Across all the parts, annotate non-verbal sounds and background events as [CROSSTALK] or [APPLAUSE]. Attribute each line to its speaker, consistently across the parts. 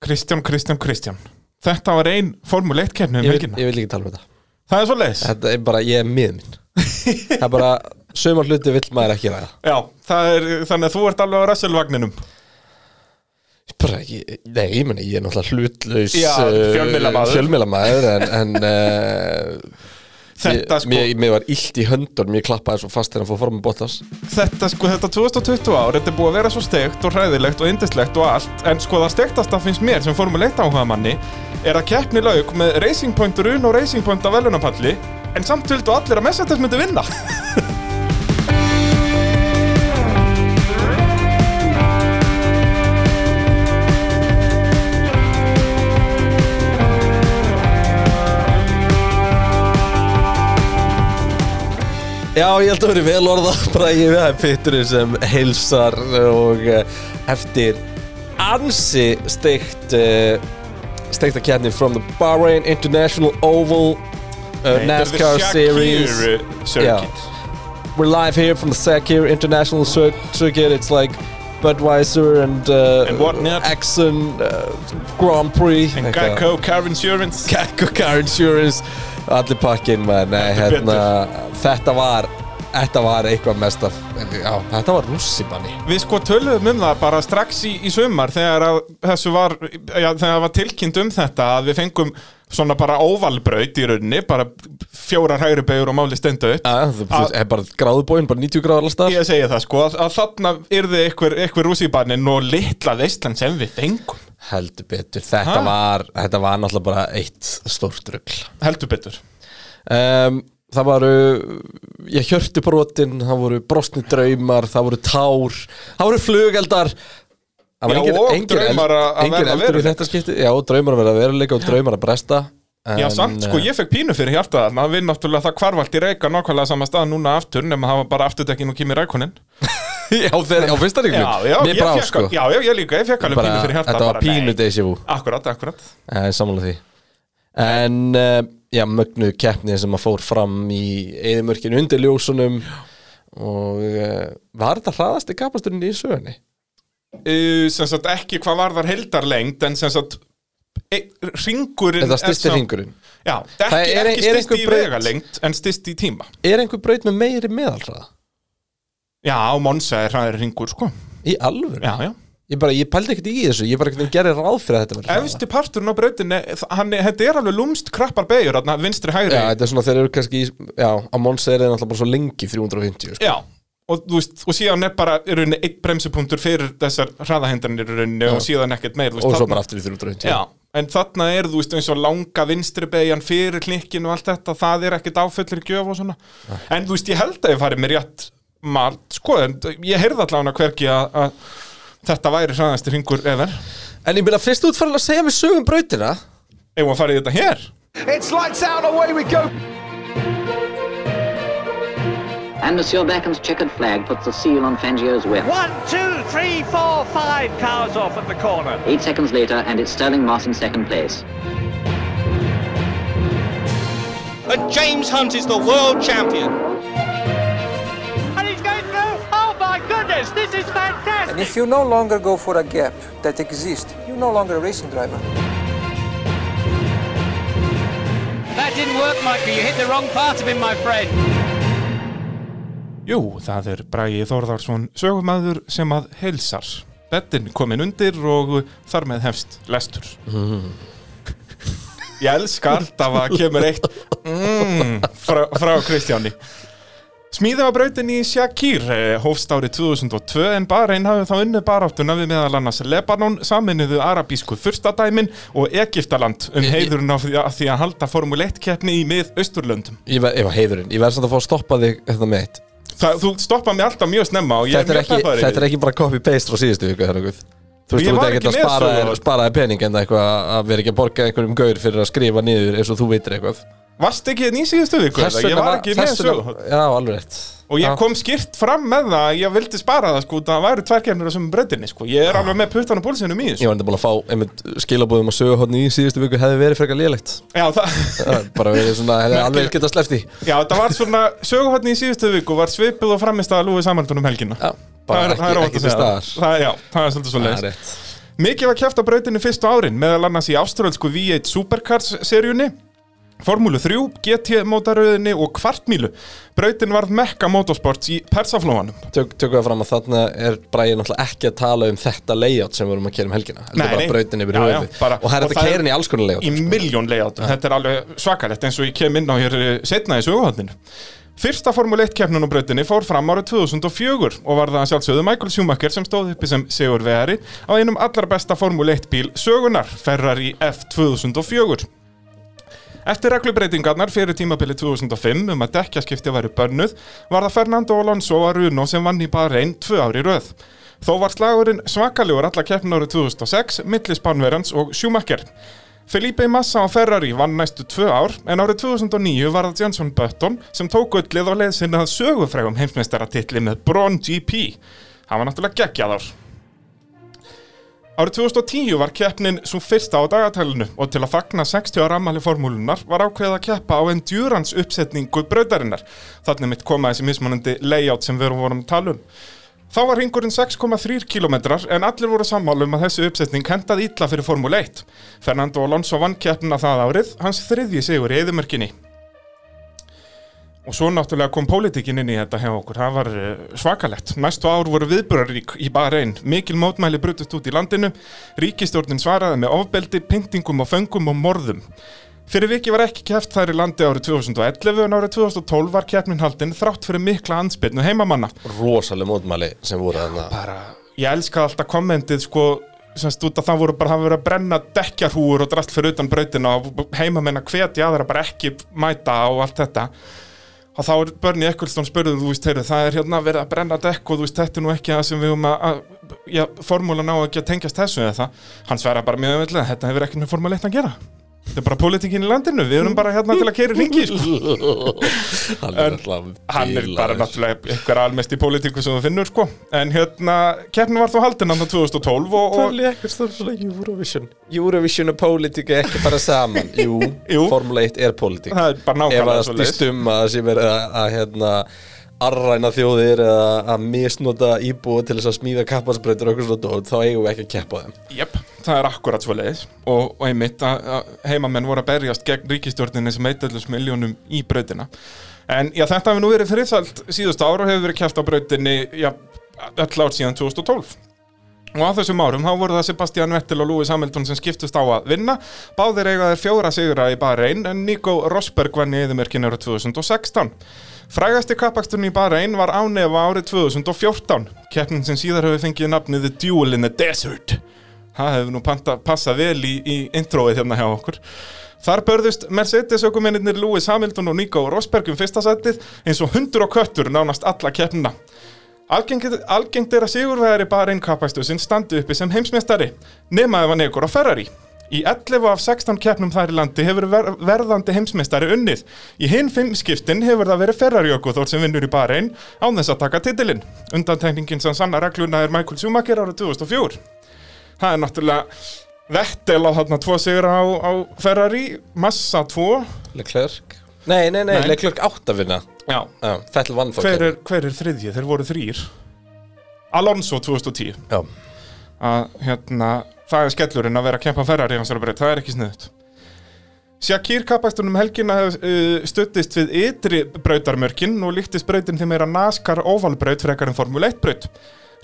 Speaker 1: Kristján, Kristján, Kristján Þetta var ein formule 1 keppni um
Speaker 2: ég vil,
Speaker 1: helgina
Speaker 2: ég vil ekki tala um þetta
Speaker 1: Það er svo leiðis
Speaker 2: Þetta er bara, ég er miður minn Það er bara, sömur hluti vill maður ekki ræða
Speaker 1: Já, það er, þannig að þú ert alveg á rasselvagninum
Speaker 2: Ég bara ekki, Nei, ég meni, ég er náttúrulega hlutlaus
Speaker 1: Já,
Speaker 2: eh,
Speaker 1: fjölmiðlamaður.
Speaker 2: fjölmiðlamaður, En, en uh,
Speaker 1: [LAUGHS] Þetta sko,
Speaker 2: mér, mér var illt í höndunum Ég klappaði svo fast þegar hann fór fram að botas
Speaker 1: þetta sko, þetta 2020 ár Þetta er búið að vera svo steikt og hræðilegt og indislegt og allt En sko það steiktasta finnst mér sem formule 1 áhuga manni Er að keppni lauk með Racing Point Run og Racing Point á velunapalli En samt vildu allir að Mercedes myndi vinna
Speaker 2: Já, ég held að vera vel orða [LAUGHS] bara ég við það pitturinn sem heilsar og eh, eftir ansi steikt uh, steikt að kjarni from the Bahrain International Oval uh, NASCAR Series
Speaker 1: Circuit
Speaker 2: We're live here from the Sakir International Cir- Circuit It's like Budweiser and, uh,
Speaker 1: And whatnot.
Speaker 2: Exxon uh, Grand Prix
Speaker 1: En
Speaker 2: Eitthvað.
Speaker 1: Geico Car Insurance
Speaker 2: Geico Car Insurance allir pakkin maður, nei,
Speaker 1: Heldur
Speaker 2: hérna, þetta var þetta var eitthvað mest af já, þetta var rússimanni
Speaker 1: Við sko töluðum um það bara strax í, í sumar þegar að þessu var, já, þegar var tilkynnt um þetta að við fengum svona bara óvalbraut í rauninni, bara fjórar hægri beigur og máli stendu upp.
Speaker 2: það er bara gráðubóin, bara 90 gráðar alltaf
Speaker 1: Ah. Ég segi það sko, að, að þarna yrði einhver, einhver rússibannin og litla veistlan sem við fengum,
Speaker 2: heldur betur, þetta
Speaker 1: Ha?
Speaker 2: var þetta var náttúrulega bara eitt stórt rugl
Speaker 1: heldur betur.
Speaker 2: um, það voru ég hjörti brotin, það voru brostni draumar, það voru tár það voru flugeldar það var
Speaker 1: Já,
Speaker 2: engin,
Speaker 1: og
Speaker 2: engin,
Speaker 1: draumar
Speaker 2: eld,
Speaker 1: að- að
Speaker 2: engin
Speaker 1: verða
Speaker 2: eldur í
Speaker 1: veruleika.
Speaker 2: þetta skipti já, draumar að vera veruleika og draumar að bresta en,
Speaker 1: Já, samt sko,
Speaker 2: eh, [LAUGHS]
Speaker 1: ég fekk pínu fyrir hjarta þarna, við náttúrulega það kvarvalt í reyka nákvæmlega sama stað núna aftur, nema það var bara afturdekkin og kýmir reykunin.
Speaker 2: Já, þeir, á fyrsta ríknum
Speaker 1: Já, já,
Speaker 2: Mér
Speaker 1: ég
Speaker 2: brá,
Speaker 1: fekk,
Speaker 2: sko
Speaker 1: já, já, ég líka, ég fekk alveg
Speaker 2: bara,
Speaker 1: pínu fyrir hjarta.
Speaker 2: Þetta var
Speaker 1: bara, nei.
Speaker 2: pínu deja vu
Speaker 1: Akkurat, akkurat.
Speaker 2: eh, Samanlega því En, eh, já, mögnu keppni sem að fór fram í eðimörkinu undir ljósunum Og eh, var þetta hraðasti kapasturinn í sögunni?
Speaker 1: uh, sem sagt ekki hvað varðar heildarlengd en sem sagt e, ringurinn
Speaker 2: Eða styrsti
Speaker 1: er samt-
Speaker 2: ringurinn
Speaker 1: já, ekki,
Speaker 2: Það er-
Speaker 1: ekki
Speaker 2: er
Speaker 1: styrsti
Speaker 2: einhver
Speaker 1: í
Speaker 2: braut?
Speaker 1: vegalengd en styrsti í tíma
Speaker 2: Er einhver braut með meiri meðalhraða?
Speaker 1: já, á Monsa er hraðir ringur sko
Speaker 2: Í alvöru?
Speaker 1: já, já
Speaker 2: Ég bara, ég pældi ekkert í þessu Ég bara hvernig gerði ráð fyrir að þetta verið hraða
Speaker 1: efsti parturinn á brautinni þ- hann er, þetta er alveg lúmst krappar beigur þarna vinstri hægri
Speaker 2: Já, þetta er svona þeir eru kannski í, Já, á Monsa er þeir náttúrulega bara svo lengi 350 sko.
Speaker 1: Já, og, þú veist, og síðan er bara í rauninni einn bremsupunktur fyrir þessar hraðahendarnir í rauninni og síðan ekkert meir þú veist,
Speaker 2: Og svo
Speaker 1: þarna-
Speaker 2: bara aftur í 350
Speaker 1: Já, en þarna er þú veist eins og langa vinstri beigjan fyrir klikkinu og allt þetta, það er ekkit áfullir gjöf og svona, en þú veist ég held að ég farið mér rétt malt, sko en ég heyrði allavega hverki að, að þetta væri hraðasti hringur ever
Speaker 2: En ég meina, fyrst þú ert farin að segja við sögum brautina
Speaker 1: eigum að fara í þetta hér
Speaker 3: It's lights out, away we go.
Speaker 4: And Monsieur Beckham's checkered flag puts the seal on Fangio's whip.
Speaker 5: One, two, three, four, five cars off at the corner.
Speaker 4: Eight seconds later, and it's Sterling Moss in second place.
Speaker 6: And James Hunt is the world champion.
Speaker 5: And he's going through. Oh my goodness, this is fantastic.
Speaker 7: And if you no longer go for a gap that exists, you're no longer a racing driver.
Speaker 5: That didn't work, Michael. You hit the wrong part of him, my friend.
Speaker 1: Jú, það er Bragi Þórðarsson sögumæður sem að heilsar Bettinn komin undir og þar með hefst
Speaker 2: [LAUGHS]
Speaker 1: lestur Ég elska alltaf að kemur eitt mm, frá, frá Kristjáni Smíða á brautinni í Shakir eh, hófst árið 2002 en Bahrein hafði þá unnið baráttuna við meðal annars Lebanon, saminuðu arabísku furstadæmin og Egiptaland um heiðurinn á því að, því að halda Formule 1 keppni í mið Östurlöndum
Speaker 2: Ég ver- ég var heiðurinn, ég verð samt að fá að stoppa þig þetta með eitt
Speaker 1: Það, þú stoppaði mig alltaf mjög snemma og ég
Speaker 2: þetta er,
Speaker 1: mjög
Speaker 2: ekki,
Speaker 1: peppaður yfir
Speaker 2: þetta er ekki bara copy-paste frá síðustu viku hérna, guð. Þú
Speaker 1: Ég
Speaker 2: veist, þú
Speaker 1: var
Speaker 2: veit ekki
Speaker 1: ekki
Speaker 2: að
Speaker 1: með
Speaker 2: spara þér
Speaker 1: sögu.
Speaker 2: spara þér pening en eitthvað að vera ekki að borga einhverjum gaur fyrir að skrifa niður eins og þú veitir eitthvað
Speaker 1: Varst ekki hérna í síðustu viku? eða? Ég var ekki með
Speaker 2: þess vegna-
Speaker 1: söguhótt
Speaker 2: Já, alveg rétt
Speaker 1: Og ég kom skýrt fram með það að Ég vildi spara það sko Það væri tværkefnir á sömu breytinni sko Ég er alveg með puttan og bólsinum í
Speaker 2: Ég
Speaker 1: þessu
Speaker 2: var enda búin að fá einmitt skilabóðum að söguhotni í síðustu viku hefði verið frekar lélegt
Speaker 1: Já, það, [LAUGHS]
Speaker 2: Það er bara verið svona, hefði alveg geta slefti
Speaker 1: já, það var svona Söguhotni í síðustu viku var svipuð og framist að Lúi samanlunum um helgina
Speaker 2: Já,
Speaker 1: það
Speaker 2: bara
Speaker 1: er,
Speaker 2: ekki-
Speaker 1: það er óhætt
Speaker 2: ekki
Speaker 1: að
Speaker 2: til
Speaker 1: segja það.
Speaker 2: staðar.
Speaker 1: það, Já, það er svolítið svo
Speaker 2: Það er
Speaker 1: leiðis
Speaker 2: rétt
Speaker 1: Mikið var kæft á brautinu fyrstu árin, meðal annars í ástralsku V8 Supercars-seríunni, Formúlu 3, GT-mótaröðinni og kvartmílu. Brautin varð mekka motorsports í persaflóanum.
Speaker 2: Tök, tökum við fram að þarna er Bræði náttúrulega ekki að tala um þetta layout sem við vorum að kera um helgina heldur
Speaker 1: Nei, nei.
Speaker 2: bara brautin yfir
Speaker 1: Já, já,
Speaker 2: höfuð
Speaker 1: bara-
Speaker 2: og það er
Speaker 1: og
Speaker 2: þetta
Speaker 1: það er-
Speaker 2: keirin í alls konar layout sko.
Speaker 1: í miljón leiðáttum, þetta er alveg svakalegt eins og ég kem inn á hér eh, setna í söguhaldinu. Fyrsta Formule 1 keppnun á brautinni fór fram árið 2004 og var það að sjálfsögðu Michael Schumacher sem stóð uppi sem Sigur Veri á einum allra besta Formule 1 bíl sögunar, Ferrari F2004. Eftir reglubreitingarnar fyrir tímabili 2005 um að dekkjaskipti væri bönnuð var það Fernando Alonso að Runo sem vann í bara einn tvö ári röð. Þó var slagurinn svakalegur alla keppn árið 2006 milli Spánverjans og Schumacher. Felipe Massa á Ferrari vann næstu tvö ár en árið 2009 var það Jansson Button sem tók öllið á leið sinni að sögufrægum heimsmeistaratitli með Bron GP. Hann var náttúrulega geggjað ár. Árið 2010 var keppnin svo fyrsta á dagatælinu og til að fagna 60 ára ammali formúlunar var ákveðið að keppa á endurance uppsetningu brautarinnar. Þannig mitt koma þessi mismunandi layout sem við vorum að tala um. Þá var ringurinn 6,3 km en allir voru sammála um að þessi uppsetning hendaði illa fyrir Formúlu 1. Fernando Alonso vann keppnina það árið, hans þriðji sigur í eðumörkinni. Og svo náttúrulega kom pólitíkin inn í þetta hjá okkur, það var eh, svakalegt. Næstu ár voru viðburðarík í bara einn, mikil mótmæli brutust út í landinu, ríkistjórnin svaraði með ofbeldi, pyntingum og föngum og morðum. Fyrir viki var ekki keft þær í landi árið 2011 en árið 2012 var keppnin haldin þrátt fyrir mikla anspyrnu heimamanna.
Speaker 2: rosaleg mótmæli sem voru þarna
Speaker 1: Bara, ég elskaði alltaf kommentið sko, semst út að það voru bara hafa verið að brenna dekkjarhúur og drast fyrir utan brautina og heimamenn að hvetja aðra bara ekki mæta og allt þetta að þá er Bernie Ecclestone spurðið, þú veist, heyru, það er hérna verið að brenna dekk og þú veist, þetta er nú ekki það sem við um að, að já, formúlan á ekki að tengjast þessu eða það, hann sverja bara mjög öðvöldlega, þetta hefur ekki með formúla eitt að gera þetta er bara pólitíkin í landinu, við erum bara hérna til að keira ringi, sko
Speaker 2: hann er
Speaker 1: En
Speaker 2: alltaf
Speaker 1: hann er bara
Speaker 2: bílaður.
Speaker 1: náttúrulega einhver almest í pólitíku sem þú finnur sko en hérna, keppnin var þó haldin hann 2012 og, og
Speaker 2: Palli Ekkertsson svona Eurovision Eurovision og pólitík er ekki bara saman Jú,
Speaker 1: [LAUGHS] Jú.
Speaker 2: Formule 1 er pólitík
Speaker 1: Það er bara nákvæmlega
Speaker 2: Ef að það
Speaker 1: svoleiðis.
Speaker 2: snýst um að það sé verið að, að hérna arræna þjóðir eða að misnota íbúa til þess að smíða kapparsbreytur og eitthvað svona dót, þá eigum við ekki að keppa á þeim
Speaker 1: Jep, það er akkurat svo leiðis og, og einmitt að að heimamenn voru að berjast gegn ríkistjórninni sem eitallus miljónum í brautina en já, þetta hefur nú verið friðsalt síðust ára og hefur verið kæft á brautinni já, öll ár síðan 2012 og á þessum árum þá voru það Sebastian Vettel og Lewis Hamilton sem skiptust á að vinna báðir eiga þeir fjóra sigra í Bahrein en Nico Rosberg vann í eðumörkinu ára 2016 Frægasti kappaksturinn í Bahrein var ánefa árið 2014 keppnin sem síðar hefur fengið nafnið The Duel in the Desert Það hefur nú panta, passað vel í, í introið hérna hjá okkur. Þar börðust Mercedes aukumennir Lewis Hamilton og Nico Rosberg um fyrsta sætið eins og hundur og köttur nánast alla keppnina. Algengt, algengt er að sigurvegari bara einn kappækstusinn standi uppi sem heimsmeistari, nema ef hann ekur á Ferrari. Í 11 af 16 keppnum þær í landi hefur ver, verðandi heimsmeistari unnið. Í hinn fimm skiptin hefur það verið Ferrari okkur þór sem vinnur í bara einn án þess að taka titilinn. Undantekningin sem sanna regluna er Michael Schumacher árið 2004 það er náttúrulega Vettel á þarna tvo sigur á, á Ferrari, Massa tvo
Speaker 2: Leclerc Nei, nei, nei,
Speaker 1: Nei.
Speaker 2: Leclerc átt að vinna
Speaker 1: Já,
Speaker 2: Já, Þetta vann
Speaker 1: hver
Speaker 2: fólk
Speaker 1: er, hver er þriðji? Þeir voru þrýr Alonso 2010
Speaker 2: Já,
Speaker 1: að hérna, það er skellurinn að vera að kempa Ferrari í hans alveg, það er ekki sniðut Shakir kappastunum helgina hef, uh, stuttist við ytri brautarmörkin og líktist brautin þeim meira NASCAR óvalbraut frekar en Formule 1 braut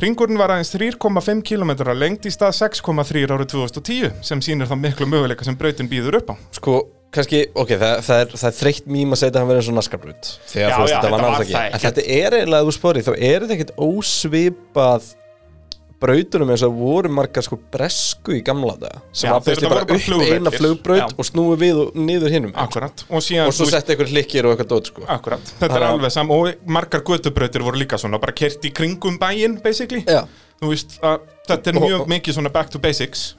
Speaker 1: Ringurinn var aðeins 3,5 km lengt í stað 6,3 árið 2010 sem sýnir þá miklu möguleika sem brautin býður upp á
Speaker 2: sko, kannski, ok, það, það, er, það er þreytt mím að segja að hann verið eins og naskarbrut Þegar
Speaker 1: Já,
Speaker 2: þú veist
Speaker 1: já,
Speaker 2: þetta var
Speaker 1: þetta var
Speaker 2: náttúrulega
Speaker 1: það
Speaker 2: ekki En þetta er eiginlega, ef þú spori, þá er þetta ekkert ósvipað brautunum eins og voru margar sko bresku í gamla daga sem
Speaker 1: Já,
Speaker 2: var
Speaker 1: þeir-
Speaker 2: besti
Speaker 1: þetta voru
Speaker 2: bara,
Speaker 1: bara
Speaker 2: upp eina
Speaker 1: flugvellir.
Speaker 2: flugbraut
Speaker 1: Já.
Speaker 2: og snúi við og niður hinnum
Speaker 1: Akkurat Og síðan
Speaker 2: og
Speaker 1: þú
Speaker 2: svo
Speaker 1: veist-
Speaker 2: setti ykkur hlikkir og eitthvað dót sko
Speaker 1: Akkurat, þetta er
Speaker 2: Þannig að-
Speaker 1: alveg sam Og margar götubrautir voru líka svona Bara kert í kringum bæinn, basically
Speaker 2: Já.
Speaker 1: Þú veist, að, þetta er
Speaker 2: Og-
Speaker 1: mjög
Speaker 2: og-
Speaker 1: mikið svona back to basics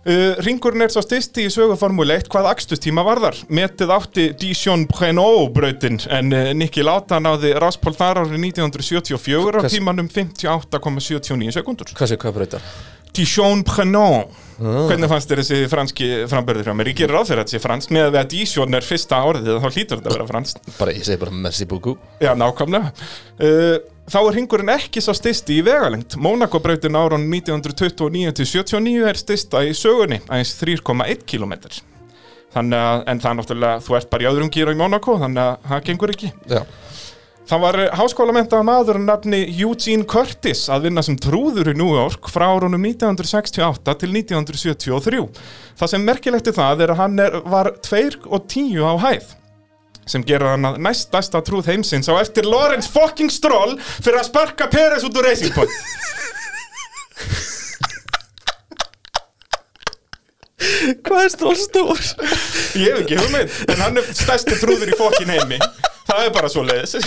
Speaker 1: Uh, ringurinn er svo styrsti í sögu Formule 1 hvað akstustíma varðar. Metið átti Dijon Prenot brautin en uh, Nicky Lauda náði Ráspól þar árið 1974 á
Speaker 2: Hvers-
Speaker 1: tímanum 58,79 sekundur.
Speaker 2: Hvað séu hvað brautar?
Speaker 1: Dijon Prenant Hvernig fannst þér þessi franski frambörður hjá mér? Ég gerir ráð fyrir að þetta sé fransk með að við að Dijon er fyrsta orðið þá hlýtur þetta að vera fransk
Speaker 2: Bara, ég segi bara merci beaucoup
Speaker 1: Já, nákvæmlega uh, þá er hringurinn ekki sá stysti í vegalengt. Mónakobrautin árun 1929-79 er stysta í sögunni, aðeins 3,1 km. Þannig að, en það er náttúrulega, þú ert bara í öðrum gýra í Mónako, þannig að það gengur ekki.
Speaker 2: Já.
Speaker 1: Það var háskólamentaða maður að nafni Eugene Curtis að vinna sem trúður í New York frá árunum 1968 til 1973. Það sem merkilegt er það er að hann er, var 2 og 10 á hæð sem gera hann að næstasta trúð heimsins á eftir Lawrence fucking Stroll fyrir að sparka Peres út úr Racing Point.
Speaker 2: Hvað er strólstór?
Speaker 1: Ég hef ekki hugmynd, en hann er stærsti trúður í fucking heimi. Það er bara svo leiðis.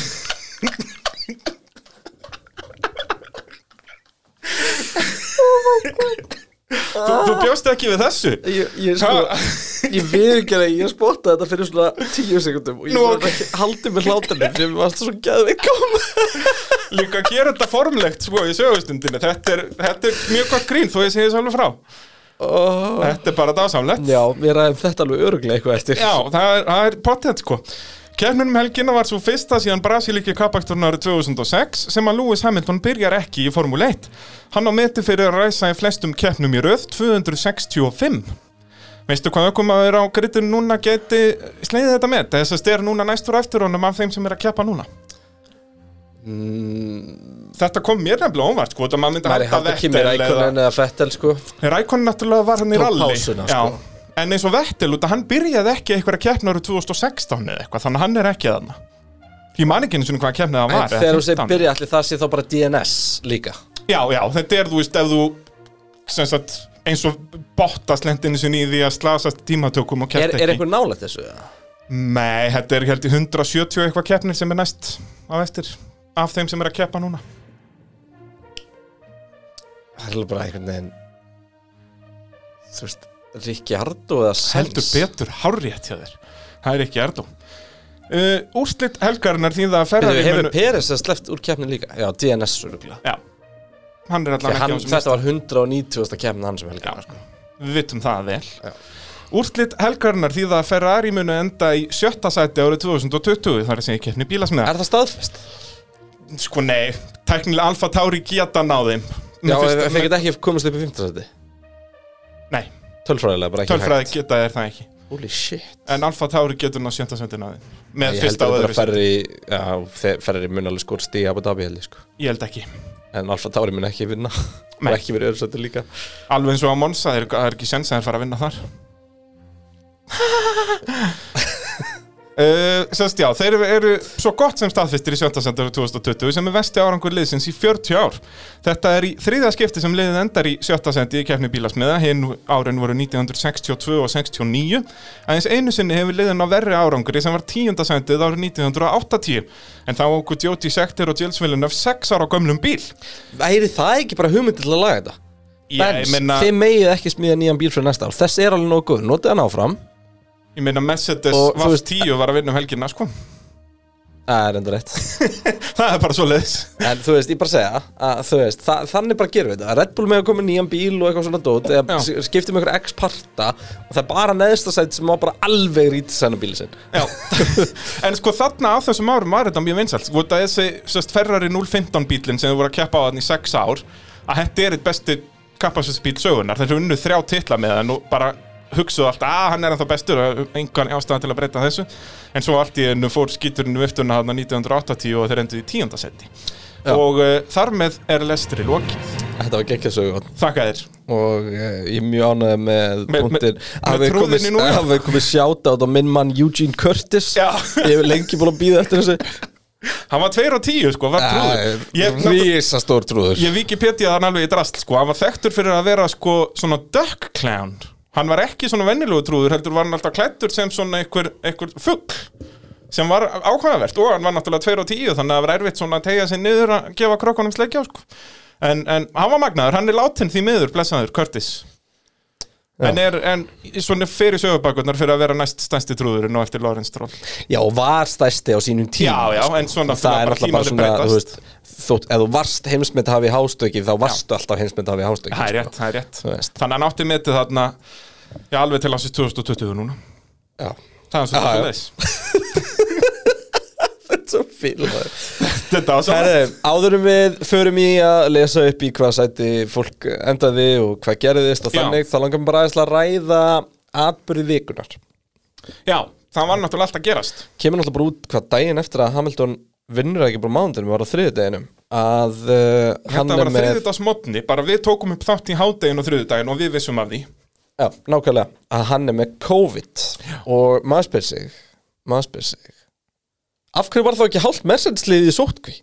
Speaker 1: Þú, þú bjóst ekki við þessu?
Speaker 2: Ég, ég sko,
Speaker 1: Ha?
Speaker 2: ég viðurgerði að ég spotta þetta fyrir svona tíu sekundum og ég
Speaker 1: Nú,
Speaker 2: var
Speaker 1: ok.
Speaker 2: ekki haldið með hlátanum sem var alltaf svo gæðið koma.
Speaker 1: Líka að gera þetta formlegt sko í sögustundinu Þetta er, þetta er mjög gott grín þó ég segi þessu alveg frá
Speaker 2: Oh.
Speaker 1: Þetta er bara dásamlegt
Speaker 2: Já, við ræðum þetta alveg öruglega eitthvað eftir.
Speaker 1: Já, það er, það er pottet sko Kefnin um helgina var svo fyrsta síðan Brasilíki kappakturinn árið 2006 sem að Lewis Hamilton byrjar ekki í Formule 1 Hann á meti fyrir að ræsa í flestum keppnum í röð 265 Veistu hvað ökumæður á grittinu núna geti sleiðið þetta met? Þess að stera núna næstur á eftir honum af þeim sem er að keppa núna Þetta kom mér nefnilega óvart sko, þetta maður myndi
Speaker 2: Mm. Maður er
Speaker 1: halda
Speaker 2: haldið ekki mér
Speaker 1: Vettel eða-
Speaker 2: ækonin eða fettel sko.
Speaker 1: Rækonin náttúrulega var hann í
Speaker 2: Tók
Speaker 1: ralli
Speaker 2: pásuna, sko.
Speaker 1: Já. En eins og Vettel, út að hann byrjaði ekki einhverja keppna árið 2016 eða eitthvað Þannig að hann er ekki þarna Ég man ekki einu sinni hvaða keppnið það
Speaker 2: En
Speaker 1: var eða
Speaker 2: þegar þú segir
Speaker 1: 15.
Speaker 2: byrja allir það sé þá bara DNS líka.
Speaker 1: Já, já, þetta er þú veist ef þú sem sagt, eins og bottast lendinu sinni í því að slasast tímatökum og
Speaker 2: Er,
Speaker 1: keppt
Speaker 2: er
Speaker 1: ekki
Speaker 2: einhver nálægt þessu? eða?
Speaker 1: Nei, þetta er held í 170 eitthvað keppnir sem er næst á eftir af þeim sem er að keppa núna
Speaker 2: Það er alveg bara einhvern veginn, þú veist, Ricciardo eða Sainz.
Speaker 1: heldur betur hárrétt hjá þér Það er ekki erdum uh, Úrslit helgarinnar því það
Speaker 2: Við
Speaker 1: Ferrari
Speaker 2: hefum
Speaker 1: munu-
Speaker 2: Peres að sleppt úr keppnin líka. Já, DNS öruglega.
Speaker 1: Já, hann er allan
Speaker 2: Hann, hérna, sko.
Speaker 1: ekki á þessum
Speaker 2: þetta var 190. keppnin hann sem helgina.
Speaker 1: lista. Við vitum það vel Úrslit helgarinnar því það Ferrari munu enda í sjötta sæti árið 2020 þar að segja keppni bílasmiða
Speaker 2: Er það staðfest?
Speaker 1: Sko nei, tæknilega Alfa Tauri geta náðum
Speaker 2: Já, ef þeir geta ekki komast upp í 15. seti.
Speaker 1: Nei,
Speaker 2: Tölfræðilega, bara ekki
Speaker 1: tölfræði geta þér það ekki
Speaker 2: hægt. Holy shit.
Speaker 1: En Alfa Tauri getur náð sjötta sæti náðum Með
Speaker 2: Ég held
Speaker 1: fyrsta
Speaker 2: að
Speaker 1: og
Speaker 2: þetta
Speaker 1: öðru
Speaker 2: bara
Speaker 1: sæti
Speaker 2: ferri, já, ferri mun alveg skor stíð Abu Dhabi held ég sko.
Speaker 1: Ég held ekki
Speaker 2: En Alfa Tauri mun ekki vinna.
Speaker 1: Nei.
Speaker 2: Og ekki verið öðru sætti líka.
Speaker 1: Alveg eins og á Monsa, það er, það er ekki sens að þeir fara að vinna þar uh, Sest já, þeir eru, eru svo gott sem staðfistir í sjöndasendur 2020 sem er vesti árangur liðsins í 40 ár Þetta er í þriða skipti sem liðið endar í sjöttasendi í kefni bílasmiða hinn árin voru 1962 og 69 aðeins einu sinni hefur liðin á verri árangri sem var tíundasendið árið 1980 en þá okkur Jóti Sekter og Jils Villeneuve 6 ára á gömlum bíl
Speaker 2: Væri það ekki bara hugmynd til að laga þetta?
Speaker 1: Ég
Speaker 2: Benz,
Speaker 1: meina-
Speaker 2: þið megið ekki smíða nýjan bíl fyrir næsta ár. Þess er alveg nógu góð. Notið hann áfram.
Speaker 1: Ég meina Mercedes
Speaker 2: Og, þú veist-
Speaker 1: VF10 var að vinna um helgina sko [LAUGHS]
Speaker 2: Það er enda rétt.
Speaker 1: Það er bara svo leiðis
Speaker 2: En þú veist, ég bara segja að þú veist, þa þannig bara gerum við þetta Red Bull með að koma í nýjan bíl og eitthvað svona dót
Speaker 1: Já.
Speaker 2: eða s- skiptum ykkur x parta og það er bara neðsta sætt sem má bara alveg rítið sæna bíli sinn
Speaker 1: [LAUGHS] En sko þarna á þessum árum var þetta mjög vinsælt Þú veit að þessi sest, Ferrari 015 bílinn sem þau voru að keppa á þannig í 6 ár að þetta er eitt besti kapasinsbíl sögunar þeir eru unnu þrjá titla með hann og bara hugsuðu alltaf að hann er ennþá bestur og engan ástæðan til að breyta þessu en svo allt í ennu fór skíturinn um viftuna þarna 1980 og þeir endur í tíundasetti
Speaker 2: Já.
Speaker 1: og uh, þar með er lestri lokið
Speaker 2: Þetta var gekkja sögur
Speaker 1: Þakka þér
Speaker 2: og eh, ég er mjög ánægði með
Speaker 1: Með-
Speaker 2: punktin
Speaker 1: með- með
Speaker 2: að við
Speaker 1: trúðinni
Speaker 2: komið,
Speaker 1: núna.
Speaker 2: að við komið sjáta á minn mann Eugene Curtis
Speaker 1: Já.
Speaker 2: ég hef lengi búin að býða eftir þessu
Speaker 1: Hann var 2 og 10 sko, var trúður Ég-
Speaker 2: Rísastór trúður
Speaker 1: Ég Wikipedia hann alveg í drast sko, hann var þekktur fyrir að vera sko svona duck clown Hann var ekki svona vennilegu trúður, heldur var hann alltaf klættur sem svona einhver, einhver fugg sem var ákvæðavert og hann var náttúrulega 2 og 10 þannig að það var erfitt svona að tegja sig niður að gefa krokkunum sleikja á sko en, en hann var magnaður, hann er látin því miður, blessaður, Curtis En er, en svona fyrir sögubakurnar fyrir að vera næst stænsti trúðurinn og eftir Lawrence Stroll
Speaker 2: Já, og var stæsti á sínum tíma
Speaker 1: Já, já, en svona
Speaker 2: það er alltaf bara svona, þú
Speaker 1: breytast
Speaker 2: veist þótt, ef þú varst heimsmynd hafi hástöki þá varstu alltaf heimsmynd hafi hástöki
Speaker 1: Það er rétt, það er rétt
Speaker 2: Þú veist.
Speaker 1: Þannig að hann átti metið þarna Já, alveg til hans í 2020 núna
Speaker 2: Já. [LAUGHS]
Speaker 1: Það er svo
Speaker 2: Já,
Speaker 1: það
Speaker 2: já.
Speaker 1: leis
Speaker 2: Svo fílaður
Speaker 1: Þetta var svo
Speaker 2: Herðu, áðurum við förum í að lesa upp í hvað sæti fólk endaði og hvað gerðist og
Speaker 1: Já.
Speaker 2: þannig þá langar mér bara aðeins að ræða atbyrði vikunar
Speaker 1: Já, það var náttúrulega allt að gerast
Speaker 2: kemur náttúrulega bara út hvað daginn eftir að Hamilton vinnur ekki bara mánudinum, var á þriðudeginum að uh, hann
Speaker 1: Þetta var
Speaker 2: er
Speaker 1: að
Speaker 2: með
Speaker 1: þriðudags modni, bara við tókum upp þátt í hádegin og þriðudagin og við vissum af því
Speaker 2: já, nákvæmlega, að hann er með COVID og maður spyr sig maður spyr sig af hverju var þá ekki hálft mersenslið í sótkví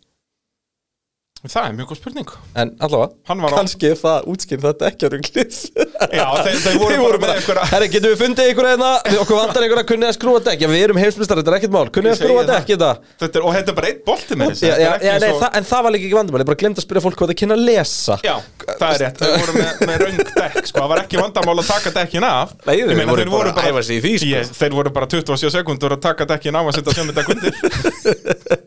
Speaker 1: Það er mjög góð spurning
Speaker 2: en allavega,
Speaker 1: Hann var á-
Speaker 2: kannski er það útskýr þetta ekki á
Speaker 1: [LAUGHS]
Speaker 2: runglið
Speaker 1: Já, þeir, þeir voru
Speaker 2: Þeir
Speaker 1: bara
Speaker 2: voru
Speaker 1: með
Speaker 2: bara,
Speaker 1: einhverja
Speaker 2: herri, getum við fundið ykkur eða okkur vantar ykkur að kunni að skrúa dekk já, við erum heimsmyndstari, þetta er ekkert mál, kunni
Speaker 1: Ég
Speaker 2: að skrúa
Speaker 1: segi það.
Speaker 2: dekk þetta
Speaker 1: þetta er, Og þetta er bara eitt bolti með þessi
Speaker 2: já, já, já, nei, það, en það var líka ekki vandamál, ég bara glemt að spyrja fólk hvað það kynna að lesa
Speaker 1: já, það er rétt, þeir voru með, með röng dekk sko, það var ekki vandamál að taka dekkin af
Speaker 2: Nei,
Speaker 1: Ég
Speaker 2: þeir
Speaker 1: meina,
Speaker 2: voru bara að æfa sig í því, sko.
Speaker 1: Yes, Þeir voru bara 27 sekundur að taka dekkin af að setja sjömyndekk undir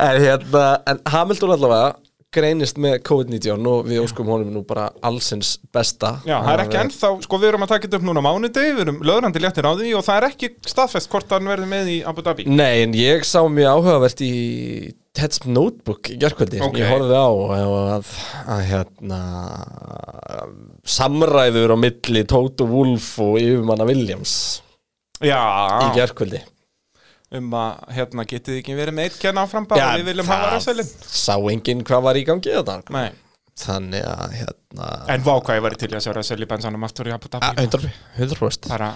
Speaker 2: en, hérna, en Hamilton allavega greinist með COVID-19 og við óskum honum nú bara allsins besta
Speaker 1: Já, það er ekki ennþá, sko við erum að taka þetta upp núna á mánudag, við erum löðrandi léttir á því og það er ekki staðfest hvort hann verði með í Abu Dhabi
Speaker 2: Nei, en ég sá mjög áhugavert í Ted's Notebook í gerkvöldi
Speaker 1: Ok.
Speaker 2: Ég horfði á eh, að, að hérna samræður á milli Tóta Wolf og yfirmanna Williams í
Speaker 1: Já,
Speaker 2: gerkvöldi
Speaker 1: um að hérna getið þið ekki verið með eitt kenna áfram bara, við viljum hafa ræsælin
Speaker 2: Sá enginn hvað var í gangi þetta
Speaker 1: Nei,
Speaker 2: Þannig að hérna
Speaker 1: en vá hvað ég væri til í að sjá ræsæli bensanum aftur í Abu
Speaker 2: a-
Speaker 1: Dhabi
Speaker 2: 100%, 100%,
Speaker 1: bara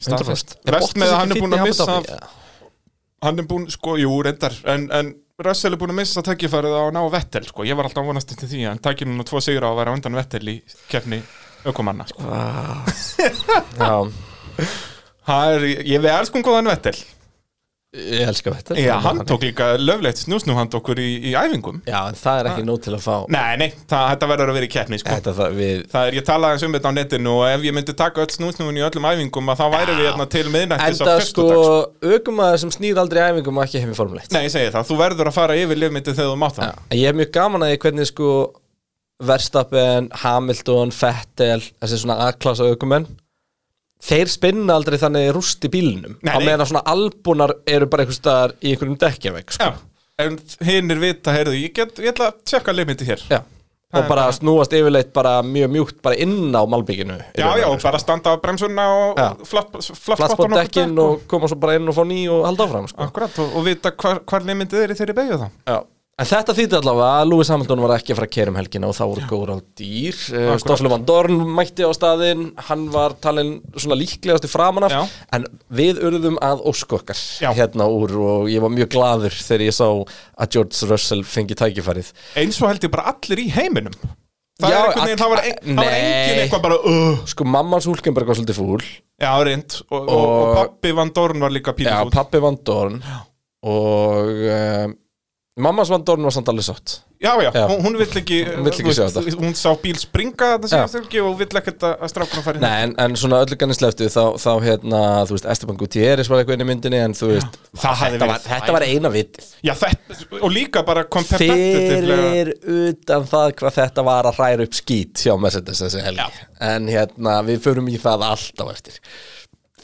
Speaker 2: 100%.
Speaker 1: staðfest Vest með að hann er búin að missa af-
Speaker 2: ja.
Speaker 1: hann er búin, sko, jú, reyndar en, en Russell er búin að missa tækifærið á að ná Vettel, sko, ég var alltaf að vonast til því en tækir núna tvo sigra á að vera á undan Vettel í keppni aukumanna, sko
Speaker 2: Já,
Speaker 1: það er, ég veið elskum góðan Vettel
Speaker 2: Ég elska þetta
Speaker 1: já, hann tók líka löflegt snúsnú hann okkur í, í æfingum
Speaker 2: Já, en það er ekki nóg til að fá
Speaker 1: nei, nei, það, þetta verður að vera í keppni, sko
Speaker 2: Þetta það við
Speaker 1: Það er, ég talaði eins um þetta á netinu og ef ég myndi taka öll snúsnúin í öllum æfingum að þá væri við hérna til miðnættis á
Speaker 2: Enda sko,
Speaker 1: fyrstudags sko.
Speaker 2: aukumæður sem snýr aldrei í æfingum og ekki heim í formulegt
Speaker 1: Nei, ég segi það, þú verður að fara yfir lifmyndi þegar þú mátt það
Speaker 2: Ég hef mjög gaman að því hvernig sko Verstappen, Hamilton, Vettel þessi svona A-klasa aukumenn þeir spinna aldrei þannig rúst í bílnum
Speaker 1: Nei,
Speaker 2: á
Speaker 1: nei.
Speaker 2: meðan að svona albúnar eru bara einhvers staðar í einhverjum dekkjavegg sko.
Speaker 1: Já, en hinn er vita, heyrðu, ég, get, ég ætla að tjekka limiti hér Já,
Speaker 2: Já. og bara snúast yfirleitt bara mjög mjúkt bara inn á malbygginu
Speaker 1: já, og bara standa á bremsunna og
Speaker 2: Já.
Speaker 1: og flatt-
Speaker 2: flatspott
Speaker 1: flattspottan okkur
Speaker 2: dekkin
Speaker 1: dekk
Speaker 2: og koma svo bara inn og fá ný og halda áfram sko.
Speaker 1: Akkurat, og, og vita hvar, hvar limitið er í þeirri beigju þá
Speaker 2: Já. En þetta þýtti allavega að Lewis Hamilton var ekki að fara að keira um helgina og þá voru góður á dýr. Eh,
Speaker 1: Akkurat.
Speaker 2: Stoffel van Dorn mætti á staðinn, hann var talin svona líklegast í framan af,
Speaker 1: Já.
Speaker 2: en við urðum að óskokkar
Speaker 1: Já.
Speaker 2: hérna úr og ég var mjög gladur þegar ég sá að George Russell fengi tækifærið.
Speaker 1: Eins og held ég bara allir í heiminum Það
Speaker 2: Já,
Speaker 1: er einhvern veginn, það var,
Speaker 2: all-
Speaker 1: ein, það var engin
Speaker 2: Nei.
Speaker 1: eitthvað bara uh,
Speaker 2: Sko mamma hans Hulkenberg var svolítið fúl,
Speaker 1: Já, reynd, og, og, og,
Speaker 2: Og-
Speaker 1: pappi Van Dorn var líka
Speaker 2: já,
Speaker 1: pílum út
Speaker 2: pappi van Dorn og um, mamma hans van Dorn var samt alveg sátt.
Speaker 1: Já, já,
Speaker 2: Já.
Speaker 1: hún, hún vill ekki,
Speaker 2: Hún vill ekki
Speaker 1: þú
Speaker 2: sjá
Speaker 1: veist,
Speaker 2: þetta.
Speaker 1: Hún sá bíl springa þetta
Speaker 2: Já.
Speaker 1: síðast ekki og vill ekkert að að strákurinn fari hérna.
Speaker 2: Nei, en, en svona öllu gannisleftu þá, þá hérna, þú veist, Esteban Gutierrez var eitthvað inn í myndinni en þú veist,
Speaker 1: það hefði
Speaker 2: þetta,
Speaker 1: verið
Speaker 2: var, þetta var eina vitið
Speaker 1: Já, þetta, og líka bara kompetitivlega
Speaker 2: fyrir utan það hvað þetta var að hræra upp skít hjá Mercedes þessi helgi en hérna, við förum í það alltaf eftir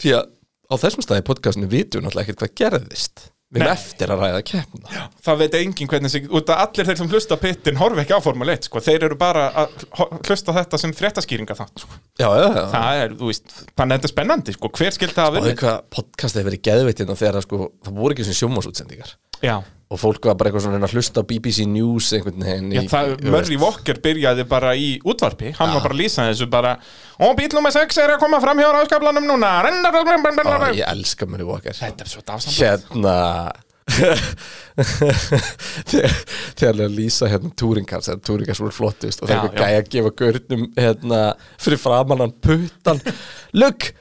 Speaker 2: því að á þessum staði í podcastinu vitum við náttúrulega ekkert hvað gerðist við erum
Speaker 1: Nei.
Speaker 2: eftir að ræða keppna já.
Speaker 1: það veit enginn hvernig sig, út að allir þeir sem hlusta á pittin horfa ekki á Formule 1, sko, þeir eru bara að ho- hlusta á þetta sem fréttaskýringa það, sko.
Speaker 2: Já, já, já.
Speaker 1: það er, þú veist, þannig að þetta er spennandi, sko, hver skildi það að
Speaker 2: og því
Speaker 1: vinna?
Speaker 2: hvað podcastið hefur verið geðveitt hérna þegar að, sko, það voru ekki sem sjómasútsendingar
Speaker 1: Já,
Speaker 2: og fólk var bara eitthvað svona að reyna að hlusta á BBC News einhvern veginn
Speaker 1: Já það,
Speaker 2: þú
Speaker 1: Murray
Speaker 2: veist.
Speaker 1: Walker byrjaði bara í útvarpi, hann var bara að lýsa þessu bara, og bíl nummer 6 er að koma fram hjá ráðskaplanum núna, renna, renna, renna, renna,
Speaker 2: Ó,
Speaker 1: renna,
Speaker 2: ég elska Murray Walker [LAUGHS]
Speaker 1: Þetta er svo dásamlega.
Speaker 2: hérna þegar þegar að lýsa hérna túringars eða túringars voru flottist og
Speaker 1: Já,
Speaker 2: þegar
Speaker 1: já.
Speaker 2: gæja að gefa gurnum hérna fyrir framannan puttan look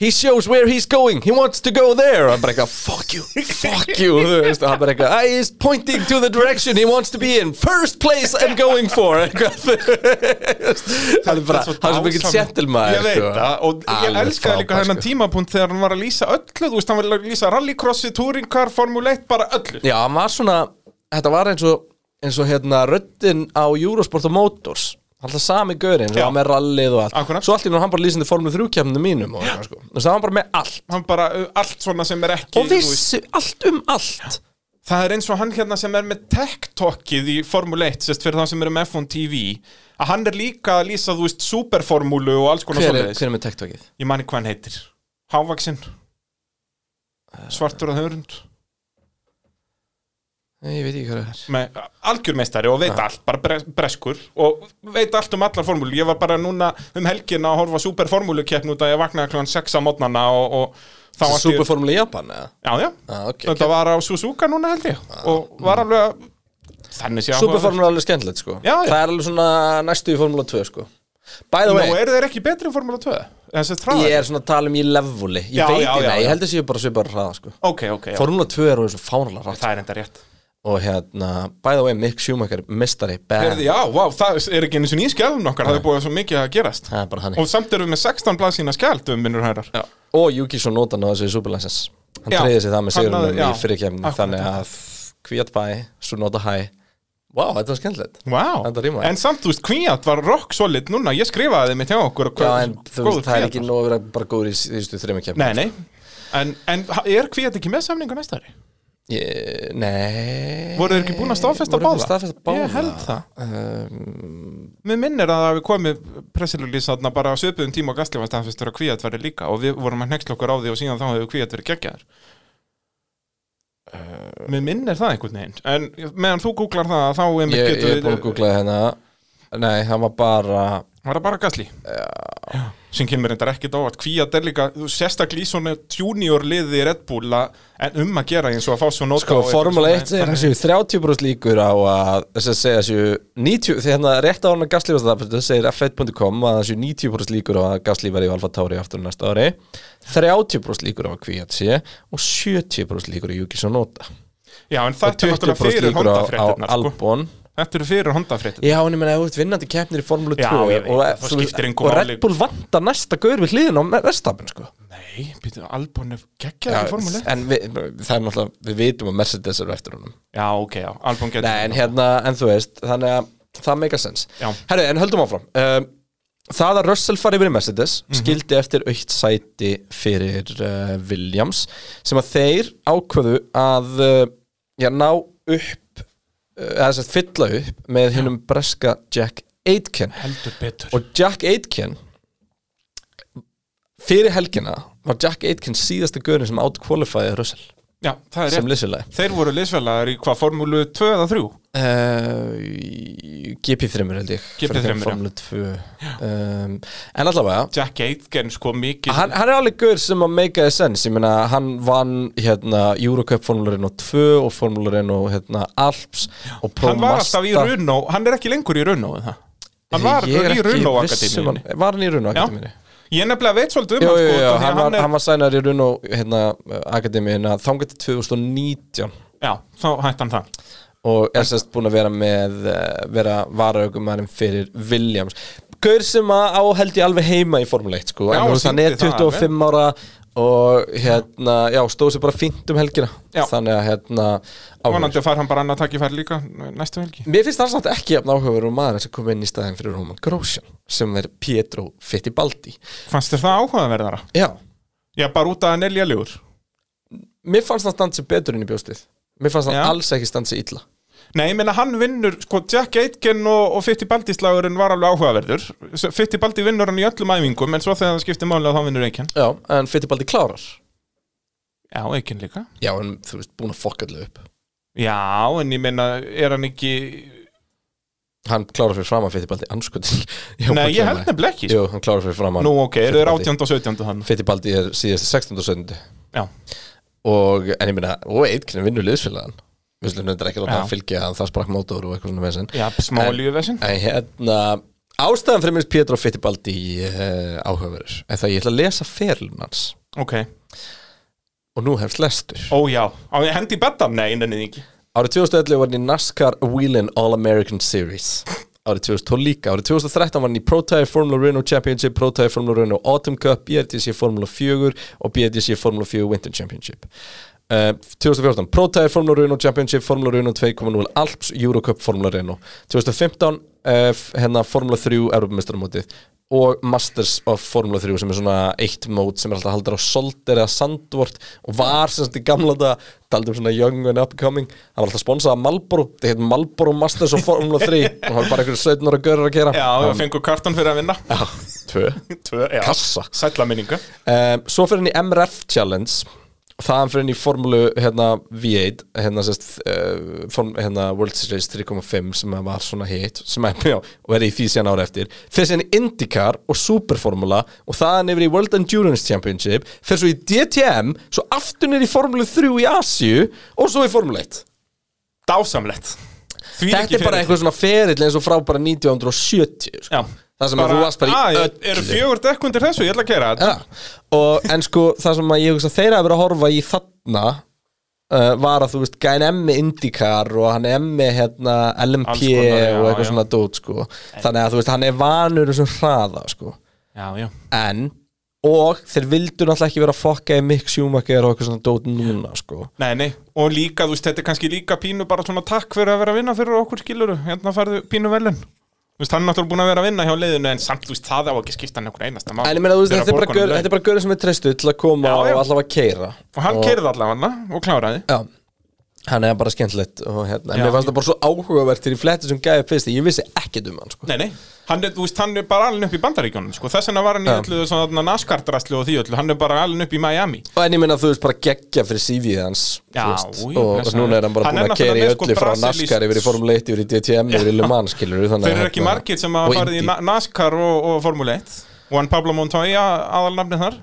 Speaker 2: He shows where he's going, he wants to go there og hann bara eitthvað, fuck you, fuck you þú veist, og hann bara eitthvað, "Ah, he's pointing to the direction he wants to be in, first place I'm going for eitthvað [LAUGHS] þú veist. hann er
Speaker 1: Þetta
Speaker 2: bara,
Speaker 1: er svo
Speaker 2: hann er svo mikið
Speaker 1: dásamlegt.
Speaker 2: gentleman sko.
Speaker 1: Ég veit það og ég elskaði líka þennan tímapunkt þegar hann var að lýsa öllu Þú veist, hann var að lýsa rallycrossi, touringcar, Formule 1, bara öllu
Speaker 2: Já, hann var svona Þetta var eins og, eins og hérna, röddin á Eurosport og Motors Alltaf sami gaurinn,
Speaker 1: Já.
Speaker 2: svo hann með rallið og allt
Speaker 1: Akkurat.
Speaker 2: Svo allt í nú hann bara lýsandi formlu þrjúkjæmnu mínum og eitthvað sko Þú veist, það var bara með allt
Speaker 1: hann bara uh, allt svona sem er ekki
Speaker 2: Og
Speaker 1: þú veist.
Speaker 2: vissi allt um allt
Speaker 1: það er eins og hann hérna sem er með tech-talkið í Formule 1, sérst fyrir það sem eru með F1 TV að hann er líka að lýsa, þú veist, superformúlu og alls konar
Speaker 2: Hver er,
Speaker 1: svoleiðis
Speaker 2: hver er með tektokið?
Speaker 1: ég manni hvað hann heitir, hávaksinn svartur að hörund
Speaker 2: Nei, ég veit ekki hvað það er
Speaker 1: með algjörmeistari og veit allt, bara bres, breskur og veit allt um allar formúlu ég var bara núna um helgina að horfa superformúlukeppn út að ég vaknaði kl. 6 á mótnana og, og þá
Speaker 2: Það
Speaker 1: allt í-
Speaker 2: Superformule í Japan, eða?
Speaker 1: Já, já,
Speaker 2: Ah, ok,
Speaker 1: þetta
Speaker 2: ok.
Speaker 1: var á Suzuka núna held ég og var alveg að þannig sé áhugavert.
Speaker 2: Superformule er alveg skemmtilegt, sko
Speaker 1: Já, já.
Speaker 2: Það er alveg svona næstu í Formule 2, sko By the
Speaker 1: Nú
Speaker 2: way,
Speaker 1: eru þeir ekki betri en Formúla 2? Þessi þráðar?
Speaker 2: ég er svona að tala um í levuli Ég
Speaker 1: Já,
Speaker 2: veit
Speaker 1: já,
Speaker 2: ekki,
Speaker 1: já, já.
Speaker 2: nei, ég held að séu bara svipar hraða, sko
Speaker 1: Ok, ok, já.
Speaker 2: Formule 2 er orðið svo fánulega rátt
Speaker 1: það er enda rétt
Speaker 2: Og hérna, by the way, Mick Schumacher, mistari, bam
Speaker 1: Herði, Já, vá, það er ekki eins og nýskjálun okkar það er búið svo mikið að gerast
Speaker 2: Það er bara þannig
Speaker 1: og samt erum við með 16 blaðsína skjald um minnur hærar
Speaker 2: Já. og Juki svo nóta náða sér í Superlicense hann
Speaker 1: Já,
Speaker 2: treyði sér það með
Speaker 1: hann náði-
Speaker 2: sigurunum í
Speaker 1: já,
Speaker 2: fyrirkjæmni
Speaker 1: akkurat.
Speaker 2: þannig að Kvíat bæ, svo nóta hæ Vá, þetta var skemmtilegt
Speaker 1: Vá,
Speaker 2: Enda rímaði.
Speaker 1: en samt, þú veist, kvíat var rock solid núna, ég skrifaði þeim mitt hjá okkur og
Speaker 2: Já,
Speaker 1: hvað-
Speaker 2: en þú
Speaker 1: góður
Speaker 2: veist, það er
Speaker 1: Kvíat
Speaker 2: ekki
Speaker 1: var.
Speaker 2: nóg að vera bara góður í síðustu þreymur kemni
Speaker 1: Nei, nei, en, en er kvíat ekki með samningu næsta ári?
Speaker 2: Ég, nei
Speaker 1: Voru þeir ekki búin að staðfesta
Speaker 2: Eh, Voru
Speaker 1: báða?
Speaker 2: ekki staðfesta báða? Ehm.
Speaker 1: Ég held það Mér minnir að það við komið pressilulísaðna bara á söpuðum tíma og gastlífa staðfestur að kvíat væri líka og við vorum að hnexla okkur á því og síðan þá hefur kvíat verið geggjaður
Speaker 2: Eh.
Speaker 1: Mér minnir það einhvern veginn En meðan þú googlar það þá einmitt
Speaker 2: Ég, ég er
Speaker 1: getum
Speaker 2: búin að
Speaker 1: við-
Speaker 2: googla hérna Nei, það var bara
Speaker 1: Var það bara gasli? Já. Sem kemur reyndar ekkert á að kvíat er líka þú- sérstaklega í svona junior liði í Red Bull að- en um að gera eins og að fá svo nota
Speaker 2: Sko,
Speaker 1: og eitthvað
Speaker 2: Formule
Speaker 1: svona-
Speaker 2: 1 er þessu 30 brúst líkur á að þess að segja þessu 90, þegar hérna rétt á hann að Gasly var staðfestur segir f1.com að þessu 90 brúst líkur á að Gasly verði í Alfa Tauri aftur næsta ári 30 brúst líkur á að Kvíat sé og 70 brúst líkur á Juki Sonota
Speaker 1: Já, en
Speaker 2: og
Speaker 1: þetta er
Speaker 2: 20
Speaker 1: náttúrulega
Speaker 2: brúst
Speaker 1: fyrir
Speaker 2: líkur á, á
Speaker 1: hóndafréttirnar sko.
Speaker 2: Albon
Speaker 1: Þetta eru fyrir hóndafréttirnar
Speaker 2: Já, en ég meina, ef þú ert vinnandi keppnir í Formule 2
Speaker 1: Já, ég veit,
Speaker 2: og,
Speaker 1: það
Speaker 2: þú veist,
Speaker 1: skiptir engu
Speaker 2: og
Speaker 1: máli.
Speaker 2: Red Bull vantar næsta gaur við hliðin á Verstafin sko.
Speaker 1: Nei, býtum, Albon er geggjað
Speaker 2: Já,
Speaker 1: í Formule 1
Speaker 2: en við, það er náttúrulega við vitum að Mercedes eru eftir honum
Speaker 1: Já, ok, já, Albon getur
Speaker 2: Nei, en hérna, en þú veist, þannig að það make a sense.
Speaker 1: Já.
Speaker 2: Herru, en höldum áfram. Um, það að Russell fari yfir í Mercedes
Speaker 1: Mhm.
Speaker 2: skildi eftir aukt sæti fyrir uh, Williams sem að þeir ákvöðu að uh, já, ná upp, uh, eða þess að fylla upp með hinnum breska Jack Aitken.
Speaker 1: Heldur betur
Speaker 2: Og Jack Aitken fyrir helgina var Jack Aitken síðasta görin sem outqualifiði Russell
Speaker 1: Já, það er
Speaker 2: sem
Speaker 1: rétt
Speaker 2: lissulega.
Speaker 1: Þeir voru liðsfélagar í hvað, Formúlu 2 eða 3?
Speaker 2: Uh, GP3 held ég
Speaker 1: GP3,
Speaker 2: frekar en
Speaker 1: já.
Speaker 2: Formule 2 um, En allavega
Speaker 1: Jack Aitken, sko, mikið
Speaker 2: hann, hann er alveg gaur sem að make a sense Ég meina, hann vann hérna, Eurocup Formule 1 og 2 og Formule 1 og hérna, Alps og Pro
Speaker 1: Hann var alltaf í
Speaker 2: Mazda.
Speaker 1: Runó, hann er ekki lengur í Runó eða? Hann var
Speaker 2: Ég er
Speaker 1: í
Speaker 2: ekki
Speaker 1: Runó
Speaker 2: viss um
Speaker 1: akademíunni
Speaker 2: hann- Var hann í Runo
Speaker 1: Já.
Speaker 2: Akademíunni?
Speaker 1: Ég nefnilega veit svolítið um
Speaker 2: Jú,
Speaker 1: hann,
Speaker 2: jú,
Speaker 1: sko,
Speaker 2: jú,
Speaker 1: út af því
Speaker 2: hann
Speaker 1: að
Speaker 2: var,
Speaker 1: er-
Speaker 2: hann var sænar í Runo hérna, Akademíunna þangað til 2019
Speaker 1: Já, þá hætti hann það
Speaker 2: og er sérst búin að vera með eh, vera varaugumærin fyrir Williams Gaur sem að á held ég alveg heima í Formule 1 sko,
Speaker 1: Já,
Speaker 2: en þú veist, hann er
Speaker 1: sýndi það
Speaker 2: 25 ára og hérna, já, stóð sér bara fínt um helgina,
Speaker 1: Já.
Speaker 2: þannig að hérna áhugaverð.
Speaker 1: Vonandi fær hann bara annað takkifæri líka næstu helgi
Speaker 2: Mér finnst það samt ekki jafn áhugaverður og maður sem kom inn í staðin fyrir Roman Grosjean sem er Pietro Fittibaldi
Speaker 1: Fannst þér það áhugaverðara?
Speaker 2: Já,
Speaker 1: Já, bara út af hann eljaljúr
Speaker 2: mér fannst það stansi betur inn í bjóstið Mér fannst það
Speaker 1: Já.
Speaker 2: alls ekki stansi illa
Speaker 1: Nei, ég meina hann vinnur, sko, Jack Aitken og, og Fittibaldi slagurinn var alveg áhugaverður S- Fittibaldi vinnur hann í öllum æfingum en svo þegar það skiptir máli að þá vinnur Aitken
Speaker 2: Já, en Fittibaldi klárar
Speaker 1: Já, Aitken líka
Speaker 2: Já, en þú veist, búin að fokka allu upp
Speaker 1: Já, en ég meina, er hann ekki
Speaker 2: hann klárar fyrir fram að Fittibaldi [LAUGHS] anskutin
Speaker 1: Nei, ég held nefnilega ekki sko.
Speaker 2: Jú, hann klárar fyrir fram að
Speaker 1: Nú, ok, eru þeir 18. og 17. hann
Speaker 2: Fittibaldi er síðast 16. og 17.
Speaker 1: Já,
Speaker 2: og en ég meina, og eitthvað vinnur liðsfélagan við slunum þetta ekki að láta
Speaker 1: Já.
Speaker 2: hann fylgja að það sprakk mótor og eitthvað svona vesinn
Speaker 1: já smá
Speaker 2: En-
Speaker 1: lífuvesinn
Speaker 2: en hérna, ástæðan fyrir minnst Pétur og Fittibaldi uh, áhugaverður en það ég ætla að lesa ferlun hans
Speaker 1: Ok,
Speaker 2: og nú hefst lestur
Speaker 1: ó já, á ég hendi í betan? Nei, nefnir ekki
Speaker 2: Árið 2011 var hann í NASCAR Wheelin All-American Series Árið 2012 líka Árið 2013 var hann í Pro-Tire Formula Renault Championship Pro-Tire Formula Renault Autumn Cup BRTC Formula 4 og BRTC Formula 4 Winter Championship Uh, 2014, Pro Tire Formula Renault Championship Formula Renault 2.0 Alps Eurocup Formula Renault 2015, uh, f- hérna Formula 3 Europamestramótið og Masters of Formula 3 sem er svona eitt mót sem er alltaf haldur á Solder eða Sandvort og var sem sagt í gamla þetta taldum svona young and upcoming það var alltaf sponsað af Malboro þetta heit Malboro Masters of Formula 3 og það var bara einhverjum 17 ára görur að gera
Speaker 1: Já, við fengum kartan fyrir að vinna
Speaker 2: Já, tvö
Speaker 1: Tvö, já
Speaker 2: Ah, Kassa.
Speaker 1: Sætla minninga
Speaker 2: um, Svo fyrir hann í MRF Challenge og þaðan fyrir hann í formulu hérna, V8 hérna, sest, uh, form, hérna, World Series 3.5 sem að var svona hit sem er, [LAUGHS] já, og er í því síðan ára eftir fyrir síðan í IndyCar og Superformula og þaðan yfir í World Endurance Championship fyrir svo í DTM svo aftur niður í formulu 3 í Asíu og svo í formulu 1
Speaker 1: Dásamlegt Því
Speaker 2: Þetta er bara
Speaker 1: fyrir-
Speaker 2: eitthvað svona ferill eins og frá bara 1970 sko.
Speaker 1: Já
Speaker 2: Það sem að þú varst bara í
Speaker 1: Ah,
Speaker 2: öllu
Speaker 1: Eru fjögur dekk undir þessu, ég ætla að gera þetta
Speaker 2: Já, og en sko það sem að ég hugsa þeirra að vera að horfa í þarna uh, var að þú veist gæn emmi IndyCar og hann emmi hérna LMP
Speaker 1: Alls konar, já,
Speaker 2: og eitthvað
Speaker 1: já.
Speaker 2: svona dót sko þannig að þú veist hann er vanur þessum hraða sko
Speaker 1: Já, já
Speaker 2: en og þeir vildu náttúrulega ekki vera að fokka í Mick Schumacher og eitthvað svona dót núna sko
Speaker 1: Nei, nei, og líka, þú veist, þetta er kannski líka pínu bara svona takk fyrir að vera að vinna fyrir okkur skiluru hérna færðu pínu velun Þú veist, hann er náttúrulega búin að vera að vinna hjá leiðinu en samt, þú veist, það á ekki að skipta hann okkur einasta mál
Speaker 2: en ég meina þú veist
Speaker 1: Þegar
Speaker 2: þetta er bara
Speaker 1: borgunum
Speaker 2: gaur-
Speaker 1: laun.
Speaker 2: þetta er bara görið sem er treystu til að koma
Speaker 1: Já, já.
Speaker 2: og allavega að keira
Speaker 1: Og hann keirði allavega hann og kláraði
Speaker 2: Já Hann er bara skemmtilegt og hérna, en
Speaker 1: Já.
Speaker 2: mér fannst það bara svo áhugavert þegar ég fletti sem gæði fyrst, ég vissi ekkert um hann sko.
Speaker 1: Nei, nei, hann er, þú veist, hann er bara alveg upp í bandaríkjónum sko. þess vegna var hann í
Speaker 2: Já.
Speaker 1: öllu svona naskartræslu og því öllu, hann er bara alveg upp í Miami
Speaker 2: Og en ég minna þú veist bara geggja fyrir CV-ið hans
Speaker 1: Já,
Speaker 2: þú veist,
Speaker 1: jú,
Speaker 2: og, og
Speaker 1: blessaður.
Speaker 2: núna er hann bara
Speaker 1: Hann er
Speaker 2: búin að
Speaker 1: náttúrulega
Speaker 2: keri
Speaker 1: með, sko,
Speaker 2: öllu frá
Speaker 1: brasilískt-
Speaker 2: NASCAR yfir í Formule 1 yfir í DTM yfir í Le Mans skilur
Speaker 1: Þeir eru
Speaker 2: hérna-
Speaker 1: ekki margir sem að farið í na- NASCAR og, og Formule 1 Juan Pablo Montoya, aðalnafnið þar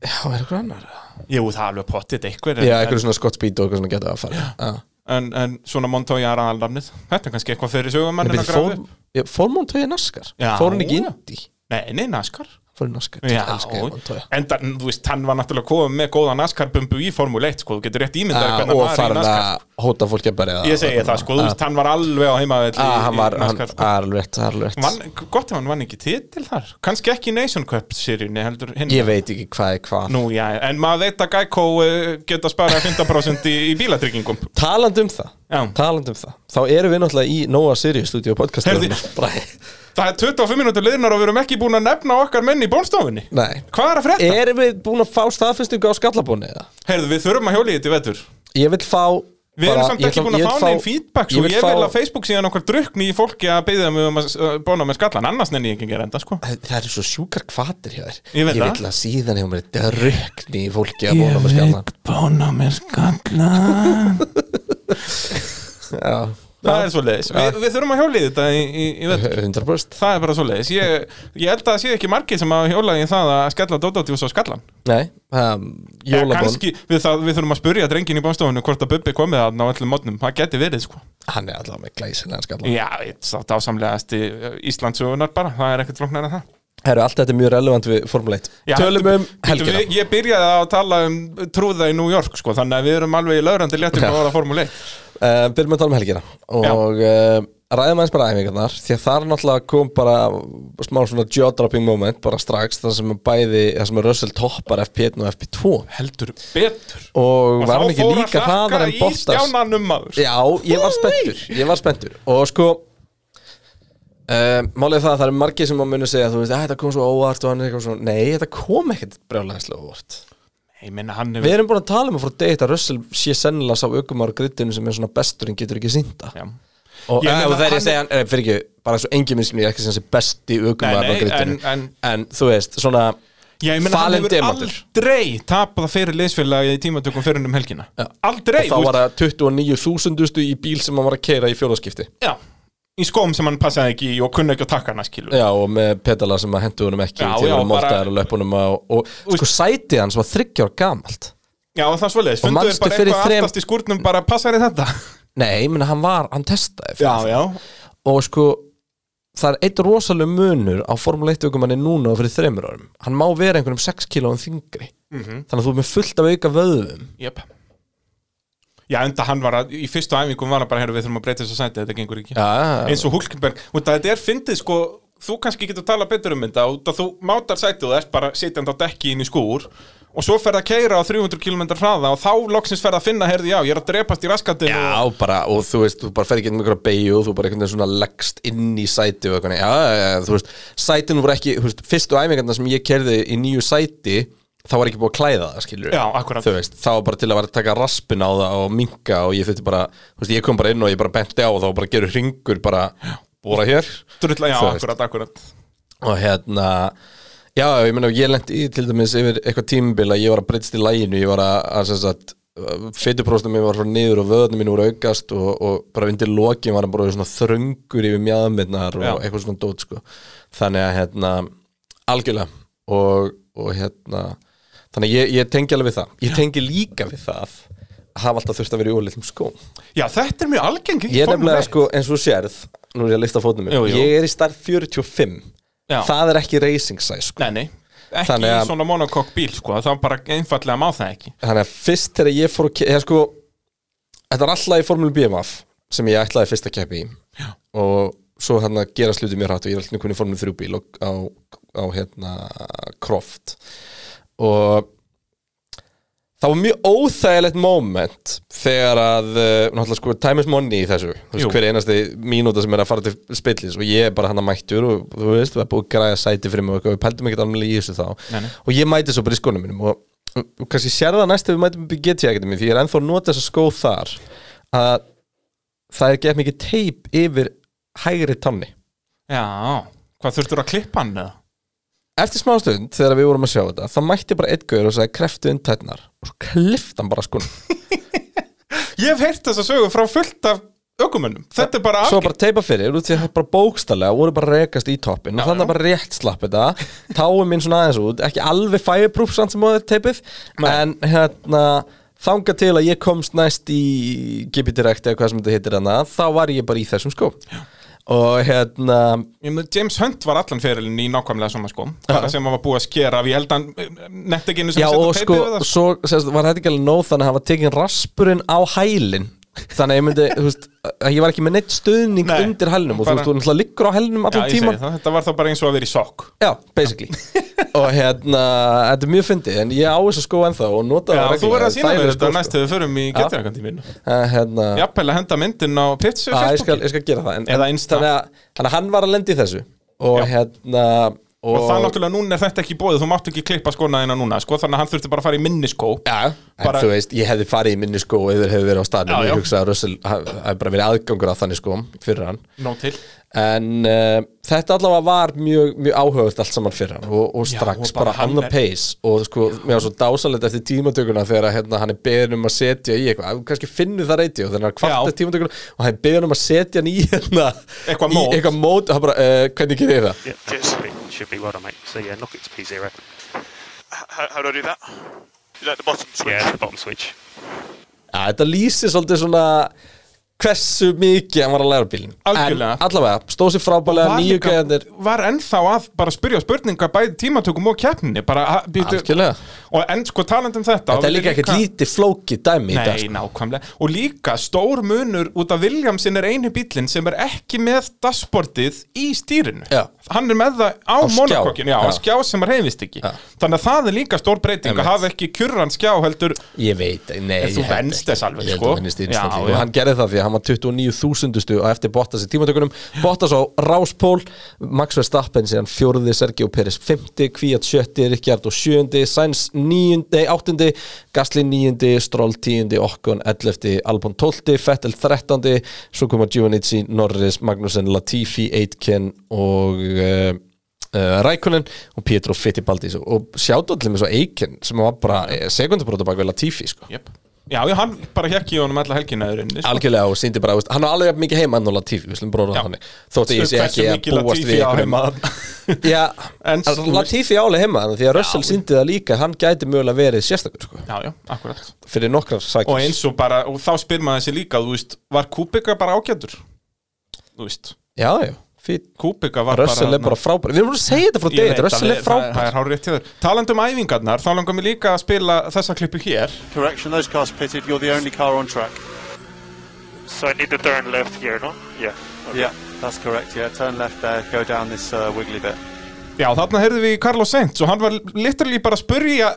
Speaker 2: Já, er eitthvað annar
Speaker 1: Jú, það er alveg pottitt eitthvað
Speaker 2: Já,
Speaker 1: en,
Speaker 2: eitthvað svona Scott Speed og eitthvað svona geta að fara Já.
Speaker 1: en, en svona Montoya er aðalnafnið Þetta er kannski eitthvað fyrir
Speaker 2: En
Speaker 1: sögumannin
Speaker 2: byrju,
Speaker 1: að grafa
Speaker 2: fór-
Speaker 1: upp
Speaker 2: já, Fór Montoya í NASCAR?
Speaker 1: Já.
Speaker 2: Fór hann ekki í Indy?
Speaker 1: Nei, nei, NASCAR
Speaker 2: Fór í NASCAR?
Speaker 1: Já,
Speaker 2: Ég elska ég Montoya.
Speaker 1: en það, þú veist, hann var náttúrulega komið með góða NASCAR-bumbu í Formule 1, sko, þú getur rétt ímyndað
Speaker 2: Já,
Speaker 1: þér hvernig
Speaker 2: Ah,
Speaker 1: hann
Speaker 2: Og
Speaker 1: var í
Speaker 2: farin
Speaker 1: NASCAR
Speaker 2: að hóta fólki að berja
Speaker 1: Ég segi það, sko, þú veist, hann var alveg á heimavelli
Speaker 2: Ah, hann
Speaker 1: í-
Speaker 2: var,
Speaker 1: í
Speaker 2: hann,
Speaker 1: NASCAR, sko.
Speaker 2: alveg rétt, alveg rétt
Speaker 1: Vann, gott ef hann vann ekki titil þar kannski ekki í Nation Cup-seríunni heldur hinn
Speaker 2: Ég veit ekki hvað er hvað
Speaker 1: Nú, já, en maður veit að Geico eh, geta sparað 50% í, í bílatryggingum
Speaker 2: Talandi um það,
Speaker 1: Já.
Speaker 2: talandi um það Þá erum við náttúrulega í Nóa Sirius stúdíu podcast
Speaker 1: Heyrðu- Það er 25 minútur liðnar og við erum ekki búin að nefna okkar menn í bónstofunni
Speaker 2: Nei Eh.
Speaker 1: Hvað er að frétta?
Speaker 2: Erum við búin að fá staðfinstingu á skallabónu eða?
Speaker 1: Heyrðu, við þurfum að hjóli þetta í vetur
Speaker 2: Ég vil fá
Speaker 1: Við
Speaker 2: bara-
Speaker 1: erum samt
Speaker 2: ég
Speaker 1: ekki
Speaker 2: ætla-
Speaker 1: búin
Speaker 2: ég
Speaker 1: að
Speaker 2: vil
Speaker 1: fá neinn feedback Svo ég vil að Facebook síðan okkur drukni í fólki að beðja mig um að s- uh, bóna með skallan Annars nenni ég ekki að gera enda, sko
Speaker 2: Það eru svo sjúkar kvatir hjá þér
Speaker 1: Ég veit það.
Speaker 2: vil að síðan hjá mér dörrökni í fólki að bóna með skallan
Speaker 1: bóna með skallan
Speaker 2: Já,
Speaker 1: [LAUGHS] Það er svo leiðis Við við þurfum að hjóli þetta í, í, í vetur
Speaker 2: 100%
Speaker 1: Það er bara svo leiðis ég, ég held að það sé ekki margir sem að hjóla í það að skella Dódótjús á skallan
Speaker 2: Nei, um,
Speaker 1: Já,
Speaker 2: jólabón
Speaker 1: kannski, við, það, við þurfum að spurja drengin í bánstofunni hvort að Bubbi komið þarna á öllum mótnum Það geti verið, sko
Speaker 2: Hann er allavega með glæsilegan skallan
Speaker 1: Já, þetta ásamlegast í Íslandsögunar eh, bara Það er ekkert flóknar en það
Speaker 2: Herru, allt þetta er mjög relevant við Formule 1
Speaker 1: Já,
Speaker 2: Tölum
Speaker 1: þetta-
Speaker 2: um helgina
Speaker 1: við- Ég byrjaði á að tala um trúða í New York, sko Þannig að við erum alveg í laurandi léttum
Speaker 2: Já.
Speaker 1: að vara formúli 1
Speaker 2: uh, Byrjum að tala um helgina og uh, ræðum aðeins bara æfingarnar því að þar náttúrulega kom bara smá svona jaw-dropping moment bara strax þar sem bæði, þar sem Russell toppar FP1 og FP2
Speaker 1: Heldur betur
Speaker 2: og, var
Speaker 1: þá
Speaker 2: hann ekki
Speaker 1: fór að
Speaker 2: líka
Speaker 1: hlakka
Speaker 2: hraðar en
Speaker 1: Í
Speaker 2: Bottas
Speaker 1: stjánanum maður
Speaker 2: Já, ég var spenntur Ég var spenntur Og sko uh, Málið er það að það eru margir sem að muni segja Þú veist, "Æ, þetta kom svo óvart og hann er eitthvað svona Nei, þetta kom ekkert brjálæðislega óvart
Speaker 1: Ég minna hann
Speaker 2: Við
Speaker 1: hefur
Speaker 2: erum búin að tala um að frá degi að Russell sé sennilega sá aukumar grittinu sem er svona besturinn getur ekki sýnda
Speaker 1: Já.
Speaker 2: og,
Speaker 1: Ég
Speaker 2: eh,
Speaker 1: meina,
Speaker 2: og þegar ég
Speaker 1: hann-
Speaker 2: segja hann, eh, fyrir ekki bara svo engin minnskjum, ég er ekki sem sé besti aukumar
Speaker 1: Nei,
Speaker 2: á
Speaker 1: nei,
Speaker 2: grittinu,
Speaker 1: en- en-
Speaker 2: þú veist svona,
Speaker 1: Já, ég meina hann
Speaker 2: Falinn
Speaker 1: hefur
Speaker 2: demantur.
Speaker 1: aldrei tapað fyrir leysfélagi í tímatökum fyrir um helgina Aldrei,
Speaker 2: þá
Speaker 1: þú
Speaker 2: var það 29.000 í bíl sem hann var að keira í fjóðarskipti
Speaker 1: Já, í skóm sem hann passaði ekki í og kunni ekki að taka hana skilur
Speaker 2: já, og með pedala sem að hendu honum ekki
Speaker 1: Já,
Speaker 2: til
Speaker 1: já, bara-
Speaker 2: að moltaðar og löpunum á, og sko sætið hans var 30 ára gamalt
Speaker 1: Já, það er svoleiðis,
Speaker 2: Og
Speaker 1: fundu þér
Speaker 2: manstu
Speaker 1: bara
Speaker 2: fyrir
Speaker 1: eitthvað
Speaker 2: þrem-
Speaker 1: aftast í skúrnum bara passar í þetta
Speaker 2: nei, ég meina hann var, hann testaði
Speaker 1: [LAUGHS]
Speaker 2: fyrir það.
Speaker 1: já
Speaker 2: og sko það er eitt rosalega munur á Formule 1 aukumanni núna og fyrir þreymur árum hann má vera einhverjum 6 kílóum þingri þannig að þú er með fullt af auka vöðum
Speaker 1: Jöp Já, enda hann var að, í fyrstu æfingum var hann bara, herru, við þurfum að breyta þess að sæti, þetta gengur ekki
Speaker 2: já,
Speaker 1: Eins og Hulkenberg, út að þetta er fyndið, sko, þú kannski getur talað betur um þetta, út að þú mátar sætið og ert bara sitjandi á dekki inn í skúr og svo fer það að keira á 300 km hraða og þá loksins fer það að finna, heyrði, já, ég er að drepast í raskatinu
Speaker 2: Já, bara, og þú veist, þú bara fer ekki inn með einhverja beigju og þú bara einhvern veginn svona leggst inn í sæti og eitthvað, já, já, já, þú veist, sætin voru ekki, þú veist, fyrstu æfingarna sem ég kerði í nýju sæti, þá var ekki búið að klæða það, skilur
Speaker 1: Já, akkúrat.
Speaker 2: Þú veist, þá var bara til að vera að taka raspin á það og minka og ég þurfti bara, þú veist, ég kom bara inn og ég bara benti á og þá bara gerur hringur bara, bóra hér
Speaker 1: Drulla, já,
Speaker 2: Þú veist.
Speaker 1: akkurat, akkurat
Speaker 2: og hérna já, ég meina, ég lendi í til dæmis yfir eitthvað tímabil að ég var að breytst í læginu ég var að, að sem sagt fytupróstum mér var frá niður og vöðnum mín úr að aukast og, og bara undir lokin var hann bara svona þröngur yfir mjáðumirnar og
Speaker 1: Já.
Speaker 2: eitthvað svona dót sko þannig að hérna, algjörlega og, og hérna þannig að ég, ég tengi alveg við það ég tengi líka við það að hafa alltaf þurft að vera í ólitlum skóm
Speaker 1: Já, þetta er mjög algeng í
Speaker 2: Ég er
Speaker 1: Formúlu
Speaker 2: nefnilega
Speaker 1: 1.
Speaker 2: sko, eins og þú sérð Nú er ég að lista fótum mér
Speaker 1: Jú, jú.
Speaker 2: Ég er í starf 45
Speaker 1: Já.
Speaker 2: Það er ekki racing size sko
Speaker 1: Nei, nei, ekki
Speaker 2: Þannig að-
Speaker 1: í svona monokokk bíl, sko Það er bara einfallega má það ekki
Speaker 2: Þannig að fyrst þegar ég fór að ke- eða sko, Þetta er alltaf í formúlu BMF Sem ég ætlaði fyrst að keppi í Já. Og svo hérna gera sluti mér hrætt Og ég er alltaf kunni formúlu 3 bíl og, á, á hérna Croft Og það var mjög óþægilegt moment þegar að, uh, náttúrulega sko, time is money í þessu, þú
Speaker 1: Jú.
Speaker 2: veist, hver einasti mínúta sem er að fara til spillis og ég er bara hann að mættur og þú veist, við erum búið að græða sæti fyrir mig og eitthvað, við pældum ekkert alveg í þessu þá
Speaker 1: Nei, nei.
Speaker 2: og ég mæti svo bara í skónum mínum og, og, og kannski sér það næst ef við mætum upp í GT Academy því ég er ennþá að nota þess að skó þar að það er gett mikið teip yfir hægri tanni
Speaker 1: Já, hvað þurftur að klippa hann eða?
Speaker 2: eftir smá stund þegar við vorum að sjá þetta þá mætti bara einn gauður og sagði kreftu inn tætnar og svo klift hann bara skónum
Speaker 1: Ég hef heyrt þessa sögu frá fullt af ökumönnum Þetta er bara
Speaker 2: svo
Speaker 1: algeng
Speaker 2: bara teipa fyrir, út því að það bara bókstallega voru bara að rekast í toppin og þannig að bara rétt slapp þetta táum minn svona aðeins út, ekki alveg fireproof samt sem á þetta teipið en hérna þanga til að ég komst næst í Gibi Direct eða hvað sem þetta hittir hana þá var ég bara í þessum skó og hérna
Speaker 1: Ég meina, James Hunt var allan ferilinn í nákvæmlega svona sko bara sem hann var búið að skera af ég held hann netta ekki einu sem
Speaker 2: Já
Speaker 1: setja
Speaker 2: og
Speaker 1: teipið
Speaker 2: sko,
Speaker 1: við það,
Speaker 2: svo sérst, var þetta ekki alveg nóð þannig að hafa tekin raspurinn á hælinn Þannig að ég myndi, þú veist, að ég var ekki með neitt stuðning
Speaker 1: Nei,
Speaker 2: undir hælnum og þú
Speaker 1: bara-
Speaker 2: veist, þú náttúrulega liggur á hælnum
Speaker 1: Já,
Speaker 2: allan
Speaker 1: ég
Speaker 2: tíman
Speaker 1: segi það, þetta var þá bara eins og að vera í sokk
Speaker 2: Já,
Speaker 1: [LAUGHS]
Speaker 2: basically Og hérna, þetta er mjög fyndið En ég á þess að skó ennþá og nota
Speaker 1: Já,
Speaker 2: það
Speaker 1: þú verður að sína mér
Speaker 2: Þægilegur
Speaker 1: þetta
Speaker 2: skór,
Speaker 1: næst þegar við förum í getjagandi mín
Speaker 2: Eh, Hérna, já,
Speaker 1: Jafnvel að henda myndin á pitsu
Speaker 2: ég, skal, ég skal gera það en,
Speaker 1: Eða
Speaker 2: en
Speaker 1: Insta.
Speaker 2: þannig, að, þannig að hann var að lendi þessu Og
Speaker 1: Já.
Speaker 2: hérna Og,
Speaker 1: Og það náttúrulega núna er þetta ekki bóðið, þú mátt ekki klippa skona þína núna sko, þannig að hann þurfti bara að fara í minniskó
Speaker 2: Já, en
Speaker 1: Bara-
Speaker 2: þú veist, ég hefði farið í minni skó og yfir hefði verið á staðnum
Speaker 1: Já, já.
Speaker 2: Ég hugsa að Russell haf- hafi bara verið aðgangur að þannig skóm fyrir hann
Speaker 1: Nó til
Speaker 2: En uh, þetta allavega var mjög, mjög áhugavert allt saman fyrir hann og, og
Speaker 1: Já,
Speaker 2: strax
Speaker 1: og bara
Speaker 2: bara,
Speaker 1: hann
Speaker 2: on the
Speaker 1: er-
Speaker 2: pace og sko, mér var svo dásalegt eftir tímatökuna þegar að, hérna, hann er beðin um að setja í eitthvað, þú kannski finnur það reyti og þannig að
Speaker 1: Já.
Speaker 2: kvarta tímatökuna og hann er beðin um að setja hann í hérna,
Speaker 1: Eitthvað
Speaker 2: í
Speaker 1: mót.
Speaker 2: eitthvað mót og hann bara, uh, hvernig gerir ég það?
Speaker 8: Yeah, just should be, should be well done, mate. So yeah, knock it to P0.
Speaker 9: How, how do I do that? You like the bottom switch?
Speaker 8: Yeah, the bottom switch.
Speaker 2: Já, þetta lýsir svolítið svona hversu mikið hann var að læra á bílinn
Speaker 1: Algjörlega.
Speaker 2: En allavega, stóð sér frábælega,
Speaker 1: var,
Speaker 2: nýju
Speaker 1: líka,
Speaker 2: gæðanir
Speaker 1: var ennþá að bara spyrja spurninga bæði tímatökum og keppninni bara, að- býtu-
Speaker 2: Algjörlega.
Speaker 1: og en sko talandi um þetta
Speaker 2: Þetta er líka ekkert lítið flókið dæmi í dag sko.
Speaker 1: Nei, nákvæmlega Og líka stór munur út af Williamsin er einu bílinn sem er ekki með dashboardið í stýrinu
Speaker 2: Já.
Speaker 1: Hann er með það á, á
Speaker 2: Á skjá.
Speaker 1: monokokkin Já, á
Speaker 2: Já.
Speaker 1: skjá sem að reyfist ekki
Speaker 2: Já.
Speaker 1: Þannig að það er líka stór breyting að
Speaker 2: Einmitt.
Speaker 1: hafa ekki kjurran skjá heldur
Speaker 2: Ég veit, nei
Speaker 1: En þú
Speaker 2: ég held
Speaker 1: venst
Speaker 2: ekki.
Speaker 1: þess alveg,
Speaker 2: Ég held
Speaker 1: sko.
Speaker 2: að vennist
Speaker 1: Já,
Speaker 2: einstaklega
Speaker 1: já.
Speaker 2: Og hann gerði það því að hann var 29.000 stu og eftir Bottas í tímatökunum Bottas á Ráspól, Max Verstappen síðan fjórði, Sergio Peris 50 Kvíat 70, Rikjard og 7 Sainz 9, nei 8 Gasly 9, Stroll 10 Okkon 11, Albon 12, Vettel 13 Svo koma Giovanici, Norris Magnussen, Latifi, Aitken og uh, uh, Rækunin og Pietro Fittipaldi og sjátóttlum eins og Eiken sem var bara sekundabróta bak við Latifi sko.
Speaker 1: yep. Já, já, hann bara hekk í honum alla helgina öðru inni, sko.
Speaker 2: algjörlega og síndi bara, veist, hann á alveg jafn mikið heima enn og Latifi, við slum bróða
Speaker 1: Já.
Speaker 2: þannig þótt að ég sé
Speaker 1: Hversu
Speaker 2: ekki að
Speaker 1: mikið
Speaker 2: búast
Speaker 1: Latifi
Speaker 2: við
Speaker 1: á
Speaker 2: einhverjum-
Speaker 1: heima
Speaker 2: [LAUGHS] Já,
Speaker 1: En
Speaker 2: en
Speaker 1: þú veist-
Speaker 2: Latifi á alveg heima þannig, því að Russell síndi það líka, hann gæti mögulega verið sérstakur, sko,
Speaker 1: Já, já, akkurat
Speaker 2: fyrir nokkrar sækis
Speaker 1: og eins og bara, og þá spyr maður þessi líka þú veist, var Kubika bara ágætur þú veist,
Speaker 2: Já, já, fýtt
Speaker 1: Kubika var
Speaker 2: Russell er bara frábær, við erum að segja þetta frá
Speaker 1: Ég
Speaker 2: degið
Speaker 1: veit,
Speaker 2: Russell
Speaker 1: það
Speaker 2: er frábær
Speaker 1: það er hár rétt hjá þér taland um æfingarnar, þá langar mér líka að spila þessa klippu hér
Speaker 9: Correction, those cars pitted. You're the only car on track.
Speaker 8: So I need to turn left here, no? Yeah.
Speaker 9: Yeah, that's correct. Yeah, turn left there, go down this uh, wiggly bit.
Speaker 1: Já, þarna heyrðum við í Carlos Sainz og hann var literally bara að spurja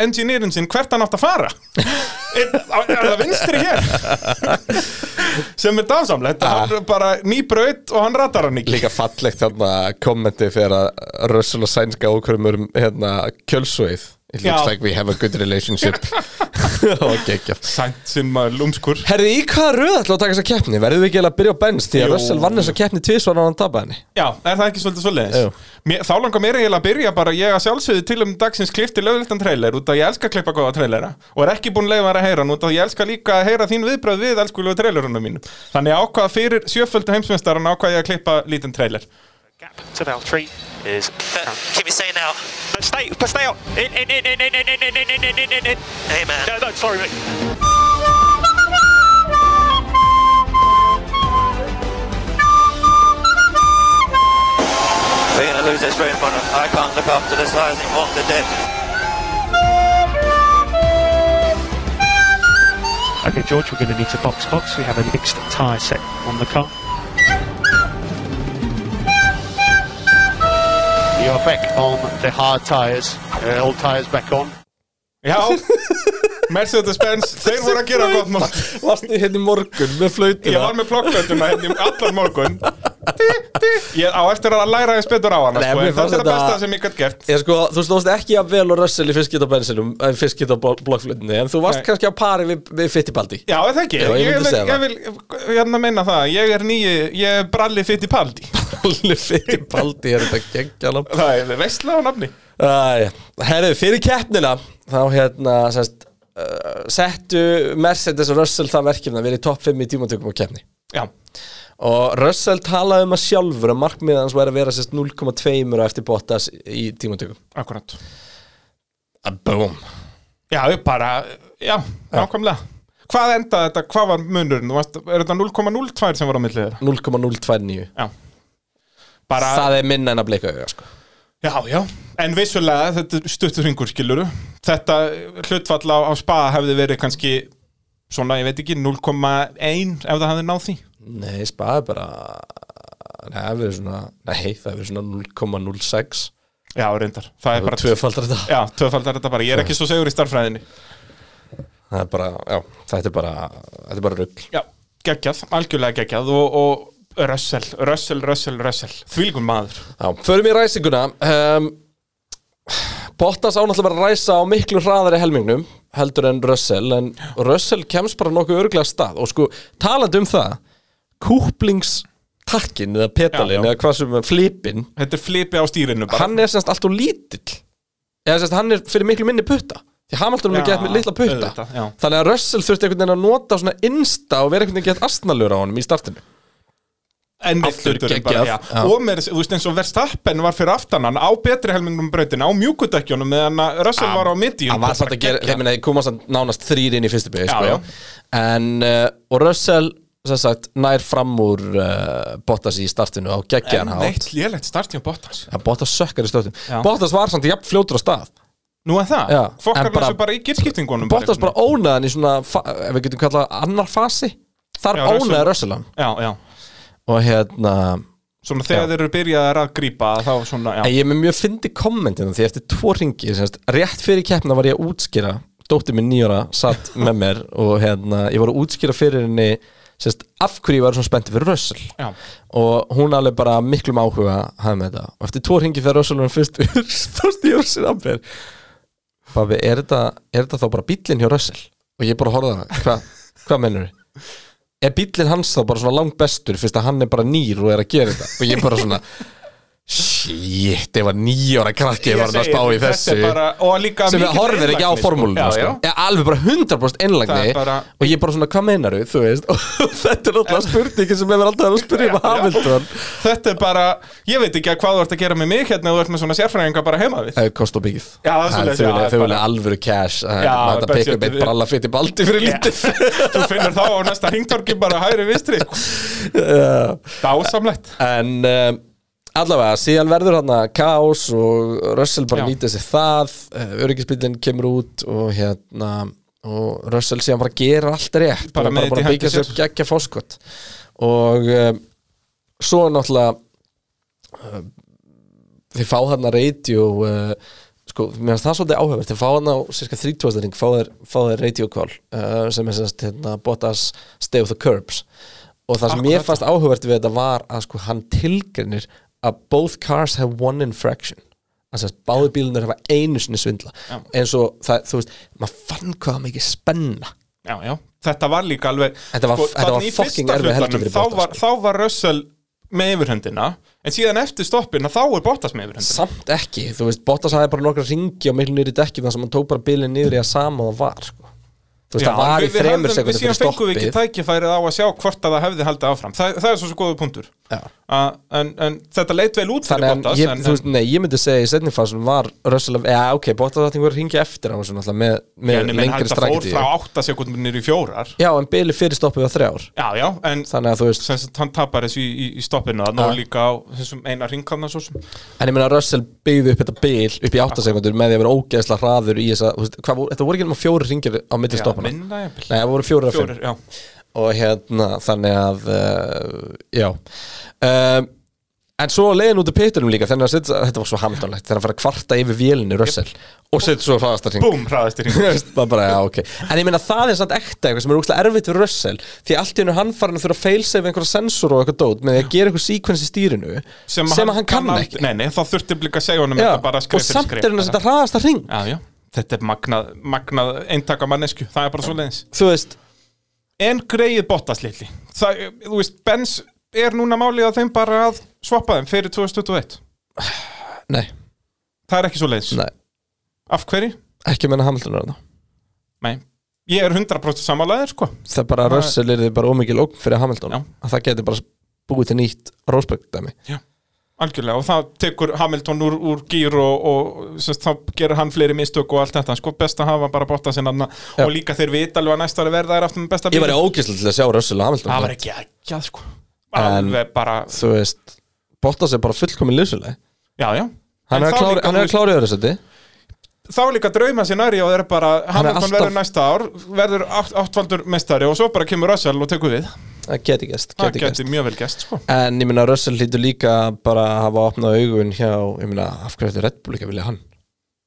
Speaker 1: engineerin sinn hvert hann átt að
Speaker 2: [LAUGHS]
Speaker 1: fara er, er það vinstri hér sem er dásamlegt
Speaker 2: Ah.
Speaker 1: hann er bara ný braut og hann ratar hann ekki
Speaker 2: Líka fallegt hérna kommenti fyrir að Russell og Sænska okkur um hérna kjölsveið It looks
Speaker 1: Já.
Speaker 2: like we have a good
Speaker 1: [LAUGHS]
Speaker 2: relationship [LAUGHS] Það var geggjað
Speaker 1: Sainz sem maður lúmskur
Speaker 2: Herri, í hvaða röð ætla að taka þessa keppni? Verðum við ekki eiginlega að byrja á Benz því að
Speaker 1: Jú.
Speaker 2: Russell vann þessa keppni tvisvar og hann tapaði henni
Speaker 1: Já, er það ekki svolítið
Speaker 2: Jú.
Speaker 1: svolítið? Mér, þá langar mér eiginlega að byrja bara ég að sjálfsögðu til um dagsins klifti lögultan trailer út af ég elska að klippa góða trailera og er ekki búin leiðar að heyra hann út af ég elska líka að heyra þín viðbröð við elskulegu trailerunum mínum Þannig að ákvaða fyrir sjöföldu heimsmeistaran ákvaða ég að klippa lítinn trailer
Speaker 8: Gap to Valtteri is
Speaker 10: Uh, Keep it saying now.
Speaker 8: But stay, but stay out. In, in, in, in, in, in, in, in, in, in, in, in, in.
Speaker 10: Hey man.
Speaker 8: No, no, sorry, mate.
Speaker 10: We're gonna lose this rain front. I can't look after the size and walk the dead.
Speaker 8: Okay, George, we're going to need to box box. We have a mixed tyre set on the car. You are back on the hard tyres. Uh, old tyres back on.
Speaker 2: [LAUGHS]
Speaker 1: Já, Mercedes-Benz, þeir voru að gera gott mót
Speaker 2: Varstu hérna í morgun með flautina
Speaker 1: Ég var með plokkvölduna hérna um allan
Speaker 2: [LAUGHS]
Speaker 1: morgun Dí, dí. Ég á eftir að læra þess betur á hana
Speaker 2: Nei,
Speaker 1: sko, en
Speaker 2: mér
Speaker 1: Þetta
Speaker 2: fannst
Speaker 1: er það
Speaker 2: þetta-
Speaker 1: besta sem ég gætt gert
Speaker 2: Ég sko, þú stóðst ekki að vel og Russell í fiskit á bensinum, eh, fiskit á blokkflutinni en þú varst
Speaker 1: Nei.
Speaker 2: kannski á pari við, við Fittibaldi
Speaker 1: Já, er það ekki,
Speaker 2: Já, ég
Speaker 1: ég,
Speaker 2: myndi
Speaker 1: vil,
Speaker 2: segja
Speaker 1: ég vil hérna meina það, ég er nýju, ég er bralli fyrt í
Speaker 2: [LAUGHS]
Speaker 1: paldi
Speaker 2: Allir Fittibaldi er þetta geggjala
Speaker 1: Það er veistlega á nafni
Speaker 2: Æ, Herðu, fyrir keppnina þá hérna sest, uh, settu Mercedes og Russell það verkefni að vera í topp 5 í tímatökum á keppni
Speaker 1: Já,
Speaker 2: og Russell talaði um að sjálfur að markmiðið hans væri að vera sest 0,2 á eftir Bottas í tímatökum
Speaker 1: akkurat
Speaker 2: A Boom
Speaker 1: Já, ég bara, já, nákvæmlega Hvað endaði þetta, hvað var munurinn, Þú varst, er þetta 0,02 sem var á millið þeirra?
Speaker 2: 0,029
Speaker 1: Já Bara,
Speaker 2: Það er minna en að bleika auga sko
Speaker 1: já, já En vissulega, þetta er stuttur hringur skiluru Þetta hlutfall á, á spa hefði verið kannski svona, ég veit ekki, 0,1 ef það hefði náð því
Speaker 2: Nei, spaði bara Nei, það verður svona Nei, það verður svona 0,06
Speaker 1: Já, reyndar, það er
Speaker 2: Bara
Speaker 1: bara
Speaker 2: tvöfaldar þetta
Speaker 1: Já, tvöfaldar þetta bara, ég er ekki svo segur í starffræðinni
Speaker 2: Það er bara, já, þetta er bara Þetta er bara rugl
Speaker 1: Já, geggjað, algjörlega geggjað og, og Russell, Russell, Russell, Russell Þvílgun maður
Speaker 2: Já, förum í ræsinguna um, Bottas ánáttúrulega bara að ræsa á miklu hraðari helmingnum heldur en Russell en Russell kemst bara nokkuð örglega stað og sko, talandi um það kúplingstakkin
Speaker 1: Já,
Speaker 2: eða pedalin
Speaker 1: já.
Speaker 2: eða hvað sem er flipin
Speaker 1: Þetta er flipi á stýrinu bara
Speaker 2: hann er semst allt og lítill eða semst hann er fyrir miklu minni putta því Hamilton er
Speaker 1: Já,
Speaker 2: gett með litla putta
Speaker 1: auðvitað, já.
Speaker 2: þannig að Russell þurfti einhvern veginn að nota svona insta og vera einhvern veginn gett astnalur á honum í startinu
Speaker 1: En við
Speaker 2: Aftur
Speaker 1: hluturum
Speaker 2: geggjað,
Speaker 1: bara, já.
Speaker 2: já.
Speaker 1: Og með, þú veist eins og Verstappen var fyrir aftan hann á betri helmingnum brautin á mjúkudekkjónum meðan að Russell var á mitti
Speaker 2: hann var samt að gera, ég meina, koma samt nánast þrýr inn í fyrstu
Speaker 1: Já,
Speaker 2: bygg sko.
Speaker 1: já.
Speaker 2: en, uh, og Russell sem sagt, nær fram úr uh, Bottas í startinu á geggjan hátt
Speaker 1: Neitt lélegt startið á Bottas
Speaker 2: að Bottas sökkar í stöttum
Speaker 1: Já.
Speaker 2: Bottas var samt jafn fljótur á stað
Speaker 1: Nú er það,
Speaker 2: Já,
Speaker 1: fokkar
Speaker 2: en bara-
Speaker 1: þessu bara í girskiptingunum
Speaker 2: Bottas bara ónaðan í svona, fa- ef við getum kallað annar fasi, þar
Speaker 1: Já, Russell-
Speaker 2: ónaði Russell hann
Speaker 1: Já, já
Speaker 2: og hérna
Speaker 1: Svona þegar þeir eru byrjaðar að grípa þá svona,
Speaker 2: En
Speaker 1: já
Speaker 2: ég er með mjög fyndi kommentina því eftir tvo ringi, semst, rétt fyrir keppna var ég að útskýra, dóttir minn nýjóra satt með mér og hérna ég var að útskýra fyrir henni semst, af hverju ég var svona spennti fyrir Russell
Speaker 1: Já.
Speaker 2: og hún alveg bara miklum áhuga hafði með þetta og eftir tvo ringi fyrir Russell var hann um fyrst [LAUGHS] stóðst í Russell af mér Babi, er þetta, er þetta þá bara bíllinn hjá Russell? Og ég bara horfði á hana, hvað hva mennur þið? Er bíllinn hans þá bara svona langt bestur fyrst að hann er bara nýr og er að gera þetta? Og ég bara svona, shit, ég var nýjóra krakki, ég var hann að
Speaker 1: segi,
Speaker 2: spá í þessu
Speaker 1: þetta er bara, og líka
Speaker 2: sem
Speaker 1: mikill
Speaker 2: við horfir ekki á
Speaker 1: einlægni, sko.
Speaker 2: formúluna
Speaker 1: Já,
Speaker 2: sko.
Speaker 1: já.
Speaker 2: Ég alveg bara 100%
Speaker 1: Það
Speaker 2: einlagni
Speaker 1: er bara-
Speaker 2: og ég bara svona, hvað meinar þú, veist [LAUGHS] og þetta er alltaf spurningin sem hefur alltaf verið að spyrja
Speaker 1: Já,
Speaker 2: um
Speaker 1: já.
Speaker 2: Hamilton
Speaker 1: Þetta er bara, ég veit ekki að hvað þú ert að gera með mig hérna ef þú ert með svona sérfræðinga bara heima við
Speaker 2: Það kost og byggð
Speaker 1: Já, það er svoleiðis, já, það er
Speaker 2: Þau vilja
Speaker 1: bara-
Speaker 2: alvöru cash Það er
Speaker 1: Já,
Speaker 2: hægt að
Speaker 1: budget-
Speaker 2: peka upp eitt bralla fyrir baldi fyrir lítið
Speaker 1: [LAUGHS] Þú finnur þá á næsta hringtorki bara hægri vinstri sko. Dásamlegt
Speaker 2: En um, allavega, síðan verður hann að kaos og Russell bara
Speaker 1: Já.
Speaker 2: nýta sér það uh, Öryggisbillin kemur út og hérna og Russell síðan bara gera allt rétt
Speaker 1: Bara
Speaker 2: og
Speaker 1: með
Speaker 2: bara,
Speaker 1: þetta
Speaker 2: bara
Speaker 1: í
Speaker 2: byggja
Speaker 1: hendi
Speaker 2: sér upp geggja fóskot og um, svo náttúrulega uh, þeir fá hann að radio uh, sko, mér finnst það svolítið áhugavert þeir fá hann á cirka 30. ring fá þeir, fá þeir radio call uh, sem er semst hérna, Bottas Stay of the Curbs og það sem mér fannst áhugavert við þetta var að sko, hann tilgrinir að both cars have one infraction Þannig að báði bílunar hafa einu sinni svindla
Speaker 1: Já.
Speaker 2: eins og það, þú veist, maður fann hvað það mikið spenna
Speaker 1: já, já, þetta var líka alveg sko,
Speaker 2: Þetta var- þetta
Speaker 1: þarna í
Speaker 2: var
Speaker 1: fyrsta
Speaker 2: fucking erfið helgi
Speaker 1: hlutanum,
Speaker 2: fyrir Bottas, sko.
Speaker 1: þá var, þá var Russell með yfirhöndina en síðan eftir stoppina þá er Bottas með yfirhöndina
Speaker 2: samt ekki, þú veist, Bottas hafi bara nokkra ringi og miklu nýri dekki þannig að hann tók bara bílinn niður í að sama og það var sko. þú veist,
Speaker 1: Já,
Speaker 2: það
Speaker 1: en
Speaker 2: var í
Speaker 1: við- við hefðum-
Speaker 2: þremur sekundum
Speaker 1: Við
Speaker 2: fyrir
Speaker 1: síðan fengum við
Speaker 2: stoppið
Speaker 1: ekki tækifærið á að sjá hvort að það hefði haldið áfram Það, það er svo svo góðu punktur
Speaker 2: Já.
Speaker 1: uh, en, en þetta leit vel út fyrir
Speaker 2: þannig að
Speaker 1: Bottas
Speaker 2: ég, þú veist, nei, ég myndi segja í setningfásun var Russell, að- já ok, Bottas átti einhver ringi eftir á þessu náttúrulega með, með
Speaker 1: en, en
Speaker 2: lengri
Speaker 1: þetta fór
Speaker 2: strækti
Speaker 1: frá 8 sekundum niður í fjórar
Speaker 2: já, en bíli fyrir stoppið var þrjár
Speaker 1: Já, já, en
Speaker 2: þannig að þú veist,
Speaker 1: sem sagt hann tapar þessu í, í, í stoppinu þannig
Speaker 2: Já.
Speaker 1: og líka á þessum eina ringkanna svo sem
Speaker 2: en ég meina Russell byggði upp þetta bíl upp í 8 sekundur með því að vera ógeðsla hraður í þessa, þú veist, hvað, voru- þetta voru ekki nema fjóri ringir á milli
Speaker 1: Já,
Speaker 2: stoppana, nei,
Speaker 1: minna jafnvel.
Speaker 2: það voru fjóri að fimm
Speaker 1: Fjórir, já
Speaker 2: og hérna þannig að uh, já um, en svo leiðin út af pittunum líka þannig að setja, þetta var svo hamdanlegt þannig að fara að kvarta yfir vélinu Russell og setja svo hraðast að
Speaker 1: Búm, hraðast í
Speaker 2: [LAUGHS]
Speaker 1: ringum
Speaker 2: það bara, já, ok en ég meina það er samt ekta eitthvað sem er úkslega erfitt fyrir Russell því allt í hennu hann farin að þurfa að failsave einhverja sensor og eitthvað dót með því að gera eitthvað sequence í stýrinu sem, að hann kann
Speaker 1: aldrei-
Speaker 2: ekki
Speaker 1: Nei, nei, þá þurfti líka að segja honum
Speaker 2: já,
Speaker 1: þetta bara
Speaker 2: og
Speaker 1: skrif fyrir
Speaker 2: samt
Speaker 1: skrif
Speaker 2: er hann
Speaker 1: bara.
Speaker 2: að setja hraðast að ring
Speaker 1: Já, já, þetta er magnað, magnað eintaka mannesku, það er bara svo leiðins
Speaker 2: þú veist,
Speaker 1: en greið Bottas litli það, þú veist, Benz er núna málið að þeim bara að svappa þeim fyrir 2021
Speaker 2: nei,
Speaker 1: það er ekki svo leiðis,
Speaker 2: nei
Speaker 1: af hverju?
Speaker 2: ekki menna Hamilton er það
Speaker 1: Nei, ég er 100% samanlegaður sko
Speaker 2: það er bara að
Speaker 1: Það-
Speaker 2: Russell er bara ómikið lókn fyrir Hamilton
Speaker 1: Já.
Speaker 2: að það geti bara búið til nýtt Rósberg-dæmi
Speaker 1: algjörlega og það tekur Hamilton úr, úr gýr og, og sérst, þá gerir hann fleiri mistök og allt þetta, sko best að hafa bara Bottas en anna
Speaker 2: Já.
Speaker 1: og líka þeir vita alveg að næsta ári verða er aftur með besta
Speaker 2: ég
Speaker 1: bíl
Speaker 2: var í ógæslega til að sjá Russell og Hamilton
Speaker 1: það var ekki ekki að sko
Speaker 2: En-
Speaker 1: alveg bara,
Speaker 2: þú veist, Bottas er bara fullkomin lýsuleg
Speaker 1: já já
Speaker 2: hann
Speaker 1: En
Speaker 2: er að
Speaker 1: þá
Speaker 2: klára-
Speaker 1: líka,
Speaker 2: hann
Speaker 1: þú
Speaker 2: er að
Speaker 1: veist,
Speaker 2: klára í öðru seti
Speaker 1: þá er líka drauma sinari og það er bara
Speaker 2: er
Speaker 1: Hamilton
Speaker 2: alltaf-
Speaker 1: verður næsta ár, verður átt, áttvaldur mestari og svo bara kemur Russell og tekur við
Speaker 2: það geti gæst,
Speaker 1: það
Speaker 2: geti gæst
Speaker 1: geti mjög vel gæst sko.
Speaker 2: en ég minna Russell hlýtur líka bara að hafa opnað augun hjá ég minna, af hverju þetta Red Bull ekki að vilja hann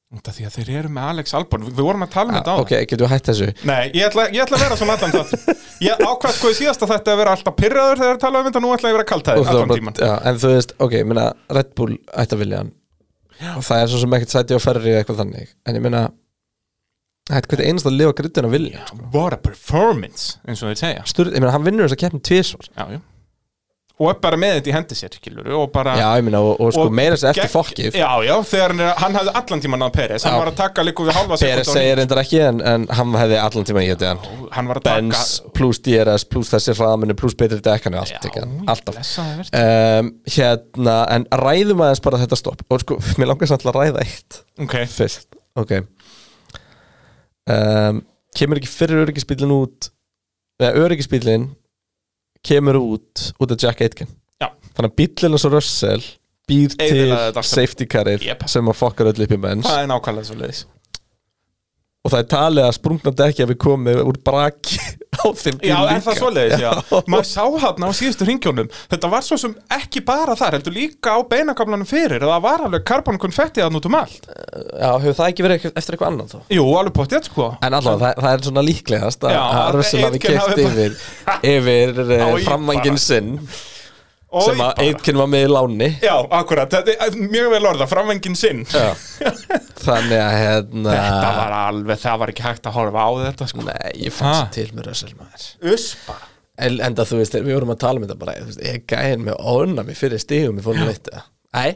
Speaker 1: Út af því að þeir eru með Alex Albon við, við vorum að tala um þetta á
Speaker 2: Ah, ok, getur við hætt þessu
Speaker 1: Nei, ég ætla, ég ætla að vera svona allan þátt Ég ákvað sko í síðasta þetta að vera alltaf pyrraður þegar þeir tala um þetta, nú ætla ég að vera
Speaker 2: Og
Speaker 1: kaltæður
Speaker 2: þú
Speaker 1: allan
Speaker 2: bara-
Speaker 1: tíman
Speaker 2: já, en þú veist, ok, ég minna Red Bull ætti að vilja hann og það er svo sem ekkert sæti á ferri eða eitthvað þannig en ég minna hætti hvernig einast að lifa grittun að vilja
Speaker 1: What a performance, eins og þeir segja
Speaker 2: Sturð, ég meina, hann vinnur þess að keppni tvísvar
Speaker 1: Já, já Og er bara með þetta í hendi sér, skilur og bara
Speaker 2: Já, ég meina, og, og sko meira þess að eftir
Speaker 1: gegn-
Speaker 2: fokkið
Speaker 1: Já, já, þegar hann, er- hann hafði allan tíman að Peres Hann
Speaker 2: Já.
Speaker 1: var að taka líku við halva sekúndu
Speaker 2: Peres
Speaker 1: á
Speaker 2: segir reyndar ekki, en, en hann hefði allan tíma í þetta hann
Speaker 1: nýtt. Hann var að taka
Speaker 2: Benz, plus DRS, plus þessi hraðamennu, plus betri dekkanu, allt, ekki, alltaf
Speaker 1: blessaði vertu.
Speaker 2: um, Hérna, en ræðum aðeins bara þetta stopp Og sko, mér langar samt til að ræða eitt
Speaker 1: Ok,
Speaker 2: Fyrst, ok um, Kemur ekki fyrir öryggisbílinn út Eða öryggisbílinn kemur út út af Jack Aitken
Speaker 1: Já.
Speaker 2: Þannig að bíllinn og svo Russell býr til
Speaker 1: Eyðilagði þetta allt.
Speaker 2: safety carið
Speaker 1: Yep.
Speaker 2: sem að fokkar öll upp í menns
Speaker 1: það er nákvæmlega svo leiðis
Speaker 2: og það er talið að sprungna dekki að við komið úr braki [LAUGHS] á þeim bíl
Speaker 1: Já,
Speaker 2: líka.
Speaker 1: er það svoleiðis, já Maður sá hann á síðustu ringjónum Þetta var svo sem ekki bara þar heldur líka á beinakablanum fyrir Það var alveg karbonkonfetti þann út um allt
Speaker 2: Já, hefur það ekki verið eitthvað- eftir eitthvað annað þá?
Speaker 1: Jú, alveg pottið, sko
Speaker 2: En allavega, það, það er svona líklegast að,
Speaker 1: Já,
Speaker 2: að
Speaker 1: að
Speaker 2: Russell hafi
Speaker 1: Aitken
Speaker 2: keitt
Speaker 1: hafi bara- [LAUGHS]
Speaker 2: yfir, yfir eh,
Speaker 1: Á í
Speaker 2: framvangin
Speaker 1: bara.
Speaker 2: sinn
Speaker 1: Oj,
Speaker 2: sem að
Speaker 1: bara.
Speaker 2: Eitkin var með í láni
Speaker 1: Já, akkurat, þetta er eh, mjög vel orða, framvengin sinn
Speaker 2: Já. Þannig að hérna
Speaker 1: Þetta var alveg, það var ekki hægt að horfa á þetta, sko
Speaker 2: Nei, ég fannst
Speaker 1: Ha?
Speaker 2: til með Russell maður
Speaker 1: Uspa
Speaker 2: en, Enda þú veist, við vorum að tala um þetta bara þú veist, Ég er gæðin með ónami fyrir stígum í fólum veitt Æ,
Speaker 1: Nei,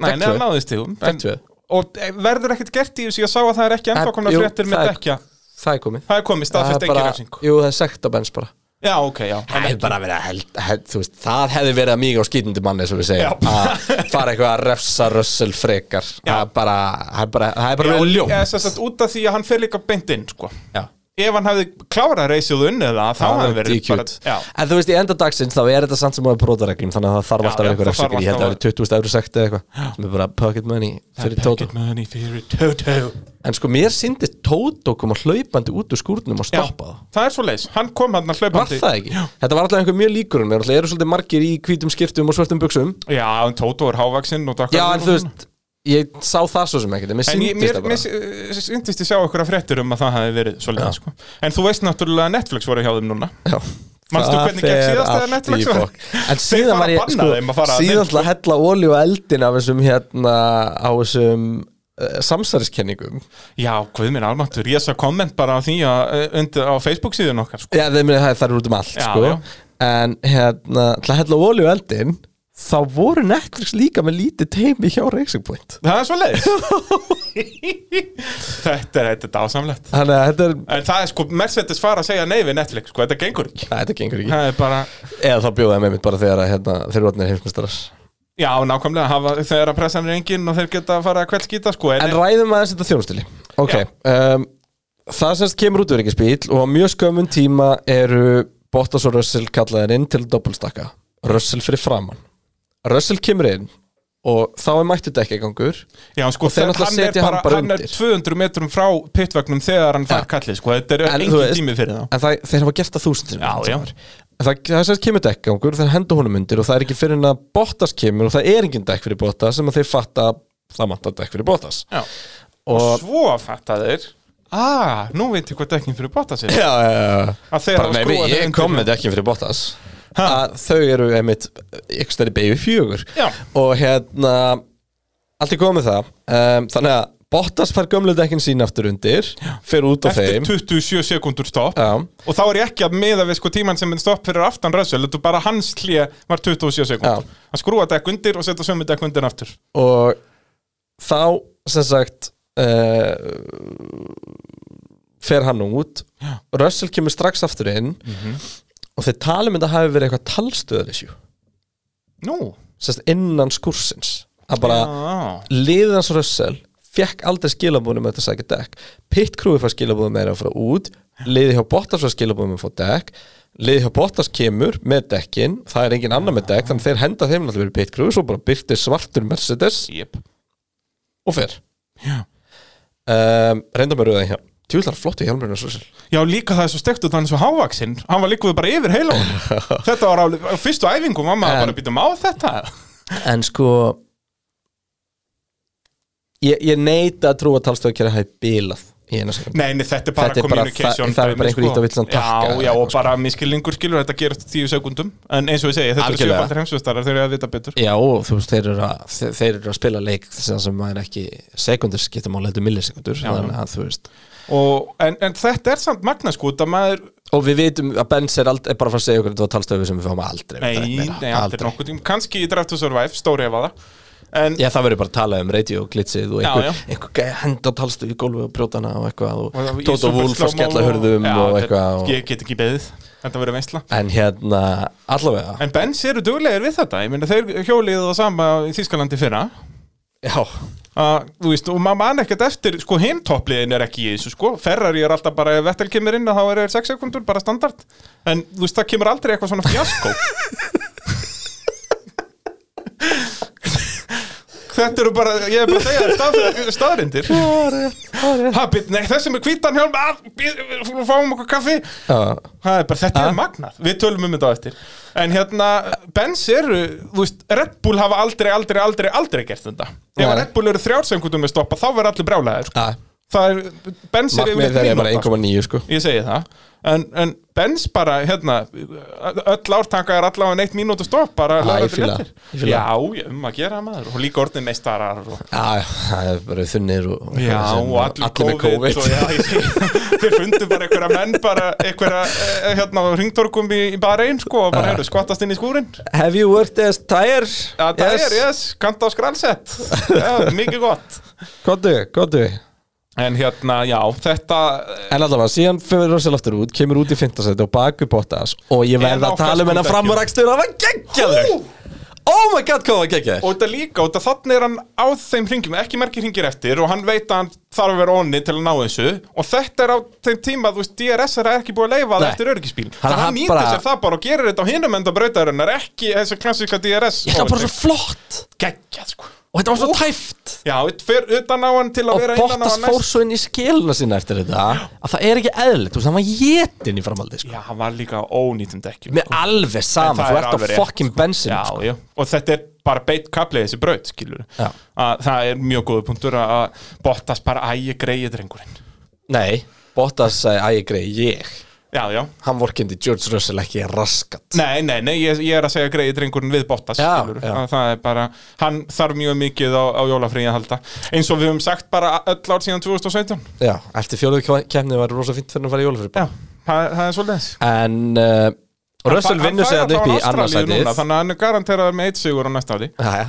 Speaker 2: tvö.
Speaker 1: neðan náðist þig
Speaker 2: Fekk tvö.
Speaker 1: Og eh, verður ekkert gert í þessu, ég sá að það er ekki ennþá
Speaker 2: Það-
Speaker 1: komna
Speaker 2: jú,
Speaker 1: fréttir
Speaker 2: það
Speaker 1: með
Speaker 2: er-
Speaker 1: dekja
Speaker 2: það er komið
Speaker 1: Það er komið, staðfest
Speaker 2: er bara-
Speaker 1: ekki refsingu
Speaker 2: Jú, það er sekt á bens bara
Speaker 1: Já, ok, já
Speaker 2: Það hefði bara verið að held, held, þú veist, það hefði verið að mjög á skýtandi manni, sem við segjum,
Speaker 1: Já.
Speaker 2: að fara eitthvað að refsa rössel frekar, það er bara, það er bara, það er bara verið
Speaker 1: Já,
Speaker 2: ljótt.
Speaker 1: þess að út af því að hann fer líka beint inn, sko
Speaker 2: Já.
Speaker 1: ef hann hefði klárað reysið og unnið það þá
Speaker 2: Það
Speaker 1: hefði
Speaker 2: er
Speaker 1: verið bara
Speaker 2: DQ't.
Speaker 1: já,
Speaker 2: En þú veist, í enda dagsins þá er þetta samt sem að brotareglum, þannig að það þarf
Speaker 1: Já,
Speaker 2: alltaf að
Speaker 1: já,
Speaker 2: vera
Speaker 1: það
Speaker 2: eitthvað
Speaker 1: þarf
Speaker 2: refsingur, ég held að það
Speaker 1: alltaf
Speaker 2: verið 20.000 eurur sekt eða eitthvað, sem er bara pocket money fyrir Tóto.
Speaker 1: Pocket money fyrir Toto
Speaker 2: En sko, mér syndist Tóto koma hlaupandi út úr skúrnum og
Speaker 1: Já,
Speaker 2: stoppa það.
Speaker 1: það er svo leis, hann kom hann að
Speaker 2: Var
Speaker 1: hlaupandi
Speaker 2: það ekki? Þetta var alltaf einhver mjög líkurinn, það eru svolítið margir í hvítum skiptum og svörtum buksum.
Speaker 1: Já, en Toto er hávaksinn og
Speaker 2: Já, en þú veist, Ég sá það svo sem ekkert, en mér
Speaker 1: En ég,
Speaker 2: síndist
Speaker 1: mér,
Speaker 2: það bara
Speaker 1: mér eh, syndist ég sjá okkur að fréttir um að það hefði verið svolítið
Speaker 2: Já.
Speaker 1: sko. En þú veist náttúrulega að Netflix voru hjá þeim núna
Speaker 2: Já.
Speaker 1: Manstu
Speaker 2: Það
Speaker 1: hvernig gekk
Speaker 2: fer
Speaker 1: síðast
Speaker 2: allt
Speaker 1: þegar Netflix
Speaker 2: í
Speaker 1: var?
Speaker 2: bokk. En síðan
Speaker 1: fara
Speaker 2: var
Speaker 1: að
Speaker 2: ég
Speaker 1: banna
Speaker 2: sko,
Speaker 1: þeim að fara að
Speaker 2: Síðan
Speaker 1: Netflix.
Speaker 2: ætla að hella olíu á eldin af þessum hérna á þessum uh, samsæriskenningum
Speaker 1: Já, hvað minn almáttur, ég sá komment bara á því að, eh, undir, á Facebook síðan okkar sko.
Speaker 2: Já, þeir muni það er út um allt
Speaker 1: Já,
Speaker 2: sko.
Speaker 1: já.
Speaker 2: En hérna, til að hella olíu á eldin þá voru Netflix líka með lítið teimi hjá Racing Point
Speaker 1: Það er svo leiðis [LAUGHS] Þetta er, þetta er dásamlegt
Speaker 2: Þannig að þetta er
Speaker 1: En það er sko, Mercedes fara að segja nei við Netflix sko, þetta gengur ekki
Speaker 2: Nei, þetta gengur ekki
Speaker 1: Það er bara,
Speaker 2: Eða þá bjóða þeim einmitt bara þegar að hérna, þeir eru orðinir heimsmyndstarar
Speaker 1: já, nákvæmlega hafa, þegar að pressan er engin og þeir geta að fara að kveldskýta sko, en,
Speaker 2: En ræðum aðeins þetta þjónustili Ok um, Það semst kemur út öryggisbíl og á mjög skömmun tíma eru Bottas og Russell kallaðir inn til doppelstakka Russell fyrir framann Russell kemur inn og þá er mættu dekkagangur
Speaker 1: Já, sko,
Speaker 2: Og þeir
Speaker 1: hann,
Speaker 2: náttúrulega
Speaker 1: hann, er
Speaker 2: setja hann
Speaker 1: bara,
Speaker 2: bara
Speaker 1: hann er
Speaker 2: undir.
Speaker 1: 200 metrum frá pitvagnum þegar hann fær
Speaker 2: Já.
Speaker 1: kallið, sko, þetta er
Speaker 2: En
Speaker 1: engin
Speaker 2: þú veist-
Speaker 1: tími fyrir þá
Speaker 2: En það, þeir hafa gert það þúsundum
Speaker 1: Já, já.
Speaker 2: Það, það semst kemur dekkagangur og þeir henda honum undir og það er ekki fyrir en að Bottas kemur og það er engin dekk fyrir Bottas sem að þeir fatta að það vantar dekk fyrir Bottas
Speaker 1: Já.
Speaker 2: Og
Speaker 1: Svo fatta þeir Ah, nú veit ég hvað dekkin fyrir bota sér
Speaker 2: Já, já, já
Speaker 1: Að þeir hafa
Speaker 2: Bara, nei,
Speaker 1: skrúfað
Speaker 2: við,
Speaker 1: þeir
Speaker 2: ég
Speaker 1: undir.
Speaker 2: kom með þetta ekki fyrir Bottas að þau eru einmitt ykkur stærri baby fjögur
Speaker 1: Já.
Speaker 2: og hérna allt er góð með það um, þannig að Bottas fær gömlu dekkin sín aftur undir fer út á
Speaker 1: Eftir
Speaker 2: þeim
Speaker 1: 27 sekundur stopp
Speaker 2: Já.
Speaker 1: Og þá er ég ekki að miða við sko tímann sem er stopp fyrir aftan Russell Þetta er bara hans hlje var 27 sekundur
Speaker 2: Já.
Speaker 1: Að skrúa dekk undir og setja sömu dekk undir aftur
Speaker 2: og þá sem sagt uh, fer hann út Já. Russell kemur strax aftur inn og þeir tala um þetta hafi verið eitthvað talstöðarisjú
Speaker 1: Nú, Ah.
Speaker 2: sem sagt innan skursins að bara
Speaker 1: já,
Speaker 2: liðið hans Russell fekk aldrei skilabúðum með þetta sækja dekk Pitt Crew fær skilabúðum með það að fara út liðið hjá Bottas fær skilabúðum með að fá dekk liðið hjá Bottas kemur með dekkin það er engin annar með dekk þannig þeir henda þeim alltaf verið Pitt Crew svo bara byrti svartur Mercedes
Speaker 1: jep
Speaker 2: og fer um, reynda með rauða hjá tjúlar flottu hjálmurinn hans Russell
Speaker 1: Já, líka það er svo stekt út hann er svo hávaksinn Hann var líkuð bara yfir heila
Speaker 2: [LAUGHS]
Speaker 1: honum. Þetta var á, á fyrstu æfingu Mamma
Speaker 2: En-
Speaker 1: bara býtum á þetta
Speaker 2: en sko ég, ég neita að trúa að talstöðkjara hafi bilað í eina sekund
Speaker 1: Nei, nei, þetta er bara
Speaker 2: Þetta er bara
Speaker 1: communication
Speaker 2: það- það er bara
Speaker 1: dæmi, sko.
Speaker 2: einhver ítt á villan takka
Speaker 1: Já, já,
Speaker 2: eða
Speaker 1: og
Speaker 2: eitthvað, sko.
Speaker 1: bara miskilningur skilur þetta gerast á tíu sekundum En eins og ég segi, þetta eru
Speaker 2: Algjörlega.
Speaker 1: sjöfaldir heimsvistarar Þeir eru að vita betur
Speaker 2: Já, og þú veist, þeir eru að, þeir, þeir eru að spila leik sem sem maður ekki sekundur skipta máli heldur millisekundur, þannig að þú veist
Speaker 1: og, en, en þetta er samt magna sko Það maður,
Speaker 2: og við vitum að Benz er, ald, er bara að fara að segja okkur þetta var talstöfi sem við fáum aldrei að
Speaker 1: nei,
Speaker 2: vita neitt meira.
Speaker 1: nei, aldrei nokkuð tíma Kanski í Draft to Survive, stóri ef að það En
Speaker 2: Já, það verður bara að tala um radio og glitsið og
Speaker 1: Já,
Speaker 2: einhver,
Speaker 1: já.
Speaker 2: einhver gæja henda talstöfi í gólfi og brjótana og eitthvað
Speaker 1: og það-
Speaker 2: og
Speaker 1: í
Speaker 2: Dóta
Speaker 1: super
Speaker 2: Wolf að
Speaker 1: slow-mo
Speaker 2: skella hurðum
Speaker 1: Já,
Speaker 2: og
Speaker 1: þetta-
Speaker 2: eitthvað og,
Speaker 1: Ég get ekki beðið, þetta verður veistla
Speaker 2: en hérna, allavega
Speaker 1: En Benz eru duglegir við þetta, ég meina þeir hjóliðu það sama í Þískalandi fyrra
Speaker 2: Já,
Speaker 1: að, þú veist, og maður man ekkert eftir sko, hinn toppliðin er ekki í þessu sko. Ferrari er alltaf bara, ef Vettel kemur inn að þá er 6 sekundur, bara standard en þú veist, það kemur aldrei eitthvað svona fjaskó [LAUGHS] Þetta eru bara, ég er bara að segja þér stað, staðrindir Ha, bit, nei, þessi með hvítan hjálm að, bit, við fáum okkur kaffi
Speaker 2: Já.
Speaker 1: Það er bara, þetta er magnað Við tölum um þetta á eftir En hérna, Benz eru, þú veist, Red Bull hafa aldrei, aldrei, aldrei, aldrei gert þetta Ef
Speaker 2: Nei.
Speaker 1: að Red Bull eru þrjársengundum með stoppa þá verður allir brjálæðir sko.
Speaker 2: að,
Speaker 1: Það er, Benz eru
Speaker 2: markmið þeir Ah, er bara
Speaker 1: mínúta,
Speaker 2: 1,9 sko
Speaker 1: sko. Ég segi það En, en Benz bara, hérna öll ártaka er allavega eitt mínútu stopp bara
Speaker 2: Já,
Speaker 1: laga
Speaker 2: ég
Speaker 1: þetta
Speaker 2: fíla
Speaker 1: léttir.
Speaker 2: það, ég fíla
Speaker 1: Já, ég- um að gera maður og líka orðin meistarar og...
Speaker 2: Ah, Já, það er bara þunnir og, og
Speaker 1: Já,
Speaker 2: sem-
Speaker 1: og allir,
Speaker 2: með COVID
Speaker 1: og, já, ég segi- Þeir fundu bara einhverja menn bara einhverja eh, hérna á ringtorkum í, í bara einn sko
Speaker 2: Ah.
Speaker 1: og bara heyrðu skvattast inn í skúrin
Speaker 2: [LAUGHS] Have you worked as tire?
Speaker 1: Já, það er, yes, kanta á skrælsett Já, mikið gott
Speaker 2: Kottu, kottu
Speaker 1: En hérna, já, þetta
Speaker 2: En allavega, síðan fyrir Russell aftur út Kemur út í fintasæti og baku Bottas Og ég
Speaker 1: En
Speaker 2: verða
Speaker 1: á
Speaker 2: að tala um hennar
Speaker 1: fastmótdekkjum.
Speaker 2: framurakstur Það var geggjaður Oh my god, hvað var geggjaður
Speaker 1: Og þetta líka, og þetta þannig er hann á þeim hringjum ekki merkir hringir eftir og hann veit að hann þarf að vera onni til að ná þessu og þetta er á þeim tíma, þú veist, DRS er ekki búið að leifa það
Speaker 2: Nei.
Speaker 1: eftir örgisbíl
Speaker 2: Hann-
Speaker 1: Þannig að
Speaker 2: hann
Speaker 1: hann nýtir
Speaker 2: bara-
Speaker 1: sér það bara og gerir sko, þetta á hinum enda brautarinnar ekki þessu klassíska DRS
Speaker 2: Ég það var bara svo flott
Speaker 1: geggjað, sko
Speaker 2: og þetta var svo tæft
Speaker 1: Já, fer utan á hann til að
Speaker 2: og
Speaker 1: vera innan á
Speaker 2: Bottas
Speaker 1: hann
Speaker 2: fór
Speaker 1: næst
Speaker 2: svo inn í skiluna sína eftir þetta að það er ekki eðlilegt, þú veist, hann var jétin í framhaldi sko.
Speaker 1: Já, hann var líka á ónýtum dekkjum
Speaker 2: með alveg sama,
Speaker 1: En það er
Speaker 2: þú ert á
Speaker 1: alveg rétt, sko.
Speaker 2: fucking bensin
Speaker 1: Já, já, og þetta er bara beitt kaplið þessi braut, skilur
Speaker 2: Já.
Speaker 1: að það er mjög góður punktur að- að Bottas bara ægi greið drengurinn
Speaker 2: nei, Bottas sagði, æ, ég grei, ég
Speaker 1: Já, já,
Speaker 2: hann vorkindi George Russell ekki raskat
Speaker 1: nei, nei, nei, ég, ég er að segja greið drengurinn við Bottas,
Speaker 2: Já,
Speaker 1: skilur
Speaker 2: já.
Speaker 1: að það er bara, hann þarf mjög mikið á, á jólafríi að halda, eins og við höfum sagt bara öll ár síðan 2017
Speaker 2: já, eftir fjóruðu kemni var rosa fint fyrir hann að fara í jólafyrir
Speaker 1: Já, það, það er svolítið
Speaker 2: en uh, Russell vinnur sig hann upp í annarsætið
Speaker 1: núna, Þannig að hann er garanteraður með eitt sigur á næsta ári
Speaker 2: Jæja.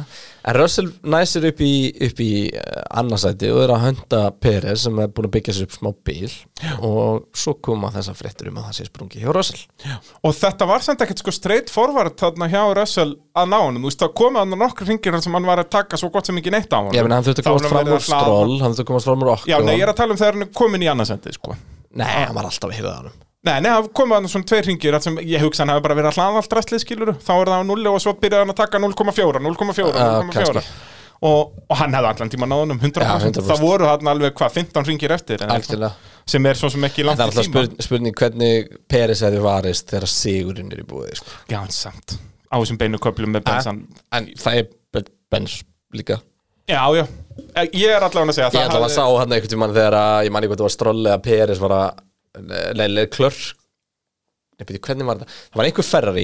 Speaker 2: En Russell næsir upp í, upp í eh, annarsæti og er að hönda Peres sem er búin að byggja sér upp smá bíl og svo koma þessar fréttur um að það sé sprungi hjá Russell
Speaker 1: Og þetta var samt ekkert sko straight forward þarna hjá Russell að ná honum Þú veist, það komið hann nokkur hringir þar sem hann var að taka svo gott sem ekki neitt á honum
Speaker 2: Ég meina hann þurfti að
Speaker 1: Þá
Speaker 2: komast
Speaker 1: var
Speaker 2: fram
Speaker 1: verið
Speaker 2: úr sko.
Speaker 1: að hlaða
Speaker 2: stról hann þurfti að komast fram úr okkur
Speaker 1: Já, nei, ég er að tala um þegar hann er komin í annarsendi, sko
Speaker 2: Nei, hann var alltaf að hirða hann
Speaker 1: Nei, nei, það komið hann svona tveir hringir þar sem ég hugsa hann hafi bara verið að hlaða allt restlið skiluru Þá er það á 0 og svo byrjaði hann að taka 0,4, 0,4,
Speaker 2: Já,
Speaker 1: 0,4
Speaker 2: kannski.
Speaker 1: Og, og hann hefði allan tíma náðunum 100%,
Speaker 2: Já, 100%.
Speaker 1: Það voru hann alveg hvað, 15 ringir eftir eða eitthvað,
Speaker 2: Algjörlega
Speaker 1: Sem er svo sem ekki langt
Speaker 2: Það
Speaker 1: í
Speaker 2: er alltaf
Speaker 1: tíma
Speaker 2: spurning, spurning hvernig Peres hefði varist þegar sigurinn er í búið sko.
Speaker 1: Já, en samt Á þessum beinu köplum með bensan
Speaker 2: En það er Ben- Benz líka
Speaker 1: Já, já, ég er allavega að segja
Speaker 2: Ég ætla að sá hann einhvern tímann þegar að ég manni hvað það var Stroll eða Peres var að leiðilega klörk Nei, byrju, hvernig var þetta? Það var einhver Ferrari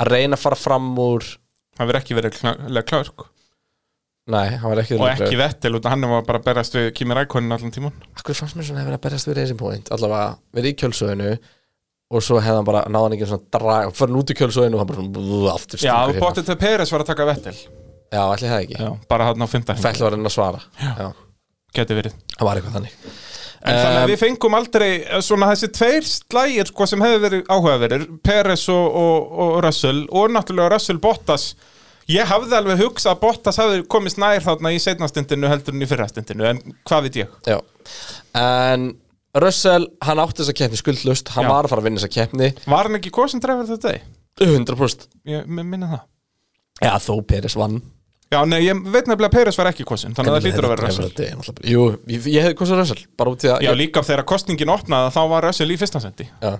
Speaker 2: að reyna að fara fram úr
Speaker 1: Það verður ekki verið klæðlega klörk
Speaker 2: Nei, hann var ekki
Speaker 1: Og ekki vettil, út af hann var bara að berast við Kimi Rækonin allan tíman
Speaker 2: Akkur fannst mér svona hefur að berjast við Racing Point allavega verið í kjölsöðinu og svo hefði hann bara náði hann ekki svona drag og fyrir út í kjölsöðinu og hann bara svona blú, aftur
Speaker 1: Já,
Speaker 2: stingur hérna.
Speaker 1: Bottet til Peres var að taka vettil
Speaker 2: Já, allir það ekki
Speaker 1: Já, bara hann á 15
Speaker 2: Fæll var hann að svara Já.
Speaker 1: Geti verið
Speaker 2: Það var eitthvað þannig
Speaker 1: En þannig að við fengum aldrei eh, svona þessi tveir slægir sko, sem hefur verið áhugaverðir Peres og, og, og Russell og náttúrulega Russell Bottas Ég hafði alveg hugsað að Bottas hafði komist nær þarna í seinastindinu heldur en í fyrrastindinu en hvað veit ég?
Speaker 2: Já En Russell, hann átti þessa keppni skuldlust hann
Speaker 1: Já.
Speaker 2: var að fara að vinna þessa keppni
Speaker 1: Var hann ekki kosin dreifur þetta deg?
Speaker 2: 100%
Speaker 1: Ég mig minna það
Speaker 2: Já, þó Peres vann
Speaker 1: Já, nei, ég veit nefnilega að Peres var ekki kosin Þannig að það hlýtur að vera Russell
Speaker 2: Þetta er náttúrulega- Jú, ég, ég hefði kosið Russell bara út í að
Speaker 1: Já, líka þegar kostningin opnaði þá var Russell í fyrsta sendi
Speaker 2: Já.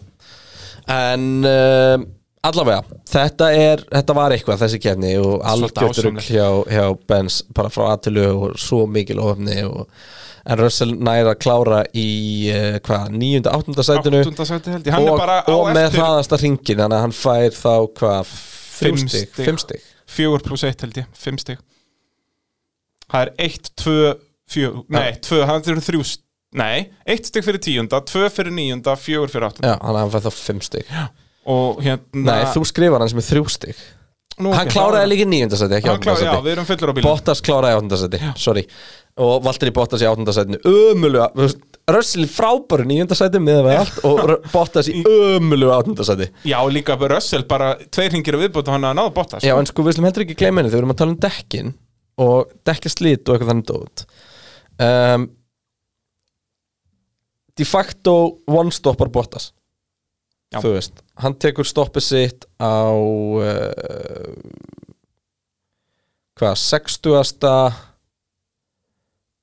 Speaker 2: En um, allavega, þetta, er, þetta var eitthvað þessi kefni og algjört
Speaker 1: dásamlegt.
Speaker 2: rugl hjá, hjá Benz bara frá aðtölu og svo mikil ofni og, en Russell næra að klára í uh, hvað, nýjunda, áttunda sætinu
Speaker 1: Áttunda sæti held ég Hann
Speaker 2: og,
Speaker 1: er bara á
Speaker 2: og með
Speaker 1: eftir
Speaker 2: hraðasta hringin þannig að hann fær þá hvað,
Speaker 1: Fimm
Speaker 2: fimm stig,
Speaker 1: stig.
Speaker 2: fimm stig.
Speaker 1: Fjögur pluss eitt held ég, fimm stig Það er eitt, tvö, fjögur Nei, tvö, hann þurfur þrjú st- Nei, eitt stig fyrir tíunda, tvö fyrir níunda, fjögur fyrir áttunda
Speaker 2: Já, þannig að hann fær þá fimm stig
Speaker 1: Og hérna
Speaker 2: Nei, þú skrifar hans með þrjú stig
Speaker 1: nú,
Speaker 2: Hann
Speaker 1: ok,
Speaker 2: kláraði
Speaker 1: þá-
Speaker 2: líka hérna, í níunda sæti, ekki
Speaker 1: Hann
Speaker 2: áttunda
Speaker 1: kláraði,
Speaker 2: sæti
Speaker 1: já, við erum fullur á bílum
Speaker 2: Bottas kláraði í áttundasæti, sorry og Valtteri Bottas í áttundasætinu ömuluga, þú veist, Russell í frábæru nýjundasæti með það allt og Ru- Bottas í ömuluga áttundasæti
Speaker 1: Já, líka bara Russell, bara tveir hringir að viðbúta hann að náða Bottas
Speaker 2: Já, en sko, við slum heldur ekki gleyma henni þegar við erum að tala um dekkin og dekkaslit og eitthvað þannig dót um, De facto one-stoppar Bottas
Speaker 1: Já.
Speaker 2: þú veist, hann tekur stoppið sitt á uh, hvað, 60.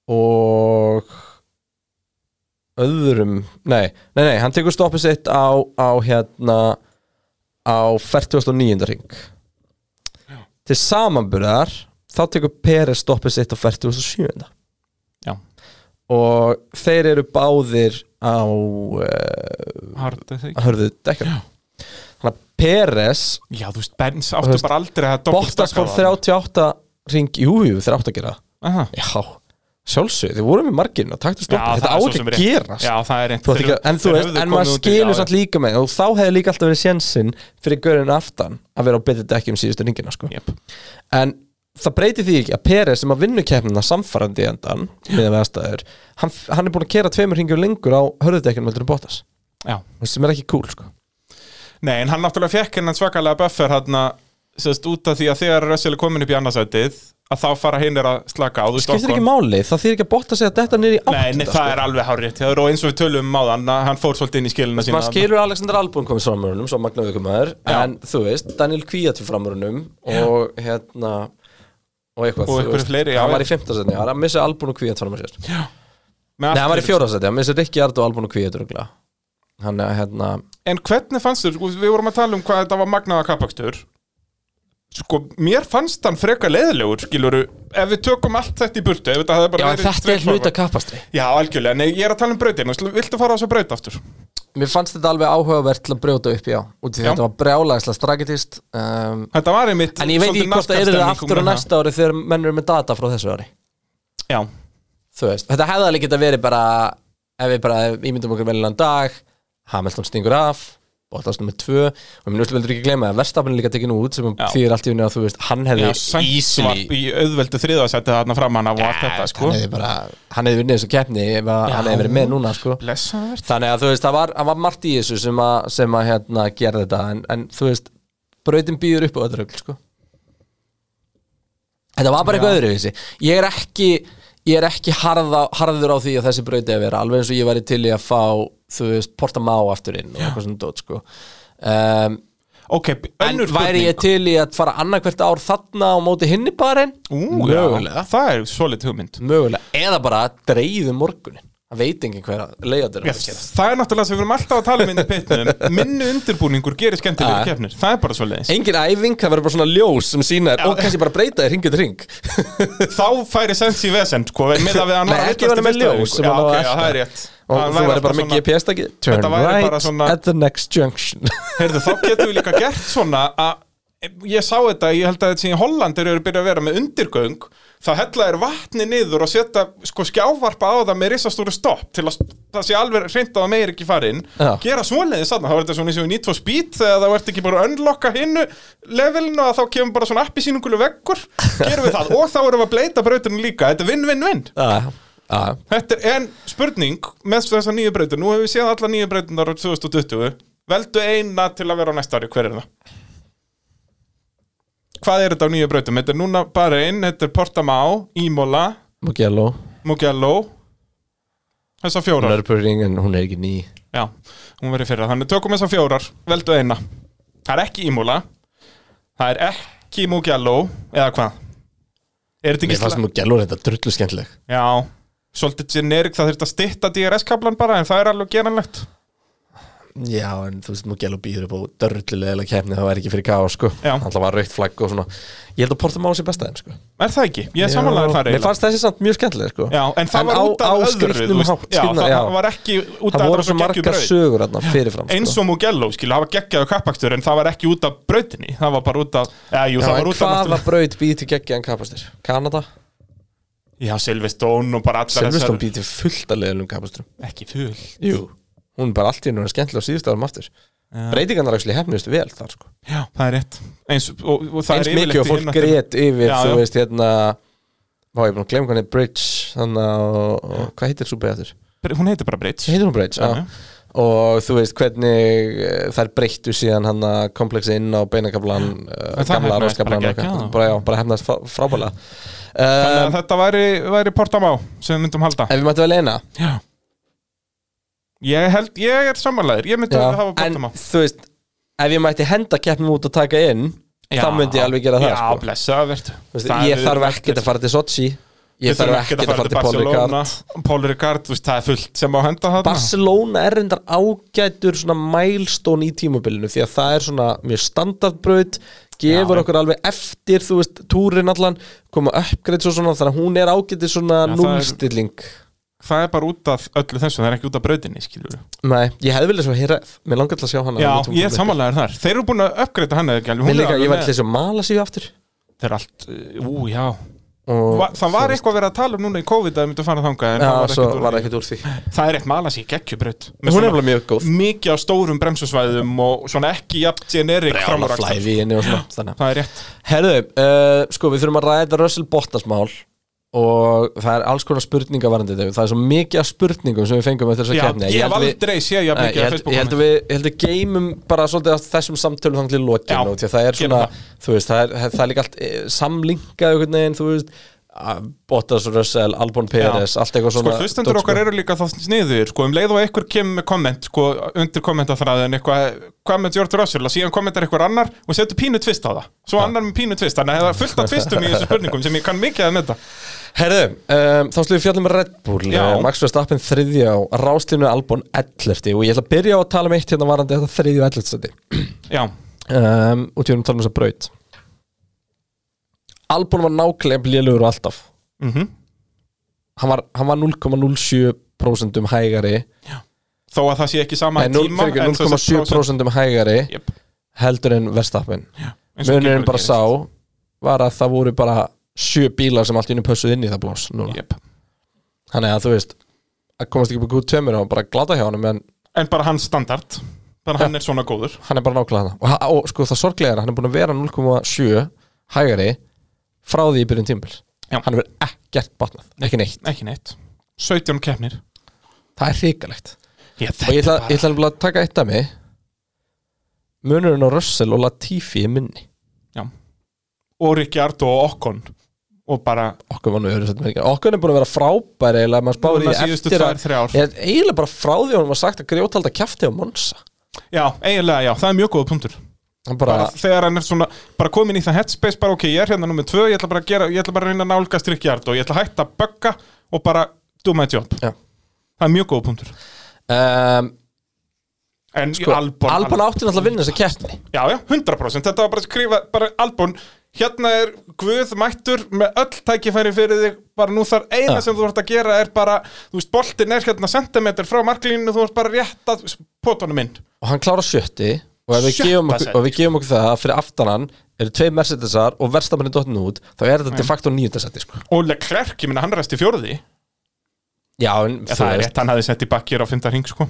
Speaker 2: og öðrum, nei, nei, nei, hann tekur stoppið sitt á, á hérna á 49. ring til samanburðar þá tekur Peres stoppið sitt á 47.
Speaker 1: Já.
Speaker 2: og þeir eru báðir á uh,
Speaker 1: Hard, er það ekki?
Speaker 2: hörðu dekkar þannig að Peres
Speaker 1: já þú veist, Benz
Speaker 2: Þú
Speaker 1: áttu
Speaker 2: veist,
Speaker 1: bara aldrei að
Speaker 2: Bottas fór 38 ring jú, jú, þeir áttu að gera það.
Speaker 1: Aha.
Speaker 2: já, sjálfsög, þeir voru með margirinn og taktu
Speaker 1: Já,
Speaker 2: stoppið, þetta
Speaker 1: það er svo
Speaker 2: átt
Speaker 1: sem
Speaker 2: að
Speaker 1: rétt.
Speaker 2: gerast
Speaker 1: Já, það er reynd
Speaker 2: Þú átt ekki, að- en þú veist, en maður skilur satt líka með og þá hefði líka alltaf verið sénsinn fyrir görðin aftan að vera á betið dekkjum síðustu ringina sko.
Speaker 1: Jep.
Speaker 2: en það breytir því ekki að Peres sem að vinnu keppnina samfarandi í endan með aðstæður, hann, hann er búin að kera tveimur ringjur lengur á hörðudekkjum heldur en Bottas,
Speaker 1: Já.
Speaker 2: sem er ekki cool sko.
Speaker 1: Nei, en hann náttúrulega fekk hennan svakalega buffer hérna, sérst, út af því að þegar Russell er komin upp í annarsætið að þá fara hinn er að slaka á þú veist,
Speaker 2: skiptir ekki
Speaker 1: Ocon-
Speaker 2: máli, það þýr ekki að Bottas eða þetta niður í sko.
Speaker 1: Nei, nei,
Speaker 2: áttunda
Speaker 1: það er alveg hárétt og eins og við tölum á þann að hann fór svolítið inn í skilina sína
Speaker 2: maður skilur Alexander Albon komið framörunum svo magnaðu ykkur maður, en þú veist Daniel Kvíat fyrir framörunum og hérna og eitthvað,
Speaker 1: Og
Speaker 2: þú
Speaker 1: einhverju
Speaker 2: veist.
Speaker 1: fleiri, já,
Speaker 2: hann var
Speaker 1: já.
Speaker 2: í fimmtasetti, hann missið Albon og Kvíat fram að sér nei,
Speaker 1: Með allt
Speaker 2: hann var í
Speaker 1: fyrir-
Speaker 2: fjórasetti, hann missið Rikki Ard og Albon og Kvíat hann er hérna
Speaker 1: En hvernig fannst þér, sko, við vorum að tala um hvað þetta var magnaða kappakstur Sko, mér fannst hann frekar leiðilegur, skiluru Ef við tökum allt þetta í burtu ef þetta,
Speaker 2: já, en þetta er hluta kappastri
Speaker 1: Já, algjörlega, nei, ég er að tala um brautin og Viltu fara á þessa braut aftur?
Speaker 2: mér fannst þetta alveg áhugavert til að brjóta upp, já út í því
Speaker 1: Já.
Speaker 2: þetta var brjálagslega stragetist um,
Speaker 1: Þetta var einmitt
Speaker 2: en ég veit
Speaker 1: svolítið
Speaker 2: ekki hvort það
Speaker 1: NASCAR stemning
Speaker 2: er þetta aftur á
Speaker 1: um
Speaker 2: næsta ári þegar menn eru með data frá þessu ári
Speaker 1: það. Já,
Speaker 2: þú veist, þetta hefði alveg geta verið bara ef við bara ímyndum okkur velinan dag Hamilton stingur af Bottas nummer 2 og minn úrslu veldur ekki gleyma að Verstafn er líka tekinn út sem
Speaker 1: Já.
Speaker 2: þýðir allt í unni að þú veist, hann
Speaker 1: já
Speaker 2: hefði
Speaker 1: Sainz var
Speaker 2: easily
Speaker 1: í auðveldu þriðasætti þarna framan af og allt þetta, sko
Speaker 2: hann hefði bara, hann hefði vinnið þessu keppni ef að hann hefði verið með núna sko.
Speaker 1: Blessaður
Speaker 2: þannig að þú veist, það var, það var margt í þessu sem að, sem að hérna, gera þetta en, en þú veist, brautin býður upp á öðru öll sko. þetta var bara eitthvað öðru ég er ekki ég er ekki harða, harður á því að þessi brauti að vera alveg eins og ég væri til í að fá þú veist, Porta Má aftur inn og eitthvað svona dót sko. um,
Speaker 1: Ok,
Speaker 2: en
Speaker 1: önnur
Speaker 2: væri ég til í að fara annarkvært ár þarna á móti hinni barinn
Speaker 1: Ú, já,
Speaker 2: Mögulega.
Speaker 1: það er svolít hugmynd
Speaker 2: mögulega, eða bara dreifðu morgunin það veit enginn hver að leiða þér
Speaker 1: Já, Það er náttúrulega sem við erum alltaf að tala um inn í pitnum [LAUGHS] Minni undirbúningur gerir skemmtilega
Speaker 2: Ja.
Speaker 1: keppnir Það er bara svo leiðis
Speaker 2: Engin æfing, það verður bara svona ljós sem sína þér og kannski bara breyta þér hringið ring
Speaker 1: Þá færi sens í vesend sko, með að við hann var
Speaker 2: Nei,
Speaker 1: að
Speaker 2: ekki
Speaker 1: villast í
Speaker 2: vera með
Speaker 1: fyrstu æfingu.
Speaker 2: ljós sem
Speaker 1: Já,
Speaker 2: hann á
Speaker 1: ok,
Speaker 2: að
Speaker 1: já,
Speaker 2: elta.
Speaker 1: það er rétt
Speaker 2: og
Speaker 1: Hann
Speaker 2: þú
Speaker 1: væri
Speaker 2: verður bara með
Speaker 1: svona-
Speaker 2: GPS-taki Turn
Speaker 1: Þetta væri bara
Speaker 2: right
Speaker 1: svona-
Speaker 2: at the next
Speaker 1: [LAUGHS]
Speaker 2: junction
Speaker 1: Heyrðu, þá getum við líka gert svona að ég sá þetta, ég held að þetta sem í Holland eru að byrja að vera með undirgöng þá hella er vatni niður og setja sko skjávarpa á það með risastóru stopp til að það sé alveg reynd að það meir ekki farin
Speaker 2: Já.
Speaker 1: gera svoleiðis þarna, þá er þetta svona eins og í Need for Speed þegar það ert ekki bara að unlocka hinnu levelinu og þá kemur bara svona appi sínungulu veggur, gerum við það og þá erum við að bleita brautinu líka, þetta er vinn-vinn-vinn
Speaker 2: Já, já.
Speaker 1: Þetta er en spurning með þessar nýju breytur. Nú hefur við séð alla nýju breytunar á 2020. Veldu eina til að vera á næsta ári. Hver er það? Hvað er þetta á nýju breytum? Þetta er núna bara einn. Þetta er Portamá, Ímola,
Speaker 2: Mugello,
Speaker 1: Mugello. Þessar fjórar.
Speaker 2: Nürburgring en hún er ekki ný
Speaker 1: Já, hún verið fyrir það. Þannig tökum þessar fjórar. Veldu eina. Það er ekki Ímola. Það er ekki Mugello. Eða hvað? Er þetta
Speaker 2: Mér
Speaker 1: ekki...
Speaker 2: fannst
Speaker 1: sla-
Speaker 2: Mugello þetta drullu skemmtileg
Speaker 1: Já, svolítið generik. Það þurft að stytta DRS-kablan bara en það er alveg geranlegt.
Speaker 2: Já, en þú veist, Mugello býður upp á drullulega keppni það væri ekki fyrir káa, sko
Speaker 1: Já.
Speaker 2: Alltaf var raukt flagg og svona Ég held að Porta Má sé besta þeim, sko
Speaker 1: Er það ekki? Ég er samanlegaður þar
Speaker 2: Mér fannst þessi samt mjög skemmtileg, sko
Speaker 1: Já, en það var
Speaker 2: á-
Speaker 1: út af
Speaker 2: á
Speaker 1: öðru þú
Speaker 2: skrýtnum
Speaker 1: veist.
Speaker 2: hátt,
Speaker 1: Já,
Speaker 2: skrýtna-
Speaker 1: það
Speaker 2: já.
Speaker 1: var ekki út af
Speaker 2: Það
Speaker 1: að
Speaker 2: voru
Speaker 1: það
Speaker 2: svo
Speaker 1: var geggjuð
Speaker 2: margar
Speaker 1: braut.
Speaker 2: sögur sko. þarna fyrirfram
Speaker 1: Eins og Mugello, skil, það var geggjaðu kappakstur En það var ekki út af brautinni Það var bara út af Já, jú, það var út af
Speaker 2: Hvaða
Speaker 1: náttúrulega-
Speaker 2: braut býti geggjaðan kapastur? Kanada?
Speaker 1: Já, Silveston og bara allar
Speaker 2: Silveston býti fullt að leiðilum kapasturum
Speaker 1: Ekki full
Speaker 2: Jú Hún er bara allt í hennu skemmtilega á síðustu árum aftur Breytingarnar actually hefnist vel þar sko
Speaker 1: Já, það er rétt Eins, og, og það
Speaker 2: Eins
Speaker 1: er
Speaker 2: mikið
Speaker 1: yfirleitt
Speaker 2: og
Speaker 1: í
Speaker 2: fólk
Speaker 1: hináttina.
Speaker 2: grét yfir
Speaker 1: Já,
Speaker 2: þú
Speaker 1: já.
Speaker 2: veist hérna Vá, ég er búin að glemma hvernig Bridge Þannig að, og- hvað heitir svo beðatur?
Speaker 1: Hún heitir bara Bridge
Speaker 2: Heitir hún Bridge,
Speaker 1: Já, já.
Speaker 2: já Og þú veist hvernig eh, þær breyttu síðan hann að komplexi inn á beinakablan uh,
Speaker 1: En það hefnaðist bara
Speaker 2: Gamla ráskablan og
Speaker 1: geggjað,
Speaker 2: eitthvað.
Speaker 1: já.
Speaker 2: Bara já, bara hefnast frábælega
Speaker 1: Þannig
Speaker 2: uh,
Speaker 1: að þetta væri, væri Portamá sem við myndum halda
Speaker 2: Ef við mættum vel eina
Speaker 1: Já Ég held, ég er samanlegaður Ég myndi
Speaker 2: Já,
Speaker 1: hafa
Speaker 2: en
Speaker 1: Portamá
Speaker 2: þú veist ef ég mætti henda keppnum út og taka inn þá myndi ég alveg gera það
Speaker 1: Já,
Speaker 2: sko.
Speaker 1: blessa, verð
Speaker 2: Þú veist, ég þarf ekkert að fara til Sochi ég
Speaker 1: Við þurfum
Speaker 2: þarf ekkert að fara til Paul Ricard
Speaker 1: Paul Ricard, þú veist, það er fullt sem á henda þarna
Speaker 2: Barcelona er reyndar ágætur svona milestone í tímabilinu því að það er svona mjög standardbraut gefur
Speaker 1: Já.
Speaker 2: okkur alveg eftir þú veist, túrin allan, koma upgrades og svona þannig að hún er ágætur svona
Speaker 1: Já, það er-
Speaker 2: núlstilling
Speaker 1: Það er bara út af öllu þessu, það er ekki út af brautinni, skilur
Speaker 2: Nei, ég hefði viljað svo hér mér langar til að sjá hana
Speaker 1: Já,
Speaker 2: á YouTube.
Speaker 1: ég er samanlegaður þar Þeir eru búin að uppgreita hann eða ekki alveg
Speaker 2: Mér
Speaker 1: Hún er
Speaker 2: líka,
Speaker 1: alveg
Speaker 2: ég var
Speaker 1: með-
Speaker 2: til þess að mala sig aftur
Speaker 1: Þeir eru allt, uh, ú, já
Speaker 2: og
Speaker 1: Va, Það var eitthvað verið að tala um núna í COVID að þau myndu að fara þangað en
Speaker 2: Já,
Speaker 1: það var
Speaker 2: svo
Speaker 1: ekkert úr
Speaker 2: var
Speaker 1: því.
Speaker 2: ekkert úr því
Speaker 1: Það er eitt malas í geggjubraut Með
Speaker 2: Hún er
Speaker 1: svona
Speaker 2: alveg mjög góð
Speaker 1: Mikið á stórum bremsusvæðum og svona ekki jafn generik
Speaker 2: Brjála
Speaker 1: framúrakstur
Speaker 2: flæði í henni og svona þannig.
Speaker 1: Það er rétt
Speaker 2: Herðu, uh, sko við þurfum að ræða Russell Bottas mál og það er alls konar spurninga varandi þetta það er svo mikið af spurningum sem við fengum eftir þess að
Speaker 1: Já,
Speaker 2: kemni
Speaker 1: Ég hef aldrei séð jafn
Speaker 2: Ég
Speaker 1: mikið af
Speaker 2: held, ég held
Speaker 1: Facebook-kommentum.
Speaker 2: að við, ég held að við geymum bara svolítið að þessum samtölum þannig til
Speaker 1: Já,
Speaker 2: lokinu og því að það er svona,
Speaker 1: gerum
Speaker 2: þú veist, það er, það er líka allt eh, samlinkað einhvern veginn, þú veist Ah, Bottas, Russell, Albon Perez allt eitthvað
Speaker 1: Sko
Speaker 2: svona
Speaker 1: hlustendur
Speaker 2: dót, sko.
Speaker 1: okkar eru líka þá sniður sko, um leið og eitthvað kemur með komment sko, undir kommentafræðin eitthvað hvað með George Russell og síðan kommentar eitthvað annar og setur pínu tvist á það svo annar með pínu tvist þannig að það er fullt af tvistum í þessu spurningum sem ég kann mikið að þetta
Speaker 2: Herðu, um, þá slúðum við fjallum með Red Bull
Speaker 1: Já.
Speaker 2: Eh, Max Verstappen þriðja og ráslífnu Albon 11. og ég ætla að byrja á að tala um eitt hérna varandi þetta þriðju og 11. seti
Speaker 1: Já,
Speaker 2: um, og tjóðum tala um þess að braut Albon var nákvæmlega lélugur og alltaf
Speaker 1: Mhm.
Speaker 2: hann, var, hann var 0,07% um hægari
Speaker 1: þó að það sé ekki sama
Speaker 2: Nei, 0,
Speaker 1: tíma
Speaker 2: fyrir
Speaker 1: en
Speaker 2: ekki,
Speaker 1: svo sem prósent-
Speaker 2: 0,7% um hægari
Speaker 1: Jep,
Speaker 2: heldur en Verstappen
Speaker 1: eins og
Speaker 2: munurinn
Speaker 1: gengur
Speaker 2: bara
Speaker 1: gerist.
Speaker 2: sá var að það voru bara sjö bílar sem allt í einu pössuð inn í það blás núna
Speaker 1: Jep.
Speaker 2: þannig að þú veist að komast ekki upp í gútt tveimur og bara glata hjá honum en
Speaker 1: En bara hans standard þannig að hann er svona góður
Speaker 2: hann er bara nákvæmlega það og, ha- og sko það sorglega er að hann er búin að vera 0,7 hægari frá því í byrjun tímpil
Speaker 1: Já.
Speaker 2: hann hefur ekkert batnað, ekki neitt
Speaker 1: ekki neitt, 17 keppnir
Speaker 2: það er hrikalegt
Speaker 1: Ég,
Speaker 2: og ég ætla, ég ætla nefnilega að taka eitt af mig munurinn á Russell og Latifi er minni
Speaker 1: Já. og Ricciardo og Okkon og bara
Speaker 2: okkur var nú öðru sættum helgina okkur er búin að vera frábæri eða maður spáir í
Speaker 1: Núna
Speaker 2: því
Speaker 1: síðustu
Speaker 2: eftir
Speaker 1: tvær, þrjár ár.
Speaker 2: að Ég- eiginlega bara frá því að hún var sagt að grjótalda kjafti á Monsa
Speaker 1: Já, eiginlega, já, það er mjög góða punktur
Speaker 2: hann
Speaker 1: bara,
Speaker 2: bara,
Speaker 1: þegar hann er svona, bara komin í það headspace bara ok, ég er hérna nummið tvö, ég ætla bara að gera ég ætla bara að reyna að nálga strikkjart og ég ætla að hætta að bögga og bara do my job
Speaker 2: Já.
Speaker 1: það er mjög góða punktur
Speaker 2: um,
Speaker 1: en
Speaker 2: sko,
Speaker 1: Albon,
Speaker 2: Albon, átti náttúrulega að vinna þessa kjafti
Speaker 1: já, já, 100% þetta var bara að skrifa, bara Albon hérna er Guð mættur með öll tækifæri fyrir þig, bara nú þar eina
Speaker 2: Já.
Speaker 1: sem þú ert að gera er bara, þú veist, boltin er hérna sentimeter frá marklínu, þú ert bara rétt að potunum inn,
Speaker 2: og hann klára sjötti og ef við
Speaker 1: Sjötta
Speaker 2: gefum okkur,
Speaker 1: sæti.
Speaker 2: og við gefum okkur það að fyrir aftanan eru tvei Mercedesar og verstamennin dottin út þá er þetta de facto nýjöndasetti sko.
Speaker 1: og Leclerc, ég minna hann resti fjórði,
Speaker 2: já, en,
Speaker 1: ja, það er rétt, hann hafði sett í bakkir á fymta hring, sko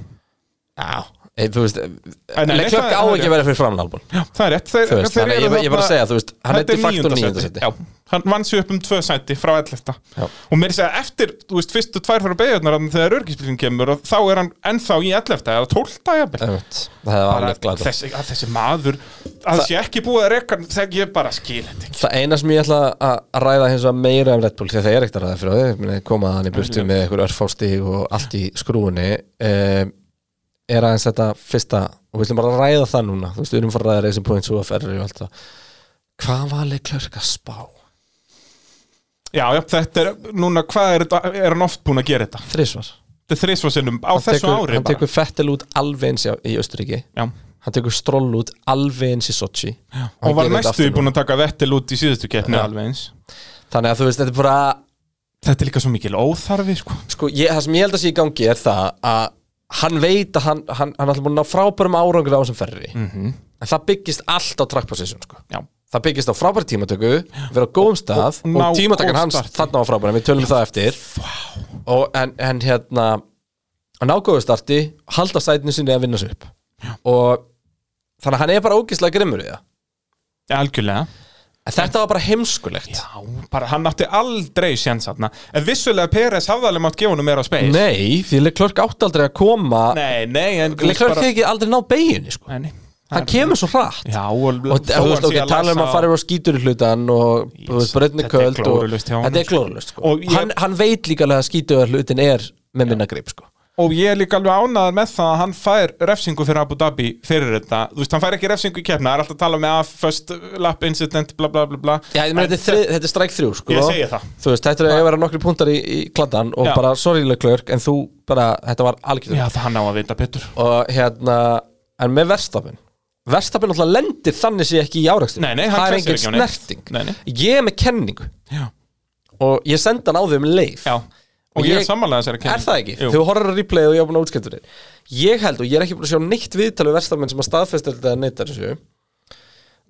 Speaker 2: já, e, þú veist
Speaker 1: nei, nei,
Speaker 2: Leclerc
Speaker 1: það-
Speaker 2: á
Speaker 1: það er
Speaker 2: ekki að vera fyrir framann Albon
Speaker 1: Já, það er rétt Þeir,
Speaker 2: Þú veist,
Speaker 1: þeir
Speaker 2: þannig að
Speaker 1: eru
Speaker 2: ég- ég bara
Speaker 1: þarna-
Speaker 2: segi að, þú veist, hann er
Speaker 1: Þetta
Speaker 2: de facto níunda sæti.
Speaker 1: Já, hann vann sér upp um tvö sæti frá 11.
Speaker 2: Já.
Speaker 1: Og mér segja eftir, þú veist, fyrstu tvær fyrir beigjarnar þegar örgispilin kemur og þá er hann ennþá í 11. eða 12. jafnvel
Speaker 2: Einmitt. það hefði
Speaker 1: Bara
Speaker 2: alveg glata
Speaker 1: þessi, að þessi maður að það sé ekki búið að reka þegar ég bara skil þetta ekki
Speaker 2: Það eina sem ég ætla að ræða hins vegar meira um Red Bull því að það er ekkert að ræða fyrir þau meni, koma hann í burtu með einhver örfástíg og allt í skrúunni um, er aðeins þetta fyrsta og við ætlum bara að ræða það núna þú veist, við erum fara að ræða Racing Points og FR og allt það Hvað var Leclerc að spá?
Speaker 1: Já, já, þetta er, núna, hvað er, þetta- er hann oft búin að gera þetta?
Speaker 2: Þrísvar
Speaker 1: Þetta er þrísvarsinnum á þessu
Speaker 2: tekur,
Speaker 1: ári
Speaker 2: Hann
Speaker 1: bara
Speaker 2: tekur Fettel út alveg eins í, í Östuríki
Speaker 1: Já,
Speaker 2: hann tekur Stroll út alveg eins í Sochi
Speaker 1: og var næstu í búin að taka vettil út í síðustu keppni alveg eins
Speaker 2: Þannig að þú veist, þetta er bara
Speaker 1: Þetta er líka svo mikil óþarfi, sko
Speaker 2: sko, ég, það sem ég held að sé í gangi er það að hann veit að hann, hann, hann er alltaf búin að ná frábærum árangur á þessum ferri
Speaker 1: Mhm.
Speaker 2: -hmm. en það byggist allt á track position sko.
Speaker 1: Já,
Speaker 2: það byggist á frábæri tímatöku vera á góðum stað
Speaker 1: og
Speaker 2: og,
Speaker 1: ná
Speaker 2: tímatakan
Speaker 1: góð
Speaker 2: hans
Speaker 1: starti.
Speaker 2: þarna var frábæri við tölum það eftir og, en, en hérna að ná góðu starti, halda sætinu sinni að vinna sig upp Já. og þannig að hann er bara ógislega grimmur í það
Speaker 1: algjörlega
Speaker 2: en þetta var bara heimskulegt
Speaker 1: Já, bara hann átti aldrei séns þarna En vissulega Peres hafði alveg mátt gefa honum meira á speil
Speaker 2: nei, því Leclerc átti aldrei að koma
Speaker 1: nei, nei en
Speaker 2: Leclerc hefði ekki aldrei ná beginni sko.
Speaker 1: Nei, nei.
Speaker 2: hann kemur svo hratt
Speaker 1: Já, og,
Speaker 2: og þú veist, ok, tala um að fara yfir á skítur í hlutan og þú veist, bröðni
Speaker 1: þetta er
Speaker 2: köld og
Speaker 1: glórulaust hjá honum,
Speaker 2: þetta er
Speaker 1: sko.
Speaker 2: glórulust sko.
Speaker 1: Og ég-
Speaker 2: hann, hann veit líka alveg að skítur hlutin er með minna grip sko.
Speaker 1: Og ég er líka alveg ánæðar með það að hann fær refsingu fyrir Abu Dhabi fyrir þetta Þú veist, hann fær ekki refsingu í keppna, það er alltaf að tala með að first lap incident, bla bla bla bla
Speaker 2: Já, ég meina, þetta, er þrið, þetta er stræk þrjú sko.
Speaker 1: Ég segi það.
Speaker 2: þú veist, þetta er að vera nokkri púntar í, í kladdan og
Speaker 1: Já.
Speaker 2: bara, sorry Leclerc, en þú bara, þetta var
Speaker 1: Já,
Speaker 2: algjörður
Speaker 1: það hann á að vita betur
Speaker 2: og hérna, en með verstafin verstafin alltaf lendir þannig sé ekki í árekstur
Speaker 1: Nei, nei, hann
Speaker 2: það er
Speaker 1: klessir ekki á
Speaker 2: engin
Speaker 1: neitt.
Speaker 2: snerting
Speaker 1: Nei, nei.
Speaker 2: ég er með kenningu
Speaker 1: Já.
Speaker 2: og ég senda hann á því um leif
Speaker 1: Já, og ég, ég er sammálaðið þessari
Speaker 2: Er það ekki?
Speaker 1: Jú.
Speaker 2: Þú horfður að replay og ég er búin að útskipta þér Ég held og ég er ekki búin að sjá neitt viðtalið verstafmenn sem að staðfesta þetta að neyta þessu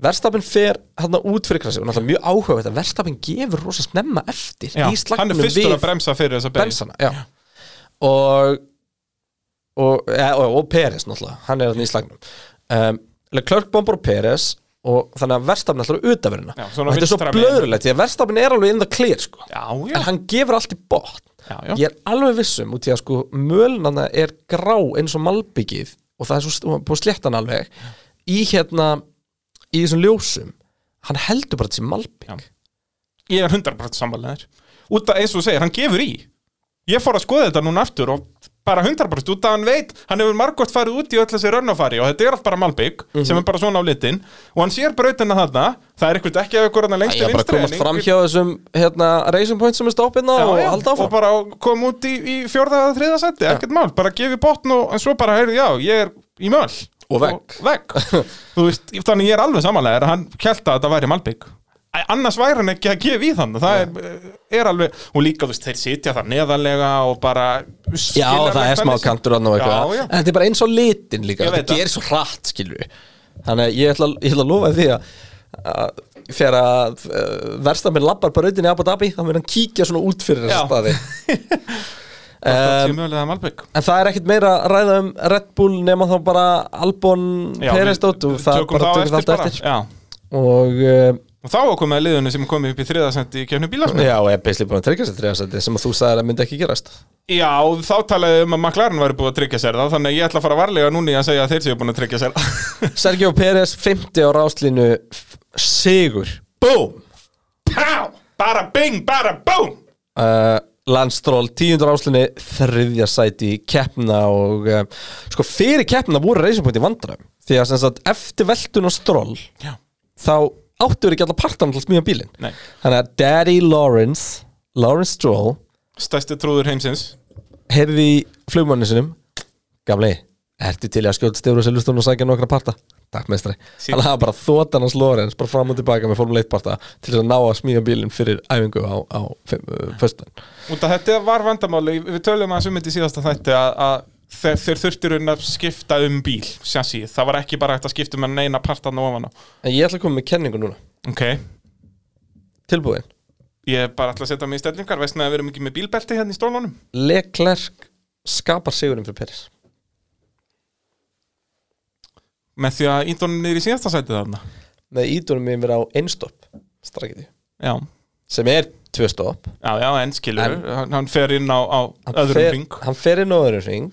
Speaker 2: Verstafmenn fer hann út fyrir krasi og náttúrulega mjög áhugavert að verstafmenn gefur rosa snemma eftir
Speaker 1: Já,
Speaker 2: í
Speaker 1: hann er
Speaker 2: slagnum
Speaker 1: fyrstur
Speaker 2: við
Speaker 1: að bremsa fyrir þessa beil
Speaker 2: bremsana já. og og, ja, og, og Peres náttúrulega hann er hann í slagnum um, Leclerc bombar Peres og þannig að verstafn alltaf er utaverina
Speaker 1: Já,
Speaker 2: og
Speaker 1: svona
Speaker 2: þetta er svo
Speaker 1: vinstra megin.
Speaker 2: blöðurlegt því að verstafn er alveg in the clear sko
Speaker 1: Já, já,
Speaker 2: en hann gefur allt í botn
Speaker 1: Já, já.
Speaker 2: ég er alveg vissum út í að sko mölnana er grá eins og malbyggið og það er svo st- búið sléttan alveg í hérna í þessum ljósum hann heldur bara þessi malbygg
Speaker 1: Já. Ég er 100% sammálaðir Út af, eins og þú segir, hann gefur í Ég fór að skoða þetta núna aftur og bara 100% út af hann veit, hann hefur margótt farið út í öll þessi rönnafari og þetta er allt bara malbygg
Speaker 2: Mhm.
Speaker 1: sem er bara svona á litin og hann sér brautina þarna, það er eitthvað ekki að ykkur hann lengst
Speaker 2: Ég er bara að komast fram hjá þessum hérna, Racing Point sem er stoppinna
Speaker 1: Já,
Speaker 2: og
Speaker 1: já,
Speaker 2: halda
Speaker 1: og
Speaker 2: áfram
Speaker 1: bara kom út í, í fjórða eða þriða seti, ekkert mál, bara gefi botn og en svo bara heyrðu, já, ég er í möl
Speaker 2: Og vegg. [LAUGHS]
Speaker 1: Þú veist, þannig ég er alveg samanlega hann kjælt að þetta væri malbygg Æ, annars væri hann ekki að gefa í þannig það er, er alveg, og líka þú veist, þeir sitja þar neðarlega og bara
Speaker 2: Já, það er smá kantur hann og eitthvað
Speaker 1: já, já.
Speaker 2: En þetta er bara eins og litin
Speaker 1: Ég
Speaker 2: líka
Speaker 1: veit
Speaker 2: Þetta
Speaker 1: það.
Speaker 2: gerir svo hratt, skilur við Þannig að ég ætla, ég ætla að lofa því að að Þegar að versta minn labbar bara auðin í Abu Dhabi þá verður hann kíkja svona út fyrir
Speaker 1: Já.
Speaker 2: þessu staði
Speaker 1: Það
Speaker 2: um,
Speaker 1: sé mögulega malbygg
Speaker 2: En það er ekkit meira að ræða um Red Bull nema þá bara Albon
Speaker 1: Já, við
Speaker 2: Perestótt og það
Speaker 1: tökum
Speaker 2: bara
Speaker 1: þá
Speaker 2: tökum það allt
Speaker 1: bara.
Speaker 2: eftir
Speaker 1: Já.
Speaker 2: Og uh,
Speaker 1: og þá komum við liðunum sem komið upp í þriðasendi í kefnu bílasmenn
Speaker 2: já, og ég er beislega búin að tryggja sér þriðarsætti sem að þú sagðir að myndi ekki gerast
Speaker 1: Já, þá talaði um að McLaren væri búið að tryggja sér það Þannig að ég ætla að fara varlega núna í að segja að þeir séu búin að tryggja sér það. [LAUGHS]
Speaker 2: Sergio Pérez, 50 á ráslínu f- Sigur Búm
Speaker 1: Pá, bara bing, bara búm
Speaker 2: uh, Landstról, 10. ráslunni þriðja sæti í keppna og uh, sko fyrir keppna voru reysupunkti vandræðum því að sem sagt eftir veltun og stról
Speaker 1: Já.
Speaker 2: þá áttu verið ekki allar partan til að smíða bílinn
Speaker 1: Nei.
Speaker 2: þannig að Daddy Lawrence Lawrence Stroll
Speaker 1: Stærsti trúður heimsins
Speaker 2: heyrði í flugmanni sinum gamli, ertu til í að skjóta stefur og seljustun og sækja nokkra parta takk meistri,
Speaker 1: Sí.
Speaker 2: hann hafa bara þótan hans Lorenz bara fram og tilbaka með Formule 1 parta til þess að ná að smíða bílinn fyrir æfingu á, á föstudaginn
Speaker 1: Út af þetta var vandamáli Við töluðum að sumið í síðasta þætti að, að þeir, þeir þurfti raun að skipta um bíl Sjansi, það var ekki bara hægt að skipta um að neina partan og ofan á
Speaker 2: En ég ætla að koma með kenningu núna
Speaker 1: Ok,
Speaker 2: Tilbúin
Speaker 1: ég bara ætla að setja mig í stellingar Veist með að við erum ekki með bílbelti hérna í stólunum
Speaker 2: Leclerc skapar sigurinn fyrir Peris
Speaker 1: Með því að índónin er í síðasta sæti þarna
Speaker 2: Með ídunum mér verið á einstopp Strakkiði
Speaker 1: Já,
Speaker 2: Sem er tvö stopp
Speaker 1: já, já, en skilur
Speaker 2: En-
Speaker 1: hann, hann fer inn á, á öðrum
Speaker 2: fer,
Speaker 1: ring
Speaker 2: Hann fer inn á öðrum ring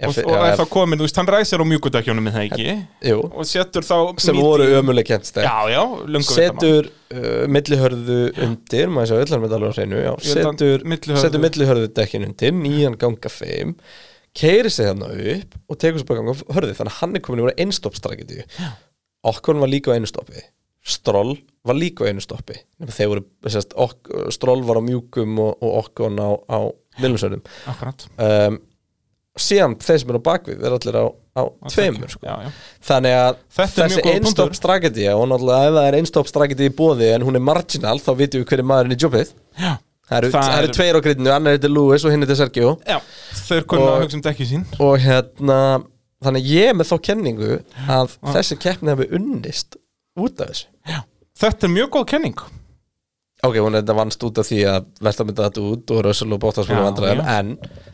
Speaker 1: og, og er þá komin, þú veist, hann ræsir á mjúkudækjónum með það ekki
Speaker 2: Jú
Speaker 1: og setur þá
Speaker 2: Sem
Speaker 1: mít
Speaker 2: voru
Speaker 1: í-
Speaker 2: ömuleg kentstæk
Speaker 1: já, já, lungu
Speaker 2: Setur uh, millihörðu undir Maður svo öllar með alveg á hreinu já,
Speaker 1: Ég held að
Speaker 2: Setur
Speaker 1: millihörðu-
Speaker 2: setur millihörðu dekkin undir Nýjan ganga feim Keiri sig þarna upp Og tekur svo bara ganga hörðu Þannig að hann er komin í voru einstopp strakkiði Okkur var líka á einstoppi Stroll var líka á einu stoppi nema þeir voru, sérst, ok, Stroll var á mjúkum og, og Okkon á, á Vilmsörnum
Speaker 1: akkurat
Speaker 2: um, síðan þeir sem eru á bakvið er allir á, á tveimur sko.
Speaker 1: já, já.
Speaker 2: þannig að
Speaker 1: Þetta er mjög
Speaker 2: þessi
Speaker 1: góður
Speaker 2: einstopp
Speaker 1: punktur.
Speaker 2: strakiti og náttúrulega ef það er einstopp strakiti í bóði en hún er marginal þá vitum við hverju maðurinn í jobbið
Speaker 1: Já.
Speaker 2: það eru,
Speaker 1: Það
Speaker 2: það eru
Speaker 1: er-
Speaker 2: tveir á gritinu, annar heitir Lewis og hinn heitir Sergio
Speaker 1: já, þeir kunna
Speaker 2: Og-
Speaker 1: að hugsa um dekki sín
Speaker 2: og hérna þannig að ég er með þá kenningu að þessi keppni hefur unnist út af þessu
Speaker 1: þetta er mjög góð kenning
Speaker 2: ok, hún er þetta vannst út af því að versta myndi þetta út og Russell og Bottas voru
Speaker 1: Já,
Speaker 2: vandræðum
Speaker 1: já.
Speaker 2: en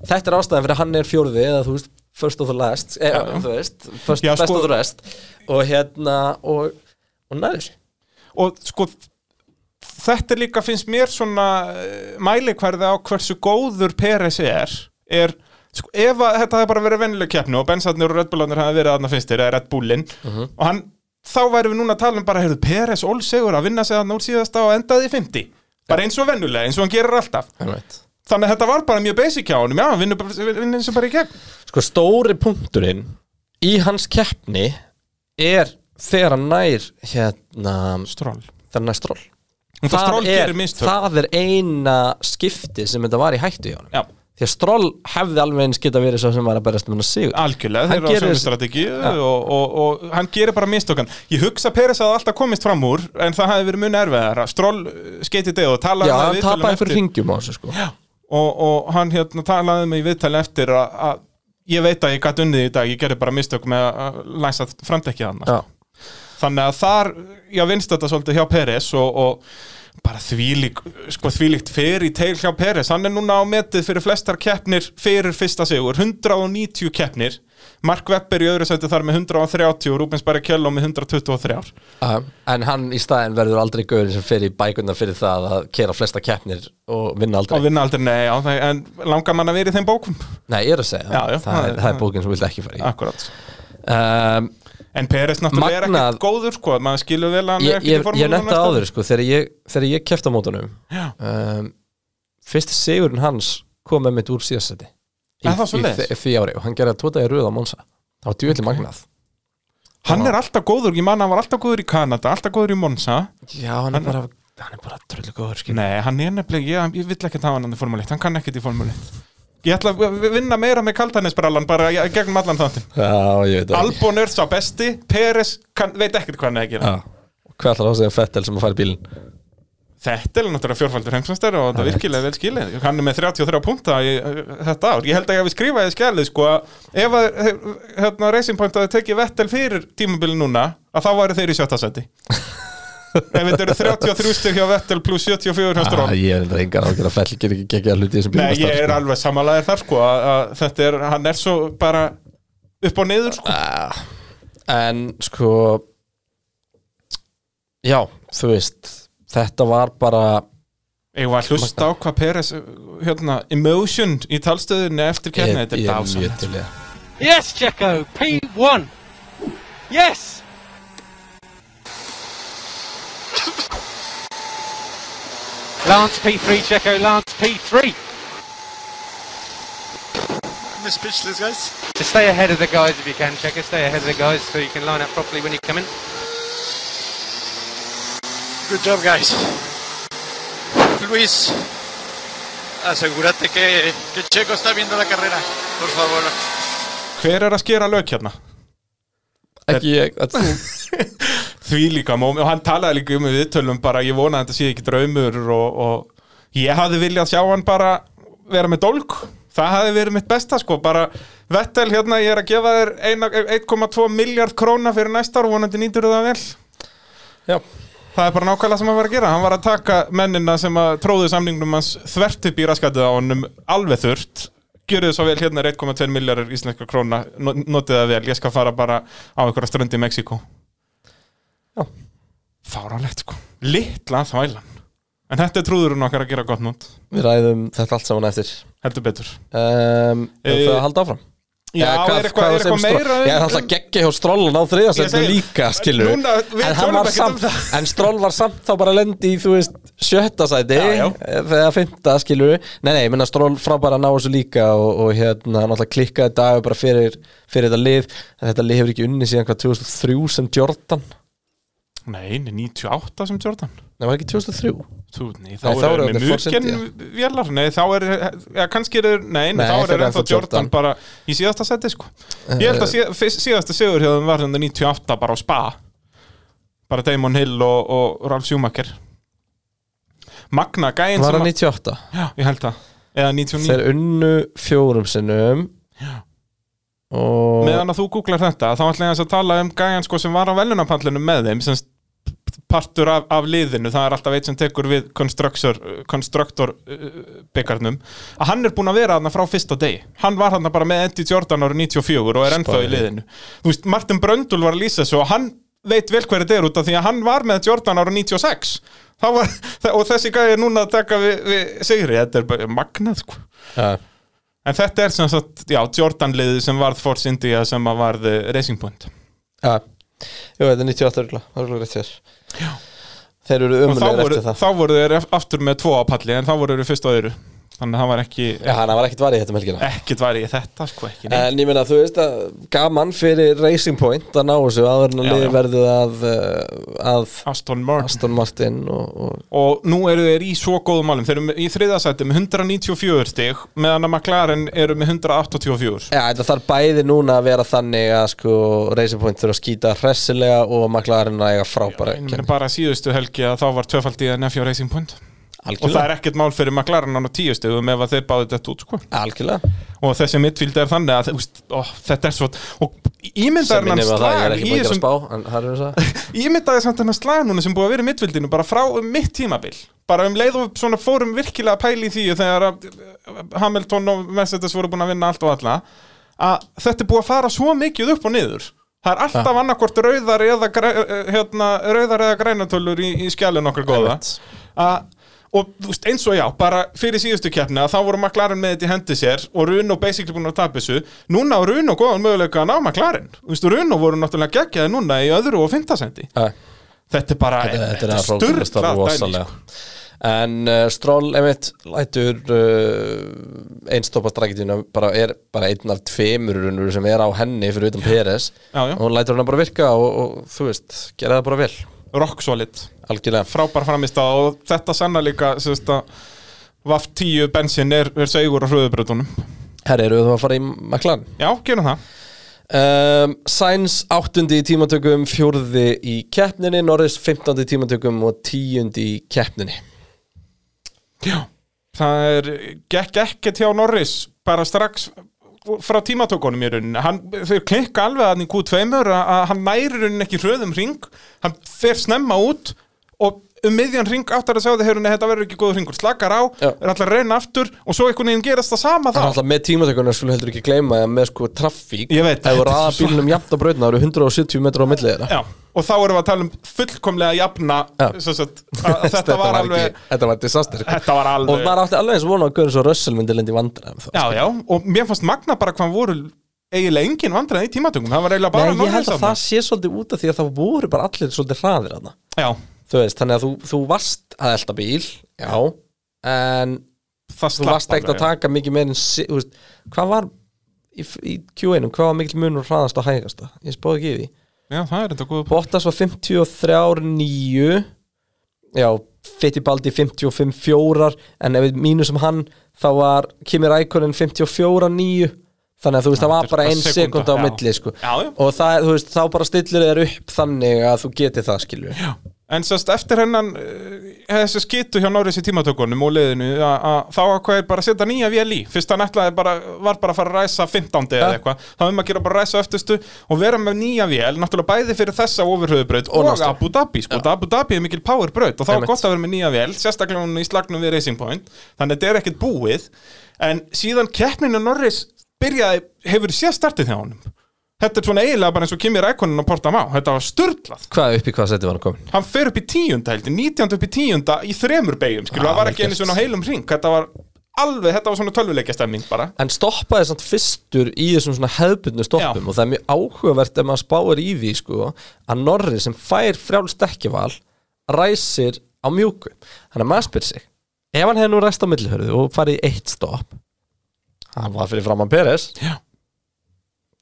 Speaker 2: þetta er ástæðan fyrir að hann er fjórði eða þú veist, first of the last eða, þú veist, first,
Speaker 1: Já,
Speaker 2: best
Speaker 1: sko-
Speaker 2: of the rest og hérna og, og næri þessu
Speaker 1: og sko þetta er líka finnst mér svona eh, mælikvarði á hversu góður PRS er er sko, ef að þetta hefði bara verið vennileg keppni og bensarnir og Red Bullarnir hefði verið þarna fyrstir eða Red Bullin
Speaker 2: Mhm.
Speaker 1: og hann, þá væri við núna að tala um bara heyrðu PRS ólsegur að vinna sig þarna úr síðasta og endaði í 50 bara eins og vennulega, eins og hann gerir alltaf Þannig að þetta var bara mjög basic hjá honum, já, hann vinnur bara- vinnur eins og bara í gegn.
Speaker 2: sko stóri punkturinn í hans keppni er þegar hann nær hérna,
Speaker 1: Stról.
Speaker 2: þegar hann nær stról
Speaker 1: Það, stról
Speaker 2: er,
Speaker 1: gerir mistök.
Speaker 2: það er eina skipti sem þetta var í hættu hjá hann
Speaker 1: Já,
Speaker 2: því að stról hefði alveg eins geta verið svo sem var að berast með hann sigur
Speaker 1: algjörlega,
Speaker 2: Hann
Speaker 1: þeir eru á
Speaker 2: gerir-
Speaker 1: sömu strategíu og, og, og hann gerir bara mistökan. Ég hugsa að Peres að alltaf komist fram úr, en það hafi verið mun erfiðar. Stról skeiti deg og talaði
Speaker 2: Já,
Speaker 1: um það í
Speaker 2: hann
Speaker 1: viðtölum
Speaker 2: tapaði
Speaker 1: eftir.
Speaker 2: einhver ringjum á þessu sko
Speaker 1: og, og hann hérna talaði mig í viðtali eftir að, að ég veit að ég gæti unnið í dag, ég gerði bara mistök með að læsa framdekkið hann.
Speaker 2: Já.
Speaker 1: Þannig að þar, ég vinst þetta svolítið hjá Peres og, og bara þvílík, sko þvílíkt fyrir teil hjá Peres, hann er núna á metið fyrir flestar keppnir fyrir fyrsta sigur 190 keppnir Mark Webber í öðru sæti þar með 130 og Rúbens Barri Kjelló með 123
Speaker 2: Já, Um, En hann í staðin verður aldrei gauður sem fer í bækuna fyrir það að kera flesta keppnir og vinna aldrei
Speaker 1: og vinna aldrei, nei, já, það- en langar mann að vera í þeim bókum
Speaker 2: Nei, ég er að segja,
Speaker 1: Já, já,
Speaker 2: það,
Speaker 1: það
Speaker 2: er,
Speaker 1: er-
Speaker 2: það er bókin sem vilt ekki fara í
Speaker 1: Akkurat
Speaker 2: um,
Speaker 1: En Peres náttúrulega er
Speaker 2: Magnað-
Speaker 1: ekkert góður sko maður skilur vel að hann er
Speaker 2: ég,
Speaker 1: ekkert í
Speaker 2: ég, ég
Speaker 1: formúlunum
Speaker 2: nefndi
Speaker 1: næsta
Speaker 2: áður sko, þegar ég, þegar ég kefti á mótunum
Speaker 1: Já.
Speaker 2: um, fyrst sigurinn hans kom með mitt úr síðastæti í,
Speaker 1: Er það
Speaker 2: í
Speaker 1: svoleiðis?
Speaker 2: þe- því ári og hann gerði að tóta í röða á Monsa það var djúvillig magnað
Speaker 1: Hann er alltaf góður, ég man að hann var alltaf góður í Kanada alltaf góður í Monza
Speaker 2: já, hann er bara, hann er bara trullu góður skil.
Speaker 1: Nei, hann er nefnilega, ég, ég vill ekki hafa hann í formúli 1, hann kann ekkert í formúli 1 Ég ætla að v- vinna meira með kaltanisbrallan bara í- gegnum allan þáttin
Speaker 2: já, ég veit það ekki.
Speaker 1: Albon er sá besti, Peres kann, veit ekkert hvað hann er að gera
Speaker 2: Já. Og hvað ætlar það að segja um Fettel sem að fara í bílinn
Speaker 1: Þetta er náttúrulega fjórfaldur heimsvæmstæri og þetta er virkilega vel skilið Hann er með 33 punta í, uh, þetta ár Ég held að ég hafi skrifaði skjalið sko að Ef að he- hérna, Racing Point hafi tekið Vettel fyrir tímabili núna að þá væri þeir í sjötta seti Ef þetta eru 33 stygg hjá Vettel plus 74 hjá Strón
Speaker 2: ah, ég er reyndar engar ágjör að Fettel getur ekki gekkja hluti í þessum
Speaker 1: Nei, ég er
Speaker 2: sko.
Speaker 1: alveg samanlegaðir þar sko að, að þetta er, hann er svo bara upp og niður sko
Speaker 2: en sko já, þú veist þetta var bara
Speaker 1: Ég var að hlusta á hvað Peres hérna, emotion í talstöðunni eftir kemni, þetta er
Speaker 2: mjög
Speaker 1: dásan
Speaker 2: til í það.
Speaker 5: Yes, Checo, P1. Yes. [COUGHS] Lance P3, Checo, Lance P3
Speaker 9: I'm speechless, guys.
Speaker 5: to stay ahead of the guys if you can, Checo. Stay ahead of the guys so you can line up properly when you come in.
Speaker 9: Good job, guys.
Speaker 10: Luis, asegúrate que, que Checo está viendo la carrera, por favor.
Speaker 1: Hver er að skera lög hérna?
Speaker 2: ekki ég þetta-
Speaker 1: Því líka mómi og hann talaði líka um í viðtölum bara ég vona að þetta sé ekki draumur og, og ég hafði viljað sjá hann bara vera með dólk Það hafði verið mitt besta sko, bara Vettel hérna, ég er að gefa þér eina- e-, 1,2 miljard króna fyrir næsta ár og vonandi nýtur þú það vel
Speaker 2: já,
Speaker 1: Það er bara nákvæmlega sem hann var að gera Hann var að taka mennina sem að tróðu samningnum hans þvert upp í raskatið á honum alveg þurft Gjörðu svo vel hérna er 1,2 miljardar íslenska króna no- Notið það vel, ég skal fara bara á einhverja strönd í Mexíkó
Speaker 2: Já.
Speaker 1: Fáránlegt sko Litla þvælan En þetta er trúðurinn okkar að gera gott nót
Speaker 2: við ræðum þetta allt saman eftir
Speaker 1: Heldur betur
Speaker 2: um, e...
Speaker 1: Eh,
Speaker 2: það halda áfram
Speaker 1: Já,
Speaker 2: Eða
Speaker 1: er eitthvað, er
Speaker 2: sem
Speaker 1: eitthvað
Speaker 2: Stroll-
Speaker 1: meira um-
Speaker 2: Ég er alltaf geggja hjá stróllan á þriðasendu
Speaker 1: Ég segi-
Speaker 2: líka, skilur
Speaker 1: Núna, við tölum
Speaker 2: En hann
Speaker 1: ekkert
Speaker 2: var
Speaker 1: um
Speaker 2: samt,
Speaker 1: það.
Speaker 2: en stról var samt þá bara lendi í, þú veist, sjötta sæti eh,
Speaker 1: Já, já.
Speaker 2: Þegar fymta, skilur Nei, nei, ég menna stról frábæra að ná þessu líka Og, og hérna, hann alltaf klikkaði dag bara fyrir, fyrir þetta lið En þetta lið hefur ekki unni síðan hvað 2003 sem Jordan Nei,
Speaker 1: Nei, nei, 98 sem Jordan
Speaker 2: var ekki 2003?
Speaker 1: Þú, nei, þá,
Speaker 2: Nei, þá
Speaker 1: eru
Speaker 2: eru
Speaker 1: er með
Speaker 2: þetta Ford
Speaker 1: mjögen
Speaker 2: India.
Speaker 1: vélar Nei, þá er, ja, kannski er Nei, nei
Speaker 2: Nei,
Speaker 1: þá er
Speaker 2: þeir eru
Speaker 1: ennþá
Speaker 2: ennþá
Speaker 1: Jordan
Speaker 2: Jordan.
Speaker 1: bara í síðasta seti sko. Ég held að síð, fyrst- síðasta sigur hjá þeim var hérna 98 bara á spa Bara Damon Hill og, og Ralf Sjúmaker Magna gæinn
Speaker 2: Eh, Var
Speaker 1: sem
Speaker 2: hann
Speaker 1: að-
Speaker 2: 98?
Speaker 1: Já, ég held það Eða 99
Speaker 2: Þeir unnu fjórum sinnum Og
Speaker 1: meðan að þú googlar þetta þá ætla ég aðeins að tala um gæjan sko sem var á velunapallinu með þeim sem st- partur af, af liðinu, það er alltaf eitt sem tekur við Constructor, constructor uh, byggarnum, að hann er búin að vera hann frá fyrsta degi, hann var hann bara með Eddie Jordan árið 94 og er ennþá í
Speaker 2: Spáði.
Speaker 1: liðinu þú veist, Martin Bröndul var að lýsa þessu og hann veit vel hver þetta er út af því að hann var með Jordan árið 96 Þá var, [LAUGHS] og þessi gæði er núna að taka við, við Sigri, þetta er bara magnað sko.
Speaker 2: ja.
Speaker 1: En þetta er sem sagt, já, Jordan liðið sem varð Force India sem að varð eh, Racing Point
Speaker 2: Já, jú, þetta er 98 örgla, örgla rétt hér Þeir eru
Speaker 1: Og þá
Speaker 2: umulegir
Speaker 1: voru,
Speaker 2: eftir það
Speaker 1: þá voru þeir aftur með tvo á palli en þá voru þeir fyrst á öðru Þannig að það var ekki,
Speaker 2: Já, hann var ekkert varið í þetta um helgina
Speaker 1: ekkit var í þetta sko ekki neitt.
Speaker 2: En ég meina, þú veist að gaman fyrir Racing Point að ná þessu áður
Speaker 1: Já,
Speaker 2: en að liði
Speaker 1: já.
Speaker 2: verðið að, uh, að
Speaker 1: Aston Martin
Speaker 2: Aston Martin og, og
Speaker 1: Og nú eru þeir í svo góðum málum Þeir eru með- í þriðasæti með 194 stig meðan að McLaren eru með 184
Speaker 2: Já, þetta þarf bæði núna að vera þannig að sko Racing Point þurfa að skýta hressilega og McLaren að eiga frábæra
Speaker 1: En
Speaker 2: keppni.
Speaker 1: bara síðustu helgi að þá var tvöfald í NF hjá Racing Point Og það
Speaker 2: Algjörlega,
Speaker 1: er ekkert mál fyrir McLaren án á tíu stigum ef að þeir báðu þetta út sko
Speaker 2: algjörlega
Speaker 1: og þessi midfield er þannig að þú veist, ó, þetta er svo og ímyndaður hann
Speaker 2: minnir mig á það, ég er
Speaker 1: slag í
Speaker 2: ekki búin að gera
Speaker 1: þessum-
Speaker 2: spá en það er þess
Speaker 1: [LAUGHS] ímyndaður samt hann slag núna sem búið að vera í midfieldinu bara frá um mitt tímabil bara um leið og svona fórum virkilega að pæla í því þegar að Hamilton og Mercedes voru búin að vinna allt og alla að þetta er búið að fara svo mikið upp og niður það er alltaf ja. annarkvort rauðar eh, eða, græ- eh, hérna, rauðar eða grænatölur í, í skjælun okkar góða
Speaker 2: Einmitt.
Speaker 1: að, og þú veist, eins og já, bara fyrir síðustu keppni að þá voru McLaren með þetta í hendi sér og Runo basically búin að tapa þessu núna á Runo góðan möguleika að ná McLaren Þú veist, Runo voru náttúrulega geggjaði núna í öðru og fintasendi
Speaker 2: Æ.
Speaker 1: þetta er bara
Speaker 2: þetta er
Speaker 1: sturlað
Speaker 2: sturglað
Speaker 1: dæmi, sko.
Speaker 2: rosalega en uh, Stroll einmitt lætur uh, einstoppa strakkitjuna bara er bara einn af tveimur raunur sem er á henni fyrir utan Peres
Speaker 1: Já, já.
Speaker 2: og hún lætur hana bara virka og, og þú veist, gera það bara vel
Speaker 1: sko. rock solid,
Speaker 2: algjörlega
Speaker 1: frábær framist og þetta sanna líka sem sagt, að Vaff 10 bensin er, er segur á hröðubröðunum
Speaker 2: herri eru þú að fara í McLaren
Speaker 1: já, gerum það
Speaker 2: um, Sainz áttundi í tímatökum fjórði í keppninni Norris 15. í tímatökum og tíundi í keppninni
Speaker 1: já. það er gekk ekkert hjá Norris bara strax frá tímatókunum í rauninni hann, þau klikka alveg hann í Q2 að að hann næri rauninni ekki hröðum ring hann fer snemma út og um miðjan ring áttar að segja þau heyrunni þetta verður ekki góður ringur, slakar á,
Speaker 2: Já.
Speaker 1: er alltaf að reyna aftur og svo einhvern veginn gerast það sama þá
Speaker 2: Það er alltaf með tímatökuna skulle heldur ekki gleyma að með sko traffík
Speaker 1: Ég veit,
Speaker 2: Það
Speaker 1: þetta
Speaker 2: voru
Speaker 1: er
Speaker 2: aða
Speaker 1: svo-
Speaker 2: bílunum jafnt á brautna, það eru 170 metra á milli þeirra
Speaker 1: Já, og þá erum við að tala um fullkomlega jafna
Speaker 2: Já.
Speaker 1: sem sagt, að, að þetta var
Speaker 2: ekki-
Speaker 1: alveg
Speaker 2: [LAUGHS] Þetta var disaster
Speaker 1: Þetta var alveg-
Speaker 2: Og maður átti alveg eins vona að Görns og Russell myndi lendi vandræðum þá
Speaker 1: Já, já, og mér fannst magna bara hvað voru eiginlega engin vandræði í tímatökum það var eiginlega bara
Speaker 2: Nei, ég held
Speaker 1: Norris
Speaker 2: að
Speaker 1: þarna.
Speaker 2: það sé svolítið út af því að það voru bara allir svolítið hraðir þarna
Speaker 1: Já,
Speaker 2: Þú veist, þannig að þú, þú varst að elta bíl Já En
Speaker 1: það
Speaker 2: þú
Speaker 1: slapp
Speaker 2: varst ekkert
Speaker 1: alveg.
Speaker 2: að taka mikið meir en si- þú veist, Hvað var í, í Q1, hvað var mikil munur hraðast og hægast Ég spóði ekki í því
Speaker 1: Já, það er þetta góð
Speaker 2: Bottas var 53-9 Já, Fittibaldi 55-4 En ef við mínum sem hann Þá var Kimi Rækonin 54-9 Þannig að þú veist, það var
Speaker 1: þetta er
Speaker 2: bara
Speaker 1: bara
Speaker 2: ein sekund
Speaker 1: sekúnda,
Speaker 2: á
Speaker 1: já.
Speaker 2: milli sko.
Speaker 1: Já, já.
Speaker 2: Og það, er- þú veist, þá bara stillir þér upp Þannig að þú getur það, skilur já.
Speaker 1: En sérst, eftir hennan eh, þessu skitu hjá Norris í tímatökunum og leiðinu að- að þá ákveði bara að setja nýja vél í fyrst hann ætlaði bara, var bara að fara að ræsa 15. eða
Speaker 2: Ja.
Speaker 1: eitthvað, þá um að gera bara ræsa eftirstu og vera með nýja vél, náttúrulega bæði fyrir þessa ofurhauðbraut
Speaker 2: Og
Speaker 1: og,
Speaker 2: næstu.
Speaker 1: Abu Dhabi sko, Abu Dhabi er mikil powerbraut og þá
Speaker 2: Einmitt.
Speaker 1: er gott að vera með nýja vél, sérstaklega hún í slagnum við Racing Point, þannig að þetta er ekkert búið en síðan keppninu Norris byrjaði, hefur séð startið hjá honum Þetta er svona eiginlega bara eins og Kimi Rækonin og Porta Má, þetta var sturlað
Speaker 2: Hvað upp í hvað seti var hann komin?
Speaker 1: hann fer upp í tíunda heldur, nítjánda upp í tíunda í þremur beigjum, skilu,
Speaker 2: Ah,
Speaker 1: það var ekki
Speaker 2: vel
Speaker 1: einu
Speaker 2: gert.
Speaker 1: svona á heilum ring, þetta var alveg, þetta var svona tölvuleikja stemming bara
Speaker 2: En stoppaði samt fyrstur í þessum svona hefbundnu stoppum
Speaker 1: Já.
Speaker 2: og það er mjög áhugavert ef maður spáir í því sko, að Norri sem fær frjálst ekkival ræsir á mjúku þannig að maður spyr sig ef hann hefði nú ræst á millihörðu og farið í eitt stopp hann var fyrir framann Peres
Speaker 1: Já.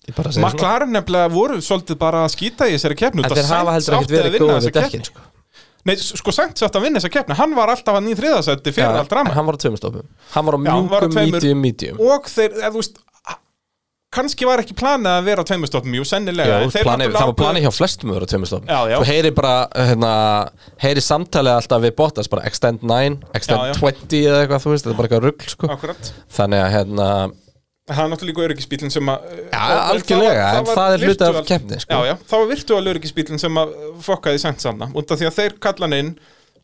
Speaker 2: Ég bara segi svona.
Speaker 1: McLaren nefnilega voru svolítið bara að skýta í þessari keppni
Speaker 2: en
Speaker 1: út að
Speaker 2: þeir hafa
Speaker 1: Sainz
Speaker 2: heldur ekkert
Speaker 1: átti að
Speaker 2: verið
Speaker 1: vinna
Speaker 2: góðið
Speaker 1: þessa
Speaker 2: við dekkin
Speaker 1: keppni.
Speaker 2: sko.
Speaker 1: Nei, s- sko Sainz átti að vinna þessa keppni, hann var alltaf að nýja þriðasætti fyrir
Speaker 2: Já,
Speaker 1: allt rama
Speaker 2: en hann var á tveimur stoppum hann var á
Speaker 1: Já, hann var á
Speaker 2: mjúkum,
Speaker 1: tveimur.
Speaker 2: medium, medium
Speaker 1: og þeir, eða þú veist kannski var ekki planið að vera á tveimur stofnum, jú, sennilega
Speaker 2: Já,
Speaker 1: en Eh, þeir
Speaker 2: plani,
Speaker 1: náttúrulega
Speaker 2: það var
Speaker 1: ákveðu-
Speaker 2: planið hjá flestum öðru tveimustofn
Speaker 1: Já, já.
Speaker 2: Þú heyri bara, hérna, heyri samtalið alltaf við Bottas bara extend 9, extend
Speaker 1: Já, já.
Speaker 2: 20 eða eitthvað, þú veist, þetta er bara eitthvað rugl sko.
Speaker 1: Akkurat.
Speaker 2: þannig að, hérna,
Speaker 1: það er náttúrulega líka öryggisbílinn sem að
Speaker 2: Já,
Speaker 1: og- og
Speaker 2: algjörlega,
Speaker 1: það var-
Speaker 2: en
Speaker 1: var
Speaker 2: það er hluti af
Speaker 1: virtual-
Speaker 2: keppni, sko.
Speaker 1: Já, já, það var virtuál öryggisbílinn sem að uh, fokkaði sendsanna út af því að þeir kalla hann inn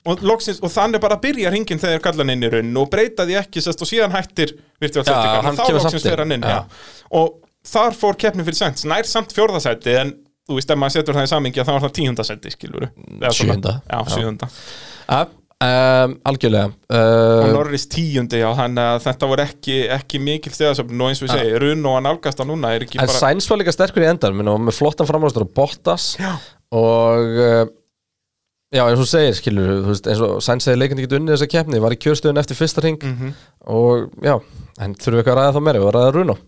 Speaker 1: og, loksins, og þannig bara byrja ringin þegar þeir kalla hann inn í raun og breyta því ekki sest, og síðan hættir virtuál
Speaker 2: Já, hann
Speaker 1: sendingarna, þá
Speaker 2: kemur
Speaker 1: loksins
Speaker 2: samt inn,
Speaker 1: fer hann inn
Speaker 2: já.
Speaker 1: já. og þar fór keppni fyrir sends nær samt fjórðasæti en þú veist, ef maður setur það í samingi að þá var það tíundasæti skilur já,
Speaker 2: Sjöunda. Já.
Speaker 1: sjöunda
Speaker 2: að, um, algjörlega
Speaker 1: og
Speaker 2: uh,
Speaker 1: Norris tíundi, já, þannig að þetta voru ekki, ekki mikil þegarsöfn og eins og ég segi, runn og að nálgast hann núna er ekki
Speaker 2: En
Speaker 1: bara
Speaker 2: Sainz var líka sterkur í endan minn, og með flottan framhástur og Bottas já. og uh, já, eins og þú segir, skilur þú veist, eins og Sainz segir leikandi getur unnið þessa keppni var í kjörstöðun eftir fyrsta ring
Speaker 1: Mhm.
Speaker 2: og já, en þurfum við eitthvað að ræða þá meira við að ræða Runo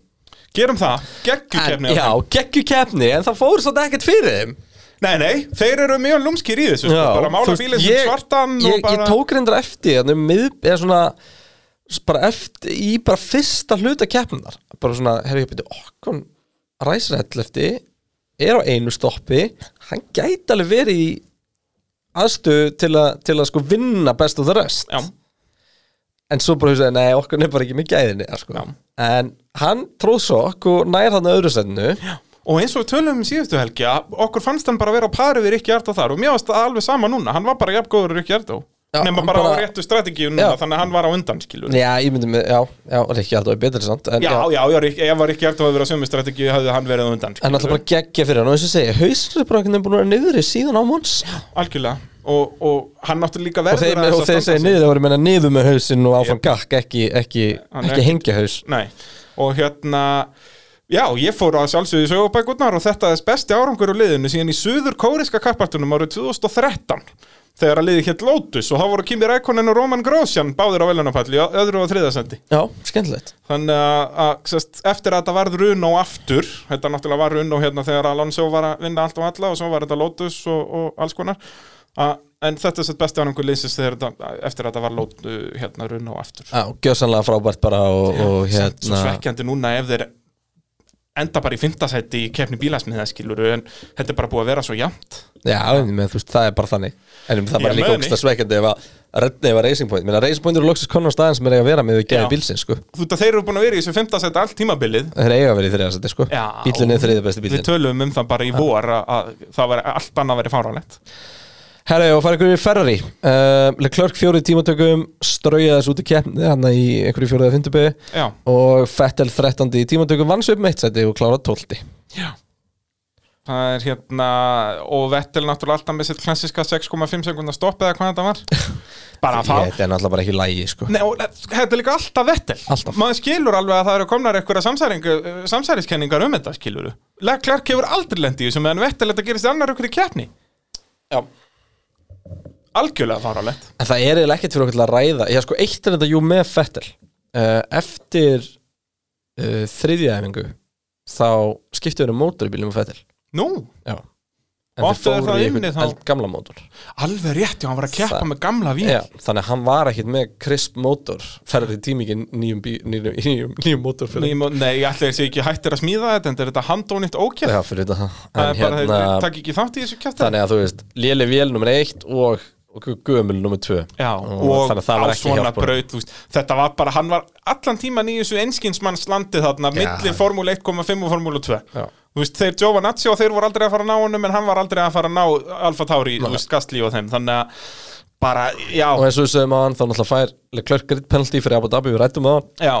Speaker 1: Gerum það, geggjur
Speaker 2: En,
Speaker 1: kefni
Speaker 2: já, geggju keppni, en það fór svolítið ekkert fyrir þeim
Speaker 1: Nei, nei, þeir eru mjög lúmskir í þessu sko, bara
Speaker 2: þú
Speaker 1: mála
Speaker 2: veist,
Speaker 1: bílinn sem svartan
Speaker 2: ég,
Speaker 1: og bara...
Speaker 2: ég tók reyndar eftir þannig, mið, eða svona, s- bara eftir, í bara fyrsta hluta keppnar bara svona, herri, ég byrja, okkon ræsir ætlefti, er á einu stoppi hann gæti alveg verið í aðstöðu til, að- til að sko vinna best of the rest
Speaker 1: Já,
Speaker 2: en svo bara hugsaði, nei, okkon er bara ekki með gæðinni sko.
Speaker 1: Já.
Speaker 2: en hann tróð sokk og nær hann að öðru sennu
Speaker 1: og eins og við tölum um síðustu helgi að okkur fannst hann bara vera á pari við Rikki Ardó þar og mér varst það alveg sama núna, hann var bara jafn góður Rikki Ardó
Speaker 2: Já,
Speaker 1: nema
Speaker 2: hann
Speaker 1: bara,
Speaker 2: bara-
Speaker 1: á réttu strategíu núna,
Speaker 2: Já.
Speaker 1: þannig að hann var á undan, skilur Já,
Speaker 2: já, ég myndi með, já, já, Rikki Ardó er betri samt en,
Speaker 1: já, já, Rick- ef Rikki Ardó hefði verið á sömu strategíu hafði hann verið á undan,
Speaker 2: En alltaf bara geggja fyrir hann og þess að segja, hausinu bara einhvern veginn búin að vera niðri síðan á Mons
Speaker 1: Algjörlega og, og hann náttúrulega líka
Speaker 2: Og þeir,
Speaker 1: verður aðeins
Speaker 2: og þeir segja
Speaker 1: standa sig.
Speaker 2: niður, það voru meina niður með hausinn og áfram gakk, ekki, ekki,
Speaker 1: Hann er
Speaker 2: ekki
Speaker 1: ekki-
Speaker 2: hengja haus.
Speaker 1: Nei, og hérna Já, ég fór að sjálfsögðu í sögubækurnar og þetta er besti árangur úr liðinu síðan í suður kóriska kappartunum árið 2013 þegar að liði hétt Lotus og þá voru Kimi Rækonen og Roman Grósjan báðir á velunapalli í öðru og þriðasendi
Speaker 2: Já, skemmtilegt.
Speaker 1: þannig að, að sest, eftir að þetta var Runó aftur, þetta náttúrulega var Runó hérna þegar Alonso var að vinna allt og alla og svo var þetta Lotus og, og alls konar að, en þetta er sett besti árangur liðsins þegar þetta, eftir að þetta var Lotus hérna Runó aftur
Speaker 2: Já, gjössanlega frábært bara og, og
Speaker 1: Samt svo
Speaker 2: hérna.
Speaker 1: svekkjandi núna ef þeir enda bara í fymtasætti í keppni bílasmiða skiluru en þetta er bara búið að vera svo jafnt
Speaker 2: Já, en, menn, þú veist, það er bara þannig En um, það er bara
Speaker 1: Ég
Speaker 2: líka
Speaker 1: meina
Speaker 2: ógsta svekkandi ef að redda ef að Racing Point Menna Racing Point eru loksist konar á staðin sem er eiga að vera með við
Speaker 1: Já.
Speaker 2: geði bílsinn, sko
Speaker 1: þú veit að þeir eru búin að vera í þessu fymtasætti allt tímabilið
Speaker 2: Það er eiga að vera í þriðarsæti, sko
Speaker 1: Já.
Speaker 2: Bílinn er þriðið besti
Speaker 1: við
Speaker 2: bílinn
Speaker 1: töluðum um það bara í vor að, að það var allt annað verið fáránlegt
Speaker 2: Herra, já, fara ykkur í Ferrari uh, Leclerc fjórið tímatökum Strauja þessu út í keppni, hann í einhverju fjórið að fyndu byggu
Speaker 1: já,
Speaker 2: Og Fettel 13. í tímatökum vann svo upp meitt sæti og klára 12.
Speaker 1: það er hérna og Vettel náttúrulega alltaf með sitt klassiska 6,5 sekundar stopp eða hvað þetta
Speaker 2: [LAUGHS]
Speaker 1: var bara það
Speaker 2: Þetta er náttúrulega bara ekki lægi, sko
Speaker 1: Nei, og eh, þetta er líka alltaf vettel
Speaker 2: Alltaf.
Speaker 1: Maður skilur alveg að það eru komnar einhverja samsæringu, eh, samsæriskenningar um þetta skilur Leclerc hefur aldrei lendi í þessu meðan vettel þetta gerist í annar ykkur í keppni Já Algjörlega faralegt
Speaker 2: En það er eiginlega ekkert fyrir okkur til að ræða Já, sko, eitt er þetta jú með Fettel uh, Eftir uh, þriðjaæfingu þá um skiptu verið mótor í bílum og Fettel
Speaker 1: Nú,
Speaker 2: Já
Speaker 1: Og aftur er það inni þá-
Speaker 2: Gamla mótor
Speaker 1: alveg rétt, já, hann var að keppa
Speaker 2: Það-
Speaker 1: með gamla víl
Speaker 2: Já, þannig að hann var ekkert með crisp mótor ferði tímingin nýjum, bí, nýjum, nýjum, nýjum mótor fyrir
Speaker 1: Nei, ég má- nei, ég ætla þessi ekki hættir að smíða þetta en þetta er þetta handónýtt ókjöf
Speaker 2: Já, fyrir þetta
Speaker 1: Það
Speaker 2: En
Speaker 1: er bara,
Speaker 2: hérna,
Speaker 1: þeir takk ekki þátt í þessu kjöfti
Speaker 2: Þannig að þú veist, léli vél nummer eitt og, og gömul nummer tvö
Speaker 1: Já, og,
Speaker 2: þannig að það
Speaker 1: á
Speaker 2: var ekki
Speaker 1: svona
Speaker 2: hjálpar
Speaker 1: braut þú veist, Þetta var bara, hann var allan tíman í þessu enskinsmanns landið þarna milli formúli 1,5 og formúli 2
Speaker 2: Já.
Speaker 1: Þú veist, þeir Giovanazzi og þeir voru aldrei að fara að ná honum en hann var aldrei að fara að ná Alfa Tauri, þú veist, Gastli og þeim þannig að bara, já,
Speaker 2: Og eins og við segjum á hann, þá náttúrulega fær Leclerc grid penalty fyrir Abu Dhabi, við rættum á hann
Speaker 1: já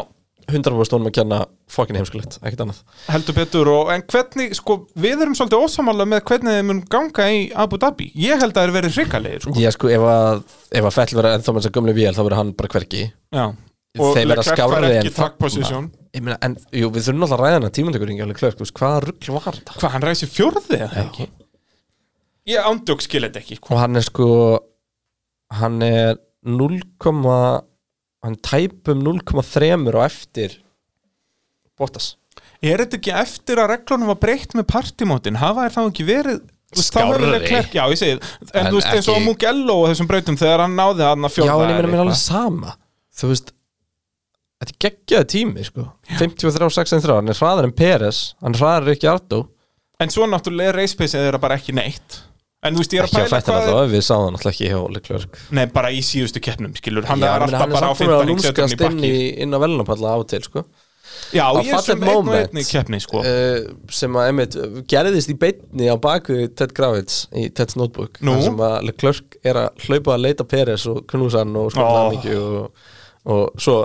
Speaker 2: 100% honum að kenna fokkin heimskulegt, ekkert annað
Speaker 1: heldur betur og en hvernig, sko, við erum svolítið ósamála með hvernig þeir mun ganga í Abu Dhabi ég held að þeir verið hrikalegir, sko
Speaker 2: Já sko, ef að, ef að Fettel verða ennþá með þess að gömlu vél þá verður hann bara hverki
Speaker 1: já. og
Speaker 2: Þeir verða
Speaker 1: Leclerc fær
Speaker 2: skárri en
Speaker 1: ekki
Speaker 2: þarna.
Speaker 1: takkposisjón
Speaker 2: Ég meina, en jú, við þurfum náttúrulega að ræða hana tímundekurinn alveg klörk, þú veist, sko. hvaða rugl var þetta?
Speaker 1: hvað, hann ræsi fjórði eða ekki? Ég ándjók skil þetta ekki,
Speaker 2: Og hann er sko hann er 0, hann er tæpum 0,3 og eftir Bottas
Speaker 1: Er þetta ekki eftir að reglunum var breytt með partimótin? Hafa þær þá ekki verið
Speaker 2: Skárri.
Speaker 1: Klerk, já, ég segi, en
Speaker 2: En
Speaker 1: þú veist eins og
Speaker 2: ekki-
Speaker 1: Mugello og þessum breytum þegar hann náði hann að
Speaker 2: Já,
Speaker 1: fjóða
Speaker 2: en ég meina, mér er alveg sama Þú veist, þetta er geggjaði tími sko, 53, 63, hann er hraðar en Peres hann er hraðar ekki Ardó
Speaker 1: En svo náttúrulega er reispeysið þeirra bara ekki neitt En þú veist, ég er að
Speaker 2: ekki á
Speaker 1: pæla
Speaker 2: fættan
Speaker 1: hvað
Speaker 2: alltaf, við sáðum alltaf ekki hjá Leclerc
Speaker 1: Nei, bara í síðustu keppnum, skilur Hann
Speaker 2: Já,
Speaker 1: er
Speaker 2: ég meina,
Speaker 1: alltaf bara á
Speaker 2: samt
Speaker 1: 15 ríksettum í
Speaker 2: búinn að lúmskast inn,
Speaker 1: bakki
Speaker 2: í- inn á velunapalla á til sko.
Speaker 1: Já,
Speaker 2: á
Speaker 1: ég er sem
Speaker 2: fallegt
Speaker 1: einn og
Speaker 2: moment.
Speaker 1: einn í keppni, sko
Speaker 2: uh, sem að einmitt gerðist í beitni á baku Ted Gravitz í Ted's Notebook
Speaker 1: Nú?
Speaker 2: þar sem að Leclerc er að hlaupa að leita Peres og knúsa hann og skoða
Speaker 1: Ó.
Speaker 2: hann ekki og, og svo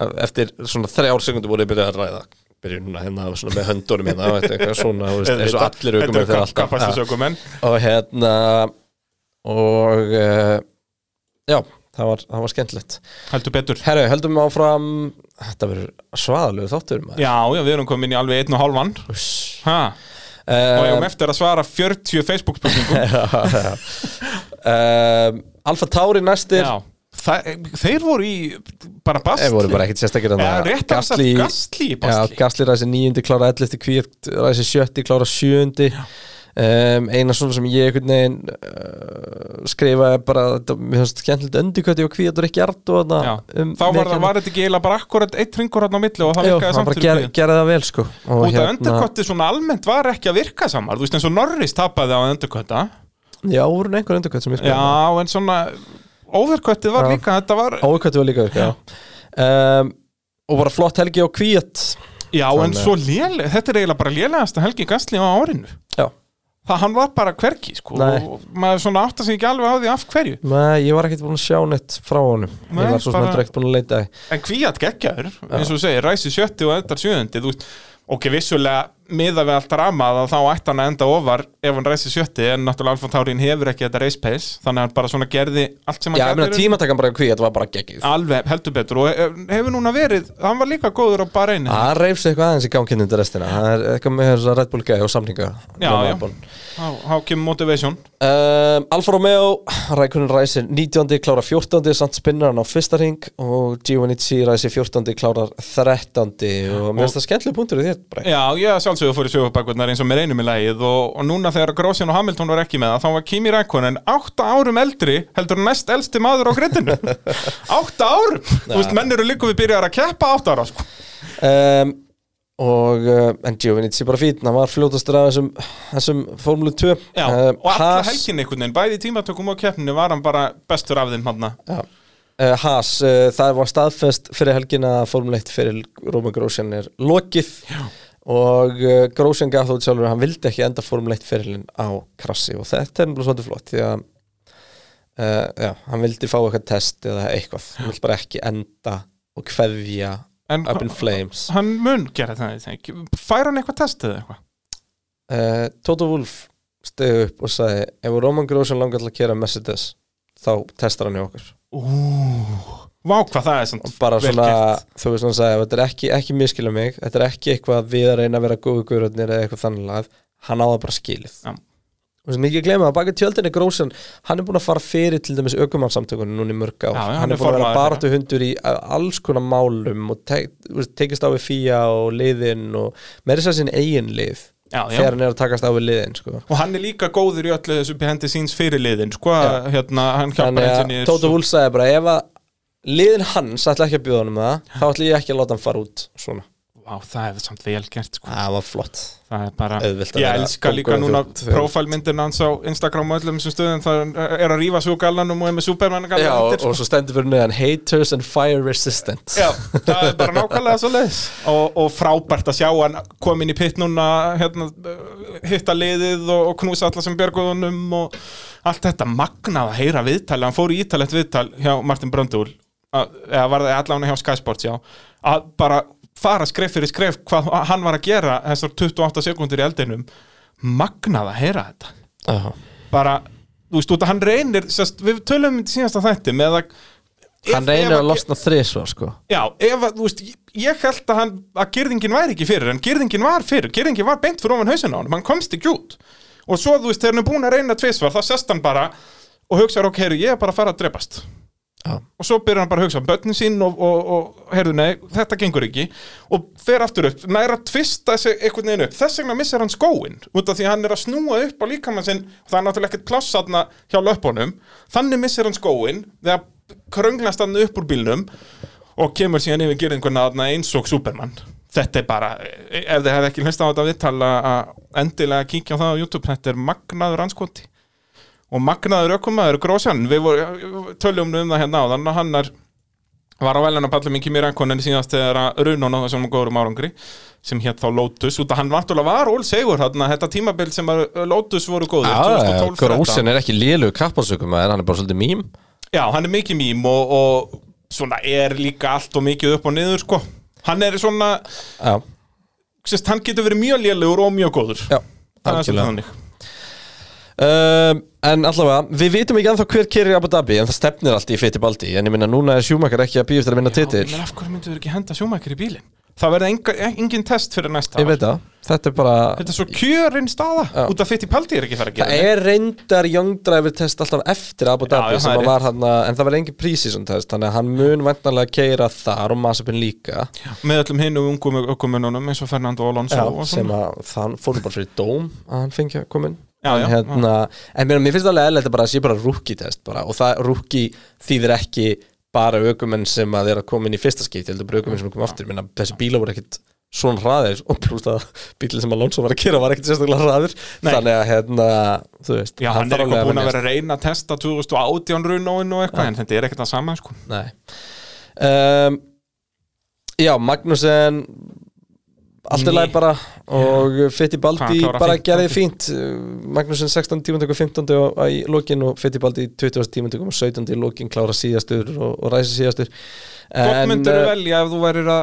Speaker 2: að- eftir svona þrjár sekundur voru ég byrjað að ræða byrjum núna hérna svona með höndunum hérna og eitthvað svona, þú veist, eins og allir aukum
Speaker 1: Þetta er kapastisaukumenn
Speaker 2: og hérna og uh, já, það var, það var skemmtilegt
Speaker 1: Heldur betur
Speaker 2: Herru, höldum við áfram Þetta verður svaðalegu þáttur maður
Speaker 1: Já, já, við erum komin í alveg einn og hálfan
Speaker 2: Uss.
Speaker 1: Ha, og ég
Speaker 2: um,
Speaker 1: um eftir að svara 40 Facebook-spurningum
Speaker 2: um, Alfa Tauri næstir
Speaker 1: Já, Þa, þeir voru í bara bastli
Speaker 2: Þeir voru bara ekkit sérstakir en
Speaker 1: Eða rétt að sagt gasli í
Speaker 2: Já,
Speaker 1: bastli
Speaker 2: Gasli ræsi níundi, klára 11. kvírt ræsi sjötti, klára sjöundi um, eina svona sem ég einhvern veginn uh, skrifaði bara, þetta, mér finnst skemmtilegt öndikvæti og kvírt og ekki art og
Speaker 1: Já.
Speaker 2: þarna um,
Speaker 1: Þá var, það,
Speaker 2: mikið-
Speaker 1: var þetta ekki eiginlega bara akkurat eitt ringur hann á milli og það
Speaker 2: Jú,
Speaker 1: virkaði
Speaker 2: hann
Speaker 1: samt
Speaker 2: bara
Speaker 1: fyrir
Speaker 2: ger,
Speaker 1: bíðin.
Speaker 2: gerði það vel sko og
Speaker 1: Út af endurkotti svona almennt var ekki að virka samar Þú veist eins og Norris tapaði á endurkotta
Speaker 2: já, voru einhver endikvæti sem ég
Speaker 1: Já,
Speaker 2: skrifaði
Speaker 1: en svona overkottið var
Speaker 2: Já.
Speaker 1: líka Þetta var,
Speaker 2: Ákvæmt var líka virka, já um, Og bara flott helgi og kvíat
Speaker 1: já en
Speaker 2: þannig.
Speaker 1: svo léleg Þetta er eiginlega bara lélegasta helgi gasli á árinu
Speaker 2: Já
Speaker 1: Það hann var bara hvergi sko
Speaker 2: Nei.
Speaker 1: og maður svona átta sig ekki alveg á því af hverju
Speaker 2: Nei, ég var ekkert búin að sjá neitt frá honum
Speaker 1: Nei,
Speaker 2: Ég var svo sem
Speaker 1: bara-
Speaker 2: heldur ekkert búin að leita í
Speaker 1: En kvíat geggjaður, eins og þú segir, ræsi sjötti og endar sjöðundi, þú veist, ok, vissulega miða við allt ramað að þá ætti hann að enda ofar ef hann reysi sjötti en náttúrulega Alfa Taurin hefur ekki þetta race pace þannig að hann bara svona gerði allt sem hann
Speaker 2: Já, ég meina
Speaker 1: gerði
Speaker 2: tímatakan bara hví, þetta var bara geggið
Speaker 1: alveg heldur betur og eh, hefur núna verið hann var líka góður á bara einu
Speaker 2: Það reyfs eitthvað aðeins í ganginni undir restina Það er eitthvað með þess að Red Bull gæði og samninga
Speaker 1: Já,
Speaker 2: Með
Speaker 1: já.
Speaker 2: Red Bull.
Speaker 1: Há, há kemur motivation
Speaker 2: Um, Alfa Romeo, Rækunin ræsir 19. klárar 14. samt spinnar hann á fyrsta ring og Giovanici ræsir 14. klárar 13. og mér finnst það skemmtileg punktur í þér Bragi.
Speaker 1: Já, ég sjálfsögur fór í sögubakvöldnar eins og mér einum í lagið og, og núna þegar Grósjan og Hamilton var ekki með það þá var Kimi Rækonen átta árum eldri heldur en næst eldsti maður á grittinu
Speaker 2: [LAUGHS]
Speaker 1: Átta árum! Þú veist, menn eru líka við byrjar að keppa átta ára sko.
Speaker 2: um, og uh, en Giovanici bara fín hann var fljótastur af þessum, þessum Formule 2
Speaker 1: Já,
Speaker 2: um,
Speaker 1: og alla helgin einhvern veginn, bæði í tímatökum og keppninu var hann bara bestur af þeim hann
Speaker 2: Uh, Haas, uh, það var staðfest fyrir helgina að Formule 1 fyrir Róma Grósjan er lokið Já. og uh, Grósjan gaf þótt sjálfur að hann vildi ekki enda Formule 1 fyrirlin á krassi og þetta er náttúrulega svolítið flott því að uh, já, hann vildi fá eitthvað test eða eitthvað, hann vildi bara ekki enda og kveðja
Speaker 1: En
Speaker 2: up in flames uh,
Speaker 1: hann mun gera það, ég þengi Fær hann eitthvað testið eða eitthvað?
Speaker 2: Eh, Toto Wolff stegu upp og sagði ef Róman Grósjan langar til að kera Mercedes þá testar hann í okkur
Speaker 1: Vá, hvað það er
Speaker 2: og
Speaker 1: samt
Speaker 2: bara
Speaker 1: vel
Speaker 2: svona,
Speaker 1: gert.
Speaker 2: þú veist hann sagði þetta er ekki, ekki miskila mig, þetta er ekki eitthvað að við að reyna að vera góðu guðröðnir eða eitthvað þannig lagað, hann á það bara skilið
Speaker 1: Já.
Speaker 2: og sem ekki að gleyma að baka tjöldinni grósan hann er búin að fara fyrir til dæmis aukumannsamtökunum núna í mörg
Speaker 1: Já,
Speaker 2: ár,
Speaker 1: já, hann
Speaker 2: hann
Speaker 1: er
Speaker 2: er búin að vera
Speaker 1: formaður
Speaker 2: baratu hundur í alls konar málum og te, þú veist, tekist á við fíja og liðin og meira sér sinn eigin lið
Speaker 1: Já, já.
Speaker 2: þegar hann er að takast á við liðin sko.
Speaker 1: Og hann er líka góður í öllu þessu behendi síns fyrirliðin sko, hérna, hann hjálpar
Speaker 2: þannig
Speaker 1: hensinni
Speaker 2: að Tóta Wúl sagði bara ef að liðin hans ætla ekki að bjóða hann um það þá ætla ég ekki að láta hann fara út svona,
Speaker 1: Vá, það er samt vel gert sko.
Speaker 2: það var flott
Speaker 1: Það er bara,
Speaker 2: Auðvelt að
Speaker 1: ég
Speaker 2: vera
Speaker 1: elska líka
Speaker 2: kóngurinn
Speaker 1: núna
Speaker 2: þjónn- þjónn.
Speaker 1: Profilmyndin hans á Instagram og öllum þessum stöðum Það er að rífa svo gallanum og er með sko. Superman
Speaker 2: Já,
Speaker 1: gallanum
Speaker 2: og svo stendur fyrir neðan Haters and fire resistant
Speaker 1: Já, það er bara nákvæmlega svo leiðis og, og frábært að sjá hann kom inn í pitt núna hérna, uh, hitta liðið og, og knúsa alla sem björguðunum og allt þetta magnað að heyra viðtali, hann fór í ítalett viðtal hjá Martin Bröndúl eða var það allan hjá Sky Sports já, að bara fara skref fyrir skref hvað hann var að gera þessar 28 sekundir í eldinum magnað að heyra þetta
Speaker 2: Já.
Speaker 1: bara, þú veist, út að hann reynir sérst, við tölum um þetta í síðasta þætti með að
Speaker 2: Hann
Speaker 1: Ef- ef
Speaker 2: reynir að losna þrisvar sko
Speaker 1: Já, ef að, þú veist, ég- ég held að hann að gyrðingin væri ekki fyrir, en gyrðingin var fyrir gyrðingin var beint fyrir ofan hausin á hann, hann komst ekki út og svo, þú veist, þegar hann er búin að reyna tvisvar, þá sest hann bara og hugsaður, ok, heyrðu, ég er bara að fara að drepast
Speaker 2: Já.
Speaker 1: og svo byrjar hann bara að hugsa um börnin sín og, og, og heyrðu, nei, þetta gengur ekki og fer aftur upp, næra tvista þessi einhvern veginn upp, þess vegna missar hann skóin út af því að hann er að snúa upp á líkamann sinn og það er náttúrulega ekkert pláss þarna hjá löpunum, þannig missar hann skóin þegar krönglast hann upp úr bílnum og kemur síðan yfir gerðinguna þarna eins og Superman þetta er bara, e, ef þið hefði ekki hlust á þetta viðtala að endilega kíkja á það á YouTube, þetta er magnaður anskoti og magnaður ökumaður Grósjan, við voru, töljum um það hérna á þannig að hann er var á veljarnapallum í Kimi Rækkonen síðast þegar að Runon á þessum góðurum árangri sem hétt þá Lotus, út að hann vantulega var ól segur þarna, þetta tímabild sem að Lotus voru góður, 2012 13.
Speaker 2: Grósin er ekki lélug kapparsökum að hann er bara svolítið mím
Speaker 1: Já, hann er mikið mím og, og svona er líka allt og mikið upp og niður sko. Hann er svona,
Speaker 2: Já,
Speaker 1: sérst, hann getur verið mjög lélegur og mjög góður.
Speaker 2: já,
Speaker 1: það er svolítið
Speaker 2: algjörlega
Speaker 1: þannig.
Speaker 2: um, En allavega, við vitum ekki anþá hver kerir í Abu Dhabi en það stefnir allt í Fittibaldi en ég minna núna er sjúmakar ekki að býja eftir að vinna
Speaker 1: Já,
Speaker 2: titil
Speaker 1: ég meina, af hverju myndu þau ekki henda sjómakir í bílinn? Það verði enga, e, engin test fyrir næsta
Speaker 2: Ég veit það, þetta er bara
Speaker 1: Þetta er svo kjörinn staða,
Speaker 2: Já.
Speaker 1: út af fyrt í paldi er ekki það að gera.
Speaker 2: Það er reyndar Young Driver test alltaf eftir Abu Dhabi
Speaker 1: já, það
Speaker 2: sem
Speaker 1: er
Speaker 2: að var hann en það var engin prísísum test þannig að hann mun vantanlega keira þar og Masapin líka
Speaker 1: Með öllum hinn og ungum ökumununum eins og Fernando Alonso
Speaker 2: já,
Speaker 1: og
Speaker 2: sem
Speaker 1: svona.
Speaker 2: að þann fór bara fyrir dóm að hann fengi að koma inn
Speaker 1: Já, já,
Speaker 2: en, hérna, en mér, mér finnst alveg eðlægt að bara sé bara rookie test bara, og það rookie þýðir ekki bara aukumenn sem að þeirra koma inn í fyrsta skipti heldur bara aukumenn sem kom aftur minna, þessi bíla voru ekkit svona hraðir og plúst að bílinn sem Alonso var að kera var ekkit sérstaklega hraðir
Speaker 1: Nei.
Speaker 2: þannig að hérna, þú veist
Speaker 1: Já, hann er
Speaker 2: þarf alveg
Speaker 1: eitthvað búin að
Speaker 2: venjast.
Speaker 1: vera að reyna að testa 2018 runóin og eitthvað, en þetta er ekkert það sama, sko.
Speaker 2: Nei um, Já, Magnussen Allt er
Speaker 1: Ný.
Speaker 2: læg bara og Fittibaldi
Speaker 1: Hvað, klára
Speaker 2: bara
Speaker 1: 15?
Speaker 2: gerði fínt Uh, Magnussen 16 tímantöku 15 og- og í lokin og Fittibaldi 20 tímantöku og 17 í lokin klára síðastur og, og ræsi síðastur
Speaker 1: Hvort myndur
Speaker 2: eh,
Speaker 1: velja ef þú værir að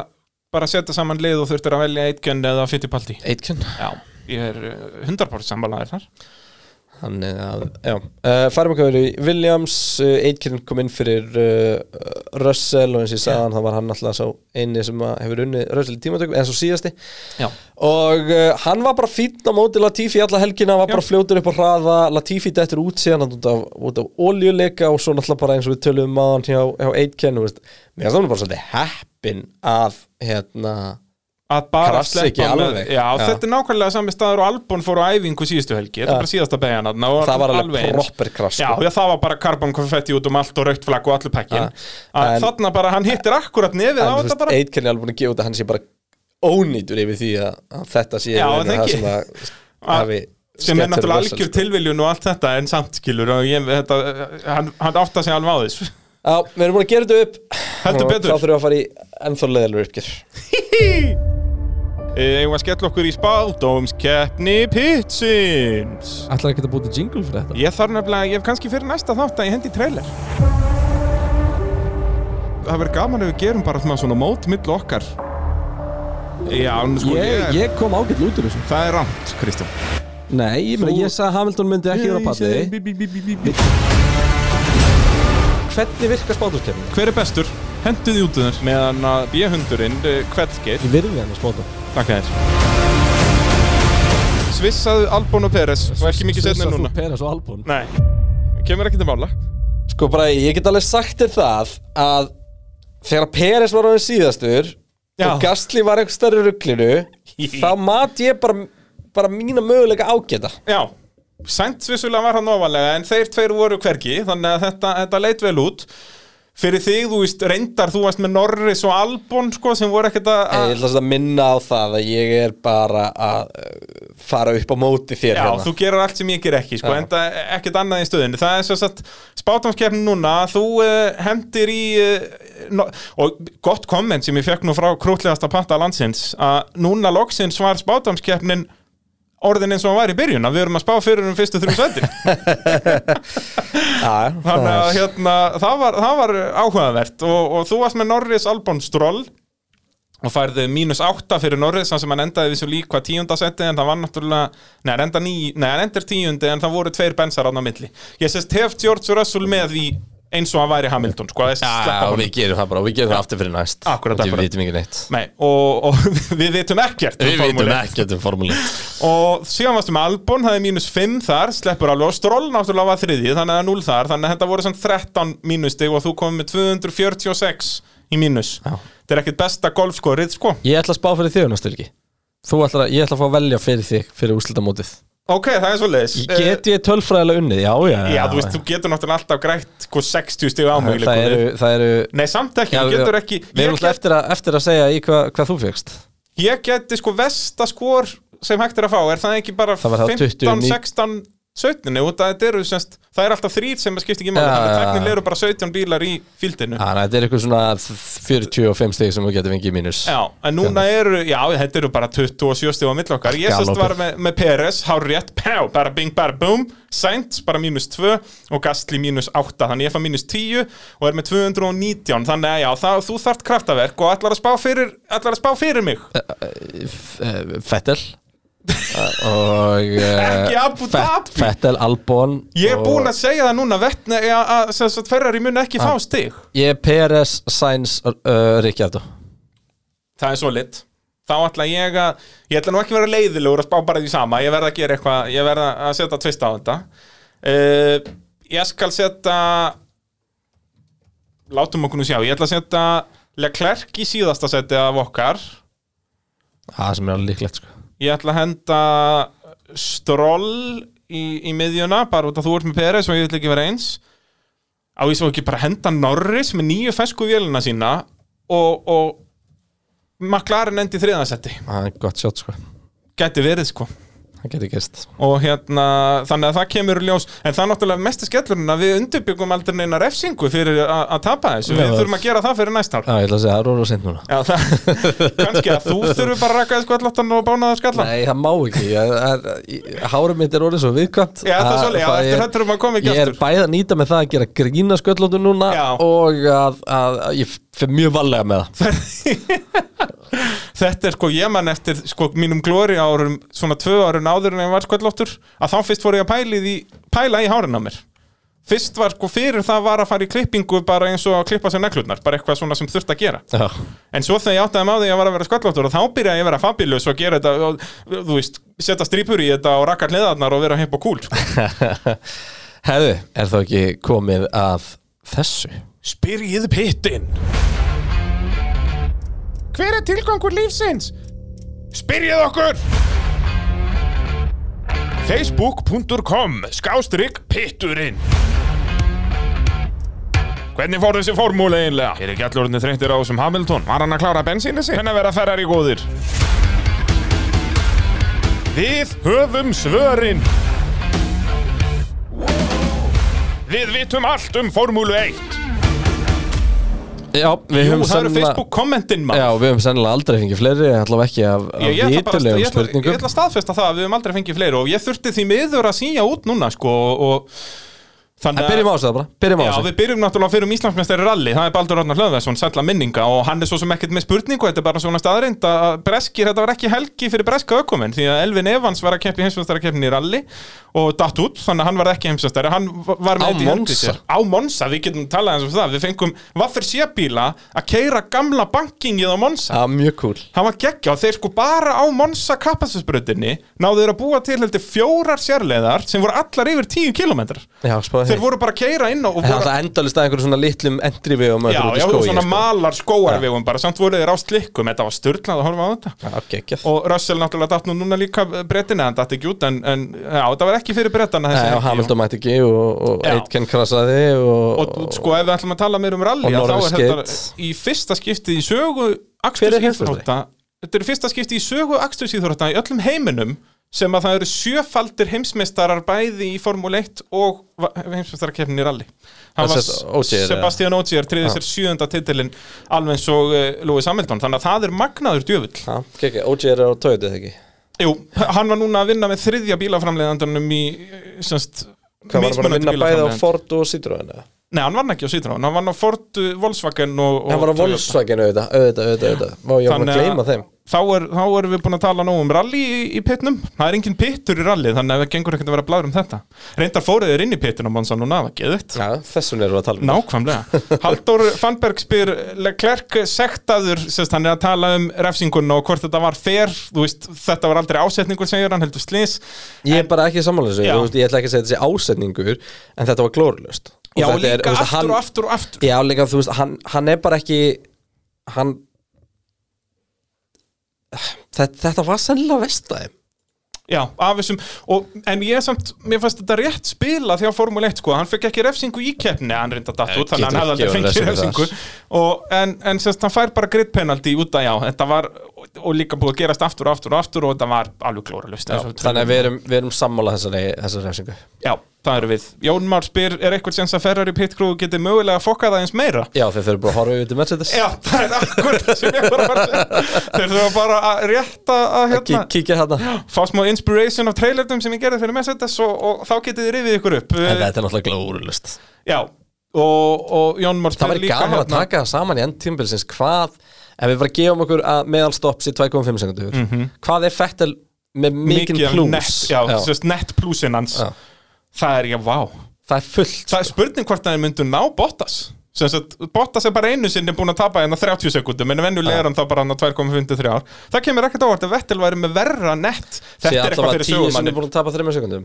Speaker 1: bara setja saman lið og þurftir að velja Eitken eða Fittipaldi
Speaker 2: Eitkenn
Speaker 1: Já, ég er eh, 100% sammálaðir þar
Speaker 2: Þannig að, já uh, Færum ekki verið í Williams uh, Eitkenn kom inn fyrir uh, Russell og eins og ég sagði hann, það var hann alltaf sá eini sem að hefur unnið Russell í tímatökum eða svo síðasti
Speaker 1: Já.
Speaker 2: og uh, hann var bara fínn á móti Latifi alla helgina, var bara fljótur upp á hraða Latifi dettur út síðan hann út af, út af oljuleika og svo náttúrulega bara eins og við töluðum að hann hjá, hjá Eitkenn þú veist. mér finnst hann bara svolítið heppin að hérna
Speaker 1: að bara
Speaker 2: Krassi ekki
Speaker 1: sleppa með,
Speaker 2: alveg.
Speaker 1: já,
Speaker 2: Já.
Speaker 1: þetta er nákvæmlega sami staður og Albon fór á æfingu síðustu helgi þetta er
Speaker 2: Já.
Speaker 1: bara síðasta begjan þarna og
Speaker 2: Það var alveg
Speaker 1: eins.
Speaker 2: proper krass,
Speaker 1: já,
Speaker 2: sko.
Speaker 1: já, það var bara karbon konfetti út um allt og raukt flagg og allur pekkin
Speaker 2: Já. En-
Speaker 1: þannig að bara hann hittir akkurat nefið á
Speaker 2: en þú
Speaker 1: þetta
Speaker 2: veist,
Speaker 1: bara
Speaker 2: Eitkenn er alveg búin að gefa út að hann sé bara ónýtur yfir því að, að þetta
Speaker 1: Já,
Speaker 2: sé í rauninni
Speaker 1: en
Speaker 2: það
Speaker 1: ekki.
Speaker 2: sem að
Speaker 1: [LAUGHS] Að-
Speaker 2: hafi
Speaker 1: sem er
Speaker 2: skemmt
Speaker 1: náttúrulega
Speaker 2: Russell,
Speaker 1: algjör
Speaker 2: sko.
Speaker 1: tilviljun og allt þetta en samt skilur og ég, þetta, hann, hann átta sig alveg á þess
Speaker 2: Já, við erum búin að gera þetta upp
Speaker 1: Heldur
Speaker 2: og
Speaker 1: betur.
Speaker 2: Þá þurfum við að fara í ennþá leðalur uppgjör
Speaker 1: ég var að skella okkur í spáldómskeppni Pitsins
Speaker 11: Ætlar ekki að búti jingle fyrir þetta?
Speaker 1: Ég þarf nefnilega, ég hef kannski fyrir næsta þátt að ég hendi í trailer Það verður gaman ef við gerum bara svona- svona mót millu okkar Já, nú sko
Speaker 11: Ég,
Speaker 1: er-
Speaker 11: ég kom ágætt út úr þessu
Speaker 1: Það er rámt, Kristján
Speaker 11: Nei, ég, meina, ég sagði að Hamilton myndi ekki vera á palli
Speaker 2: Hvernig virkar spátumskefni?
Speaker 1: Hver er bestur? Hentu því út um þér Meðan að bíahundurinn, kveldgeir
Speaker 11: Ég virði hann að spáta
Speaker 1: Takk að þér Svissaðu Albon og Peres Og ekki mikið setna en núna
Speaker 11: Þú Peres og Albon
Speaker 1: Nei Kemur ekki til mála
Speaker 2: Sko bara, ég get alveg sagt þér það að þegar Peres var á þeim síðastur
Speaker 1: Já.
Speaker 2: og Gastli var einhver stærri rugglinu þá mat ég bara, bara mína möguleika ágæta
Speaker 1: Já Sainz vissulega var hann ofalega en þeir tveir voru hvergi þannig að þetta, þetta leit vel út fyrir þig, þú veist, reyndar þú varst með Norris og Albon sko sem voru ekkert að
Speaker 2: Ég ætla að minna á það að ég er bara að uh, fara upp á móti þér
Speaker 1: Já,
Speaker 2: hérna
Speaker 1: þú gerir allt sem ég ger ekki sko,
Speaker 2: Já.
Speaker 1: enda ekkert annað í stöðinu það er svo satt spátumskeppni núna þú uh, hendir í uh, no, og gott komment sem ég fekk nú frá krútlegasta patta landsins að núna loksins var spátumskeppnin orðin eins og hann var í byrjun að við erum að spá fyrir um fyrstu þrjum sætin
Speaker 2: Já,
Speaker 1: Þannig að
Speaker 2: það er-
Speaker 1: hérna, það var, það var áhugavert og, og þú varst með Norris Albon Stroll og færði mínus átta fyrir Norris þannig sem hann endaði við svo líka tíundasetti en það var náttúrulega, nei hann enda ní, nei hann endar tíundi en það voru tveir bensar án á milli ég sést hef George Russell með í eins og hann væri Hamilton sko, að þessi
Speaker 2: Já,
Speaker 1: sleppa
Speaker 2: og
Speaker 1: honum.
Speaker 2: við gerum það bara og við gerum það aftur fyrir næst
Speaker 1: Akkúrat, akkúrat.
Speaker 2: Því Við vitum ekki neitt
Speaker 1: Nei, og, [LAUGHS] og við vitum ekkert um
Speaker 2: Við vitum
Speaker 1: formúlu.
Speaker 2: ekkert um formúli
Speaker 1: og síðan varstu með Albon, það er mínus 5 þar sleppur alveg og Stroll náttúrulega var þriði þannig að 0 þar, þannig að þetta voru svona 13 mínustig og þú komið með 246 í mínus, þetta er ekkert besta golfskorið sko,
Speaker 11: Ég ætla að spá fyrir þig næstu ekki Þú ætlar að, ég ætla að fá að velja fyrir þig fyrir úrslitamótið
Speaker 1: ok, það er svo leiðis
Speaker 11: Get ég tölfræðilega unnið? Já, já,
Speaker 1: Eh, já, þú veist, þú getur náttúrulega alltaf grætt sko 60 stig ámöguleikum
Speaker 11: Það eru, það eru
Speaker 1: nei, samt ekki,
Speaker 11: Já,
Speaker 1: þú
Speaker 11: já.
Speaker 1: getur ekki
Speaker 11: Við erum
Speaker 1: ég,
Speaker 11: alltaf
Speaker 1: get,
Speaker 11: eftir, að- eftir að segja í hvað hva þú fegst
Speaker 1: ég geti sko vesta skor sem hægt er að fá, er það ekki bara
Speaker 11: Það var þá
Speaker 1: 15,
Speaker 11: 29.
Speaker 1: 16 17, út að þetta eru semst, það er alltaf þrýr sem skiptir ekki máli,
Speaker 11: Já,
Speaker 1: þannig að
Speaker 11: já, já.
Speaker 1: teknilega eru bara 17 bílar í fíldinu
Speaker 11: Þannig að Ah, þetta er eitthvað svona 45 stig sem þú getur fengið í mínus
Speaker 1: Já, en núna eru, já, þetta eru bara 27 stíð á mill okkar Ég sérst
Speaker 11: Gallopur.
Speaker 1: var með, með Peres, hár rétt, pjá, bara bing, bara boom Sainz bara mínus 2 og Gastli mínus 8 Þannig ég fæ mínus 10 og er með 219 Þannig að já, það, þú þart kraftaverk og ætlar að spá fyrir, ætlar að spá fyrir mig
Speaker 11: Eh,
Speaker 1: [LAUGHS]
Speaker 11: Fettel og eh,
Speaker 1: Ekki Abu
Speaker 11: Fett-
Speaker 1: Dhabi.
Speaker 11: Fettel, Albon
Speaker 1: Ég er
Speaker 2: Eh,
Speaker 11: og-
Speaker 1: búinn að segja það núna vetna, að, að, sem sagt, Ferrari mun ekki fá stig
Speaker 11: Ég er PRS, Sainz, uh, Ríkjardó
Speaker 1: Það er svo lit Þá ætla ég að, ég ætla nú ekki að vera leiðilegur að spá bara því sama Ég verð að gera eitthvað, ég verð að setja tvist á þetta uh, Ég skal setja Látum okkur nú sjá, ég ætla að setja Leclerc í síðasta seti af okkar
Speaker 11: Það sem er alveg líklegt sko
Speaker 1: Ég ætla að henda Stroll í, í miðjuna Bara út að þú ert með Peres og ég ætla ekki að vera eins Á ég svo ekki bara að henda Norris með nýju fesku vélina sína Og, og McLaren endi í þriðansetti
Speaker 11: Það er gott sjátt sko
Speaker 1: gæti verið sko
Speaker 11: Það getur gæst
Speaker 1: og hérna, þannig að það kemur í ljós en það er náttúrulega mesti skellurinn að við undirbyggum aldrei neina refsingu fyrir a- að tapa þessu, við
Speaker 11: Nei,
Speaker 1: þurfum að gera það fyrir næst ár
Speaker 11: Já, ég ætla að segja, það er orða seint núna
Speaker 1: Já, það, [LAUGHS] kannski að þú þurfum bara að raka þessu allattan og bána það sko, skallan
Speaker 11: Nei, það má ekki ég, það er- ég, Hárum mitt er orðið svo viðkvæmt
Speaker 1: Já, það er svolítið, já,
Speaker 11: það
Speaker 1: eftir
Speaker 11: er-
Speaker 1: þetta erum að koma ekki
Speaker 11: Ég er
Speaker 1: aftur.
Speaker 11: bæð að nýta með það að gera grína sköllóttu núna
Speaker 1: Já.
Speaker 11: og að, að, að ég fyrir mjög valega með það
Speaker 1: [LAUGHS] þetta er sko ég mann eftir sko mínum glóri árum svona tvö árun áður en ég var sköllóttur að þá fyrst fór ég að pæla í því, pæla í hárin á mér fyrst var sko fyrir það var að fara í klippingu bara eins og að klippa sér neglurnar bara eitthvað svona sem þurft að gera
Speaker 2: Já.
Speaker 1: en svo þegar ég áttaði með á því að ég var að vera sköllóttur og þá byrjaði ég að vera fabilus og gera þetta og, þú veist, setja strípur í þetta og rakka hliðarnar og vera hipp og kúl sko.
Speaker 2: Herðu, er þá ekki komið að þessu?
Speaker 1: Spyrjið pittin Hver er tilgangur lífsins? Spyrjið okkur Facebook.com Skástrygg pitturinn Hvernig fór þessi formúli einlega? Er ekki allurðinni þreyttir á þessum Hamilton? Var hann að klára bensínu sig? Hvernig verða Ferrari góðir? Við höfum svörin Við vitum allt um formúlu 1
Speaker 2: Já, við
Speaker 1: Jú, það
Speaker 2: höfum
Speaker 1: eru
Speaker 2: sennilega-
Speaker 1: Facebook kommentin
Speaker 2: Já,
Speaker 1: maður
Speaker 2: við höfum sennilega aldrei fengið fleiri, allavega ekki af, af
Speaker 1: Ég, ég, ætla bara, ég,
Speaker 2: vitulegum
Speaker 1: ætla, ég
Speaker 2: spurningum
Speaker 1: ætla að staðfesta það að við höfum aldrei fengið fleiri og ég þurfti því miður að síja út núna sko, og, og
Speaker 2: En
Speaker 1: þannig
Speaker 2: byrjum á þessu það bara, byrjum á
Speaker 1: Já,
Speaker 2: þessu
Speaker 1: við byrjum náttúrulega fyrir um Íslandsmeistari rally Það er Baldur Ragnar Hlöðvesson, sætla minninga og hann er svo sem ekkert með spurningu, þetta er bara svona staðreind að breskir, þetta var ekki helgi fyrir breska ökumenn því að Elvin Evans var að keppi heimsmeistarakeppni í rally og datt út, þannig að hann var ekki heimsmeistari hann var
Speaker 2: Á
Speaker 1: með þetta í hendi
Speaker 2: Monza.
Speaker 1: sér Á Monsa, við getum talað eins og það Við fengum vaffir sébíla að keira gamla bankingið á Monsa
Speaker 2: Já, mjög cool
Speaker 1: hann var geggja og þeir sko bara á Monsa kapasinsbröðinni náðu þeir að búa til heldur fjórar sérleðar sem voru allar yfir 10 kilometrar
Speaker 2: Já, spáði
Speaker 1: þeir voru bara að keira inn á og
Speaker 2: Það er
Speaker 1: voru
Speaker 2: alltaf endalist að einhverju svona litlum entri við og
Speaker 1: Já,
Speaker 2: maður
Speaker 1: já, svona
Speaker 2: sko.
Speaker 1: malar skóarvegum bara, samt voru þeir á slikkum, þetta var störlað að horfa á þetta
Speaker 2: Já, geggjað
Speaker 1: og Russell náttúrulega datt nú núna líka brettina en datt ekki út, en, en já, þetta var ekki fyrir brettana
Speaker 2: Nei,
Speaker 1: þessi
Speaker 2: og
Speaker 1: helgi,
Speaker 2: Hamilton mætti ekki og, og
Speaker 1: Já.
Speaker 2: Aitken krasaði og,
Speaker 1: og, og sko, ef við ætlum að tala meir um rally
Speaker 2: Og
Speaker 1: að þá
Speaker 2: Norris
Speaker 1: er þetta
Speaker 2: Gate.
Speaker 1: í fyrsta skipti í sögu
Speaker 2: Hver er heimsmeistari?
Speaker 1: akstursíþrótta þetta er í fyrsta skipti í sögu akstursíþrótta í öllum heiminum sem að það eru sjöfaldir heimsmeistarar bæði í Formule 1 og heimsmeistararkeppnin í rally það
Speaker 2: Það
Speaker 1: var
Speaker 2: sést Ogier, eða?
Speaker 1: Sebastian Ogier triði sér sjöunda titilinn alveg eins og uh, Lewis Hamilton þannig að það er magnaður djöfull
Speaker 2: Já, geggjað, OJ er á Toyota eða ekki
Speaker 1: Jú, hann var núna að vinna með þriðja bílaframleiðandunum í eh, semst
Speaker 2: Hvað var hann búinn að
Speaker 1: mismunandi
Speaker 2: vinna bæði á
Speaker 1: bílaframleiðendum.
Speaker 2: Ford og Citroen eða?
Speaker 1: Nei, hann var ekki á Citroen, hann var á Ford, uh, Volkswagen og, og
Speaker 2: Hann var á
Speaker 1: Toyota.
Speaker 2: Volkswagen auðvitað, auðvitað, auðvitað, auðvitað. Má ég var búinn að gleyma þeim
Speaker 1: þá, er, þá erum við búin að tala nóg um rally í, í pitnum Það er engin pittur í rally þannig að það gengur ekkert að vera blæður um þetta Reyndar fóruð þeir inn í pittin á Monsa núna, það var geðvitt
Speaker 2: Já, þessum erum við að tala um [LAUGHS]
Speaker 1: Nákvæmlega Halldór Fannberg spyr Leclerc sektaður, sérst hann er að tala um refsinguna og hvort þetta var fair Þú veist, þetta var aldrei ásetningur segir hann heldur slís
Speaker 2: Ég er bara ekki sammála þessu,
Speaker 1: Já.
Speaker 2: þú veist, ég ætla ekki að segja þessi ásetningur En þetta var glórlust
Speaker 1: Já, og líka aftur og aftur og aftur
Speaker 2: Já, líka, þú veist, hann, hann er bara ekki Hann Þetta, þetta var sennilega vestæði
Speaker 1: Já, af þessum og, En ég samt, mér fannst þetta rétt spila því á Formule 1 sko, hann fekk ekki refsingu í keppni hann reynda datt
Speaker 2: Nei,
Speaker 1: út, þannig að hann
Speaker 2: getur
Speaker 1: hafði
Speaker 2: ekki
Speaker 1: aldrei
Speaker 2: gefið
Speaker 1: fengið
Speaker 2: refsingu
Speaker 1: refsingu og, en, en sérst, hann fær bara grid penalty út að já, þetta var og, og líka búið að gerast aftur og aftur og aftur og þetta var alveg glóralust
Speaker 2: Þannig að við erum, við erum sammála þessari, þessari refsingu
Speaker 1: Já, það eru við Jón Már spyr, er eitthvað sem að Ferrari pit crew geti mögulega að fokka það eins meira?
Speaker 2: Já, þeir þurfum bara að horfa yfir til Mercedes
Speaker 1: Já, það er akkurat sem ég var að fara að segja Þeir þurfa bara að rétta að
Speaker 2: Kí,
Speaker 1: hérna
Speaker 2: Kíkja þarna
Speaker 1: fá smá inspiration af trailernum sem ég gerði fyrir Mercedes og, og þá getið þið rifið ykkur upp Eh,
Speaker 2: En þetta er náttúrulega glórlust
Speaker 1: Já, og, og Jón Már
Speaker 2: Það væri gaman
Speaker 1: hérna.
Speaker 2: að taka það saman í endtímbilsins hvað, ef við bara gefum okkur að meðalstopps í 2,5 sekundur hvað er Fettel með mikinn plús
Speaker 1: Mhm. um net, já, já. Sérst, net plusinn hans
Speaker 2: Já.
Speaker 1: það er, já, vá
Speaker 2: það er fullt
Speaker 1: það er spurning hvort að þeir myndu ná Bottas sem sagt, Bottas er bara einu sinni búin að tapa hérna 30 sekundum, en venjulega er hann þá bara hann á 2,53 ár, það kemur ekkert ávart að Vettel væri með verra nett þetta
Speaker 2: Sér
Speaker 1: er
Speaker 2: alltaf
Speaker 1: eitthvað
Speaker 2: að
Speaker 1: fyrir
Speaker 2: tíu sem er
Speaker 1: sögumannin
Speaker 2: búin að tapa 3 sekundum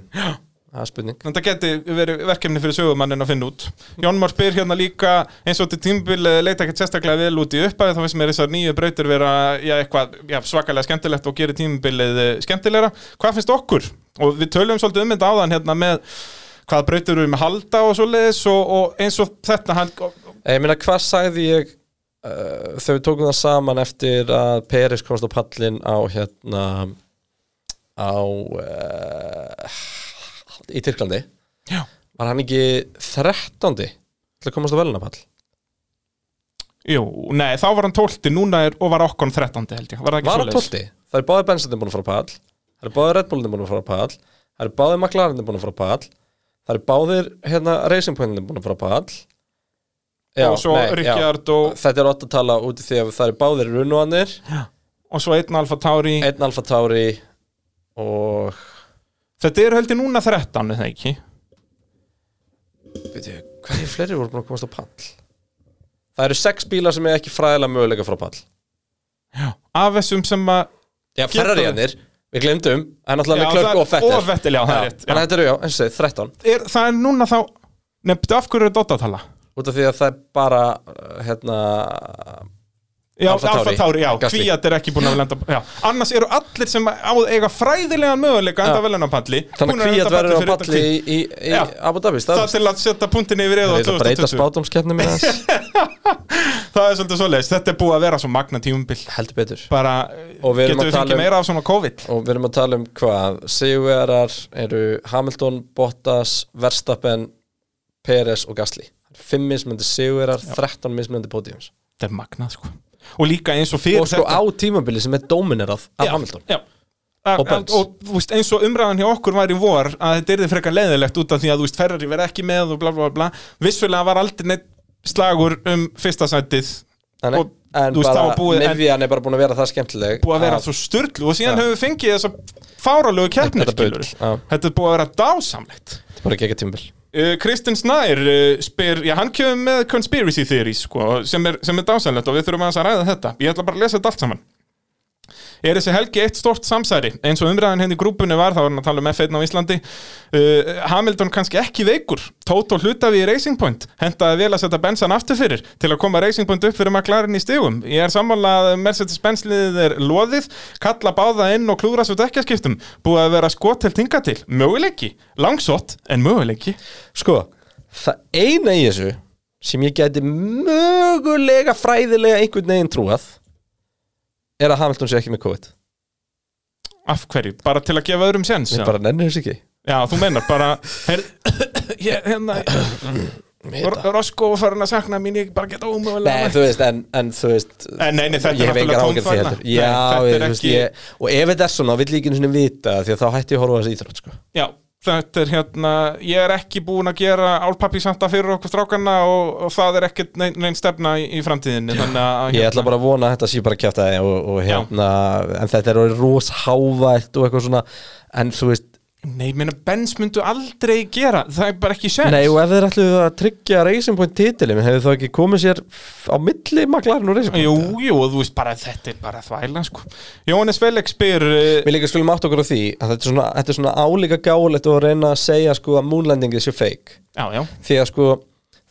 Speaker 2: það er spurning
Speaker 1: þetta geti verið verkefni fyrir sögumannin að finna út Jón Már spyr hérna líka eins og til tímbil eh, leita ekkert sérstaklega vel út í uppæði þá finnst mér þessar nýju brautir vera já, eitthvað já, svakalega skemmtilegt og gerir tímbilið eh, skemmtilegra hvað finnst okkur? og við tölum svolítið um þetta áðan hérna með hvað brautir við erum að halda og svoleiðis og, og eins og þetta hann,
Speaker 2: ég meina hvað sagði ég uh, þegar við tókum það saman eftir að Peris komst á pallin á hérna á uh, í Tyrklandi
Speaker 1: Já.
Speaker 2: var hann ekki 13. til að komast á velunapall
Speaker 1: jú, nei, þá var hann 12 núna er, og var okkon 13 held ég var það ekki
Speaker 2: Var hann
Speaker 1: svoleiðis?
Speaker 2: 12? Það er báði Benzinni búin að fara á pall Það er báði Red Bullinni búin að fara á pall Það er báði McLareninni búin að fara á pall Það er báðir hérna Racing Pointinni búin að fara á pall Já,
Speaker 1: og svo
Speaker 2: nei,
Speaker 1: Ricciardo
Speaker 2: já. Þetta er ótt að tala út í því að það er báðir runuanir
Speaker 1: og svo einn Alfa Tauri
Speaker 2: Einn Alfa Tauri Og
Speaker 1: Þetta er heldur núna 13, er það ekki?
Speaker 2: Veitu, hverju fleiri voru búin að komast á pall? Það eru sex bílar sem er ekki fræðilega möguleika frá pall
Speaker 1: Af þessum sem að
Speaker 2: Já,
Speaker 1: Geta
Speaker 2: ferrariðanir, við glemdum En
Speaker 1: Já,
Speaker 2: náttúrulega með klörk
Speaker 1: það-
Speaker 2: og fettir
Speaker 1: og Vettel, já, það er rétt, já.
Speaker 2: Þannig að þetta eru, já, eins og segið, 13
Speaker 1: er, Það er núna þá Nei, betur af hverju er Dota að tala?
Speaker 2: Út af því að það er bara, uh, hérna
Speaker 1: Já,
Speaker 2: Alfa Tauri.
Speaker 1: Alfa Tauri, já,
Speaker 2: Gasly.
Speaker 1: Kvíat er ekki búin að lenda já. Annars eru allir sem á eiga fræðilegan möguleika enda
Speaker 2: Já.
Speaker 1: vel en á palli
Speaker 2: Þannig
Speaker 1: búnir
Speaker 2: að
Speaker 1: að
Speaker 2: kvíat
Speaker 1: lenda
Speaker 2: verður á
Speaker 1: fyrir
Speaker 2: palli
Speaker 1: utan
Speaker 2: í,
Speaker 1: Kví-
Speaker 2: í, í
Speaker 1: Já.
Speaker 2: Abu Dhabi
Speaker 1: Það
Speaker 2: staðfest.
Speaker 1: til að setja puntin yfir eða
Speaker 2: Það
Speaker 1: á
Speaker 2: er að breyta
Speaker 1: 2020
Speaker 2: spátumskeppnum með þess
Speaker 1: [LAUGHS] Það er svolítið svoleiðis, þetta er búið að vera svo magna tímumbil
Speaker 2: Heldur betur
Speaker 1: Bara, getum
Speaker 2: Og við
Speaker 1: við
Speaker 2: erum að
Speaker 1: fengið
Speaker 2: tala um-
Speaker 1: meira af svona COVID
Speaker 2: Og við erum að tala um hvað Sigurvegarar eru Hamilton, Bottas, Verstappen Peres og Gasly Fimm mismöndi Sigurvegarar, 13 mismöndi podiums
Speaker 1: Þetta er magna, sko Og líka eins og fyrir
Speaker 2: Og sko á tímabili sem er dóminerað af Hamilton
Speaker 1: já. Að,
Speaker 2: Og Benz.
Speaker 1: að, og þú veist, eins og umræðan hjá okkur var í vor að þetta yrði frekar leiðilegt út af því að þú veist Ferrari verið ekki með og bla bla bla vissulega var aldrei neitt slagur um fyrsta sætið
Speaker 2: En,
Speaker 1: og
Speaker 2: en
Speaker 1: þú veist, það
Speaker 2: bara,
Speaker 1: var búið- en-
Speaker 2: miðjan er bara búin að vera það skemmtileg
Speaker 1: búið að vera svo styrlu og síðan
Speaker 2: Já.
Speaker 1: höfum við fengið þessa fáralögu keppnir
Speaker 2: Þetta bull,
Speaker 1: skilurðu.
Speaker 2: já.
Speaker 1: þetta er búið að vera dásamlegt
Speaker 2: Þetta er bara ekki ekki tímabil
Speaker 1: uh, Kristinn Snær uh, spyr já, hann kemur með conspiracy theories sko, sem, er, sem er dásamlegt og við þurfum aðeins að ræða þetta ég ætla bara að lesa þetta allt saman Er þessi helgi eitt stort samsæri? Eins og umræðan henni í grúpunni var, þá var hann að tala um F1 á Íslandi. Uh, Hamilton kannski ekki veikur. Tóto hlutafi í Racing Point. Hentaði vel að setja bensan aftur fyrir til að koma Racing Point upp fyrir McLaren í stigum. Ég er sammála að Mercedes-Benz liðið er loðið. Kalla báða inn og klúra svo dekkjaskiptum. Búið að vera skot til tinga til. Möguleiki. Langsótt, en möguleiki.
Speaker 2: Sko, það eina í þessu sem ég gæti mögulega fræðilega einhvern veginn trúað er að Hamilton sé ekki með COVID
Speaker 1: Af hverju? Bara til að gefa öðrum sens?
Speaker 2: Ég
Speaker 1: eða?
Speaker 2: bara nennir þessu ekki
Speaker 1: Já, þú meinar bara
Speaker 2: [COUGHS]
Speaker 1: her, ég, hérna, [COUGHS]
Speaker 2: Hita.
Speaker 1: Rosko farin að sakna mín, ég bara geta ómögulega
Speaker 2: Nei, þú veist, en, en þú veist
Speaker 1: En nei, nei, þetta er
Speaker 2: ég hef
Speaker 1: náttúrulega
Speaker 2: engar áhyggjur af því
Speaker 1: tómfæðna.
Speaker 2: heldur.
Speaker 1: Nei,
Speaker 2: Já,
Speaker 1: þetta
Speaker 2: ég,
Speaker 1: er
Speaker 2: þú veist,
Speaker 1: ekki-
Speaker 2: ég, og ef þetta er svona, vill ég ekki einu sinni vita því að þá hætti ég að horfa á þessi íþrótt sko.
Speaker 1: Já, þetta er hérna ég er ekki búin að gera álpappi santa fyrir okkur strákanna og, og það er ekkert neinn nein stefna í, í framtíðinni þannig að hérna-
Speaker 2: Ég ætla bara að vona að þetta sé bara að kjæfta og, og hérna, en þetta er orðið roshávætt og eitthvað svona en þú veist,
Speaker 1: Nei, ég meina, Benz myndu aldrei gera það er bara ekki sens
Speaker 2: nei og ef þeir ætluðu að tryggja Racing Point titilin, hefur það ekki komið sér á milli maklarinn og Racing Point
Speaker 1: Jú, jú, og þú veist bara, þetta er bara þvæla sko. Jóhannes Felix spyr uh,
Speaker 2: Við líka skulum átt okkur á því að þetta er svona, þetta er svona álíka gáulegt og reyna að segja sko að moonlandingið séu fake
Speaker 1: Já, já,
Speaker 2: því að sko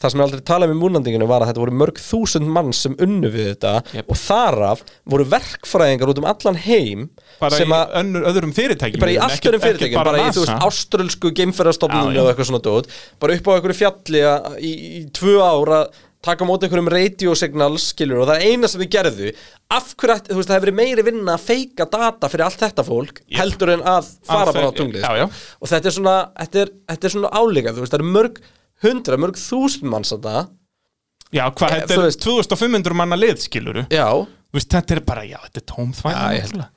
Speaker 2: það sem ég aldrei talaði með múnlandinginu var að þetta voru mörg þúsund mann sem unnu við þetta
Speaker 1: Jep.
Speaker 2: og þaraf voru verkfræðingar út um allan heim
Speaker 1: bara
Speaker 2: sem
Speaker 1: í
Speaker 2: að
Speaker 1: önnur, öðrum fyrirtækjum
Speaker 2: bara í
Speaker 1: Ekki-
Speaker 2: allt öðrum
Speaker 1: ekki
Speaker 2: fyrirtækjum, bara, í þú veist
Speaker 1: NASA.
Speaker 2: áströlsku
Speaker 1: Já,
Speaker 2: geimferðarstofnunum
Speaker 1: já.
Speaker 2: og eitthvað svona dót bara upp á einhverju fjalli að, í, í tvö ár að taka á móti einhverjum radiosignals skilur og það er eina sem þið gerðu af hverju, ætti- þú veist, það hefur verið meiri vinna að feika data fyrir allt þetta fólk heldur en að fara
Speaker 1: Að
Speaker 2: bara á
Speaker 1: fe-
Speaker 2: tunglið sko.
Speaker 1: já, já.
Speaker 2: og þetta er svona, þetta er, þetta er svona áleika þú veist, það eru mörg hundra, mörg þúsund manns að það,
Speaker 1: Já, hvað,
Speaker 2: Eh,
Speaker 1: þetta
Speaker 2: þú
Speaker 1: er
Speaker 2: veist-
Speaker 1: 2500 manna lið, skiluru
Speaker 2: já
Speaker 1: Þú veist, þetta er bara, já, þetta er tóm
Speaker 2: Já, ég held
Speaker 1: þvægna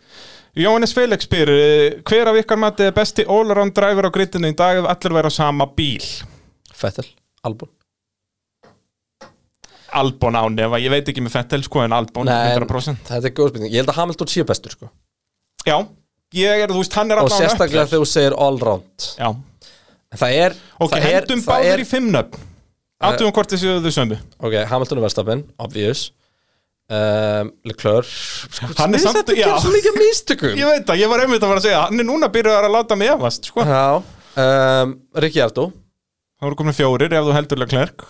Speaker 1: Jóhannes Felix spyr eh, Hver af ykkar matið er besti all-around driver á grittinu í dag ef allir væri á sama bíl?
Speaker 2: Fettel, Albon
Speaker 1: Albon án efa, ég veit ekki með Fettel sko en Albon,
Speaker 2: Nei, en
Speaker 1: 100%
Speaker 2: þetta er góð spurning, ég held að Hamilton sé bestur sko.
Speaker 1: Já, ég er, þú veist, hann er
Speaker 2: og
Speaker 1: allan upp
Speaker 2: sérstaklega þegar þú segir all round
Speaker 1: Já,
Speaker 2: En Það er
Speaker 1: ok,
Speaker 2: það er,
Speaker 1: hendum
Speaker 2: það
Speaker 1: báðir
Speaker 2: er,
Speaker 1: í fimmnöfn Atum hvort þessi þau sömu
Speaker 2: Ok, Hamilton og Verstappen, obvious um, Leclerc sko,
Speaker 1: Hann er
Speaker 2: við
Speaker 1: samt-
Speaker 2: þetta
Speaker 1: já.
Speaker 2: gerir svo mikið af mistökum
Speaker 1: Ég veit það, ég var einmitt að fara að segja Hann er núna byrjuðar að láta mig efast, sko
Speaker 2: Já um, Ricciardo
Speaker 1: Það voru komin fjórir ef þú heldurlega klerk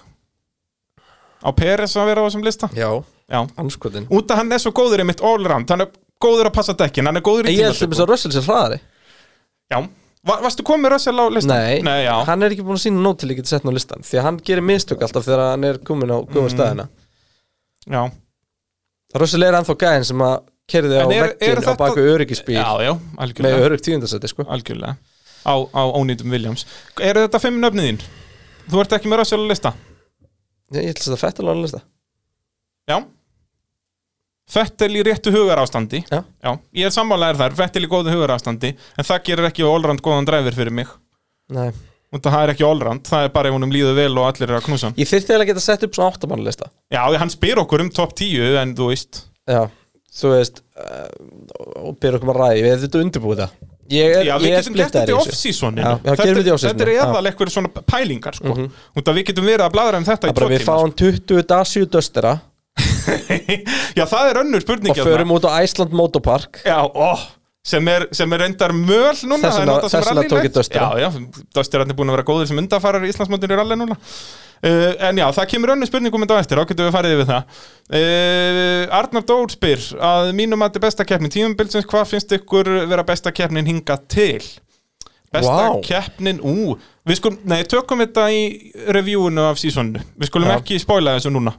Speaker 1: Á Peres að vera á þessum lista
Speaker 2: Já,
Speaker 1: Já,
Speaker 2: anskotin
Speaker 1: út að hann er svo góður í mitt allround hann er góður að passa dekkin, hann er góður í
Speaker 2: Ég held sem
Speaker 1: tímatökum
Speaker 2: þess að Russell sér hraðari
Speaker 1: Já, Va varstu komið Russell á listan?
Speaker 2: Nei,
Speaker 1: Nei já,
Speaker 2: hann er ekki búin að sína nót til ég geti sett hann á listan Því að hann gerir mistök alltaf þegar hann er komin á góða
Speaker 1: Mm.
Speaker 2: staðina
Speaker 1: já.
Speaker 2: Russell er ennþá gæðin sem að kerði á
Speaker 1: En er- er
Speaker 2: veggin á
Speaker 1: þetta-
Speaker 2: baku öryggisbíl
Speaker 1: já, já,
Speaker 2: með
Speaker 1: algjörlega,
Speaker 2: örygg tíundasæti sko.
Speaker 1: algjörlega. Á, á ónýtum Williams Eru þetta fimm nöfnið þín? Þú ert ekki með Russell á lista?
Speaker 2: Ég held að þetta fætt alveg á lista
Speaker 1: Já Fettel í réttu hugarástandi
Speaker 2: Já.
Speaker 1: Ég er sammálaðir þar, Fettel í góðu hugarástandi En það gerir ekki allround góðan dræfir fyrir mig
Speaker 2: Nei,
Speaker 1: og það er ekki allrand, það er bara ef honum líður vel og allir eru að knúsa hann
Speaker 2: Ég þyrfti eiginlega að geta sett upp svona áttamannlista
Speaker 1: Já, hann spyr okkur um topp 10 en þú veist
Speaker 2: Já, þú veist uh, og byrja okkur að ræði, við hefum þetta undirbúið það Ég er,
Speaker 1: Já, við
Speaker 2: ég er
Speaker 1: getum gert
Speaker 2: splittaður
Speaker 1: þetta í
Speaker 2: í þessu
Speaker 1: off-seasoninu
Speaker 2: Já, já, gerum við þetta í off-seasoninu,
Speaker 1: Þetta er
Speaker 2: já.
Speaker 1: eðal eitthvað svona pælingar sko. mm -hmm. Við getum verið að bladra um þetta
Speaker 2: Það
Speaker 1: í
Speaker 2: er bara
Speaker 1: tvo
Speaker 2: við fáum 20 dasju döstera
Speaker 1: [LAUGHS] Já, það er önnur spurning hérna.
Speaker 2: og förum út á Æsland Motopark
Speaker 1: Já, ó, sem er, sem er reyndar möl núna
Speaker 2: Þess
Speaker 1: það er
Speaker 2: vegna-
Speaker 1: notað sem
Speaker 2: þess vegna
Speaker 1: rallylið.
Speaker 2: tók ég Dustera.
Speaker 1: Já, já, Döstir er búin að vera góður sem undarfarar í Íslandsmótinu í rally núna uh, En já, það kemur önnur spurningum þetta á eftir, þá getum við farið yfir það uh, Arnar Dór spyr að mínum að þetta besta keppnin tímumbilsins hvað finnst ykkur vera besta keppnin hinga til? Besta
Speaker 2: Vá.
Speaker 1: keppnin, ú Við skulum, nei, tökum þetta í reviewinu af sísonu Við skulum
Speaker 2: Já.
Speaker 1: ekki spoila þessu núna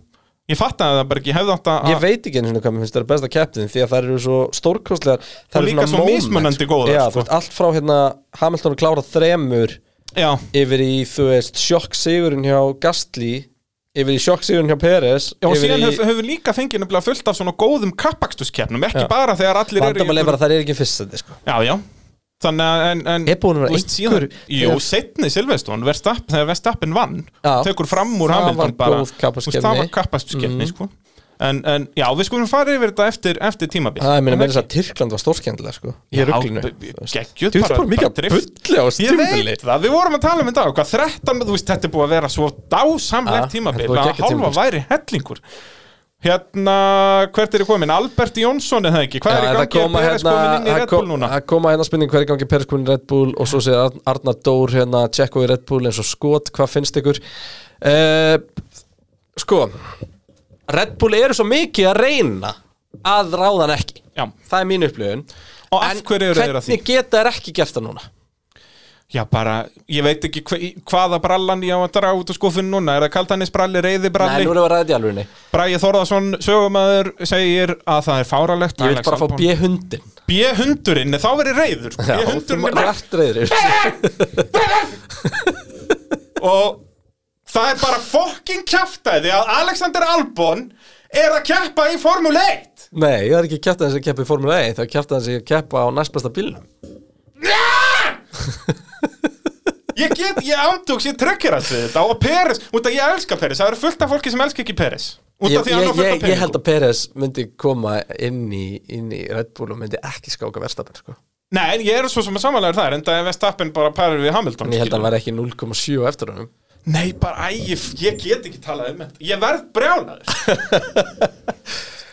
Speaker 1: Ég fattaði það bara ekki, ég hefði átt að
Speaker 2: Ég veit ekki einu sinni hvað mér finnst það er besta keppnin því að það eru svo stórkostlegar
Speaker 1: Og
Speaker 2: Það eru
Speaker 1: líka
Speaker 2: svona
Speaker 1: svo
Speaker 2: moments,
Speaker 1: mismunandi góðar,
Speaker 2: Já,
Speaker 1: sko.
Speaker 2: þú veist, allt frá hérna Hamilton að klára þremur
Speaker 1: Já,
Speaker 2: yfir í, þú veist, sjokk sigurinn hjá Gastli yfir í sjokk sigurinn hjá Peres
Speaker 1: Já, og
Speaker 2: yfir
Speaker 1: síðan
Speaker 2: í-
Speaker 1: höfum höf við líka fengið nefnilega fullt af svona góðum kappakstuskeppnum, ekki
Speaker 2: Já.
Speaker 1: bara þegar allir eru
Speaker 2: Vandamál er bara að það er ekki fyrstandi sko.
Speaker 1: Já, já Þannig að, en, en
Speaker 2: Er búin að vera
Speaker 1: þú veist,
Speaker 2: einhver-
Speaker 1: síðan- Jú,
Speaker 2: þegar-
Speaker 1: setni Silveston, Verstappen, þegar Verstappen vann
Speaker 2: Já.
Speaker 1: Tekur fram úr
Speaker 2: Það
Speaker 1: Hamilton
Speaker 2: var
Speaker 1: bara
Speaker 2: góð Mm. kappaksturskeppni.
Speaker 1: þú veist, Það var kappakstuskeppni, sko en, en já, við skulum fara yfir þetta eftir, eftir tímabil
Speaker 2: Það er meina meira þess að Tyrkland var stórskendlega sko. Ég er
Speaker 1: Já,
Speaker 2: ruglinu
Speaker 1: b- b- geggjuð
Speaker 2: Þú veist bara mikið að
Speaker 1: drift.
Speaker 2: bulli
Speaker 1: Ég
Speaker 2: á
Speaker 1: veit
Speaker 2: stjúmbili
Speaker 1: það, við vorum að tala um þetta hvað 13, þú veist, þetta er búið að vera svo dásamlegt
Speaker 2: Ja,
Speaker 1: tímabil
Speaker 2: þetta var
Speaker 1: að
Speaker 2: geggjað
Speaker 1: hálfa
Speaker 2: tímabil.
Speaker 1: væri hellingur Hérna, hvert er þið komin? Albert Jónsson er það ekki? Hvað er í
Speaker 2: Það
Speaker 1: gangi?
Speaker 2: koma
Speaker 1: Er Peres
Speaker 2: hérna
Speaker 1: komin inn í
Speaker 2: það
Speaker 1: Red
Speaker 2: kom-
Speaker 1: Bull núna?
Speaker 2: það koma hérna spurning hver er í gangi Peres komin í Red Bull og svo segir Arn- Arnar Dór hérna Tjekko í Red Bull eins og skot hvað finnst ykkur uh, Sko Red Bull eru svo mikið að reyna að ráða hann ekki
Speaker 1: Já,
Speaker 2: Það er mín upplifun
Speaker 1: Og af hverju eru þeir að því?
Speaker 2: Hvernig geta þær ekki gert það núna?
Speaker 1: já bara, ég veit ekki hva, í- hvaða brallan ég á að draga út úr skúfun núna Er það kaltanisbralli,
Speaker 2: Nei,
Speaker 1: reyðibralli?
Speaker 2: nú erum við að ræða þetta í alvörinni
Speaker 1: Bragi Þorðarsson, sögumæður, segir að það er fáralegt
Speaker 2: Ég vil
Speaker 1: Alex
Speaker 2: bara fá
Speaker 1: Albon-
Speaker 2: B-hundin
Speaker 1: B-hundurinn, þá verið reyður B-hundurinn er
Speaker 2: Rættreður
Speaker 1: og það er bara fokkin kjaftaði að Alexander Albon er að keppa í Formule 1
Speaker 2: Nei, það er ekki kjæftan sem keppa í Formule 1 Það er kjæftan sem keppa á næstbæsta bílnum
Speaker 1: ég get, ég ándúks, ég trekkir að þetta og Peres, út af ég elska Peres það eru fullt af fólki sem elska ekki Peres út
Speaker 2: Ég,
Speaker 1: af því að hann
Speaker 2: ég,
Speaker 1: er fullt af
Speaker 2: ég, ég held
Speaker 1: peningum
Speaker 2: að Peres myndi koma inn í, inn í Red Bull og myndi ekki skáka verstafinn sko.
Speaker 1: nei, en ég er svo sem að samanlega þar en það er Vestappen bara parir við Hamilton
Speaker 2: En ég held að
Speaker 1: skilur.
Speaker 2: hann væri ekki 0,7 á eftir honum
Speaker 1: nei, bara, æ, ég, ég get ekki talað um þetta ég verð
Speaker 2: [LAUGHS]
Speaker 1: brjálaður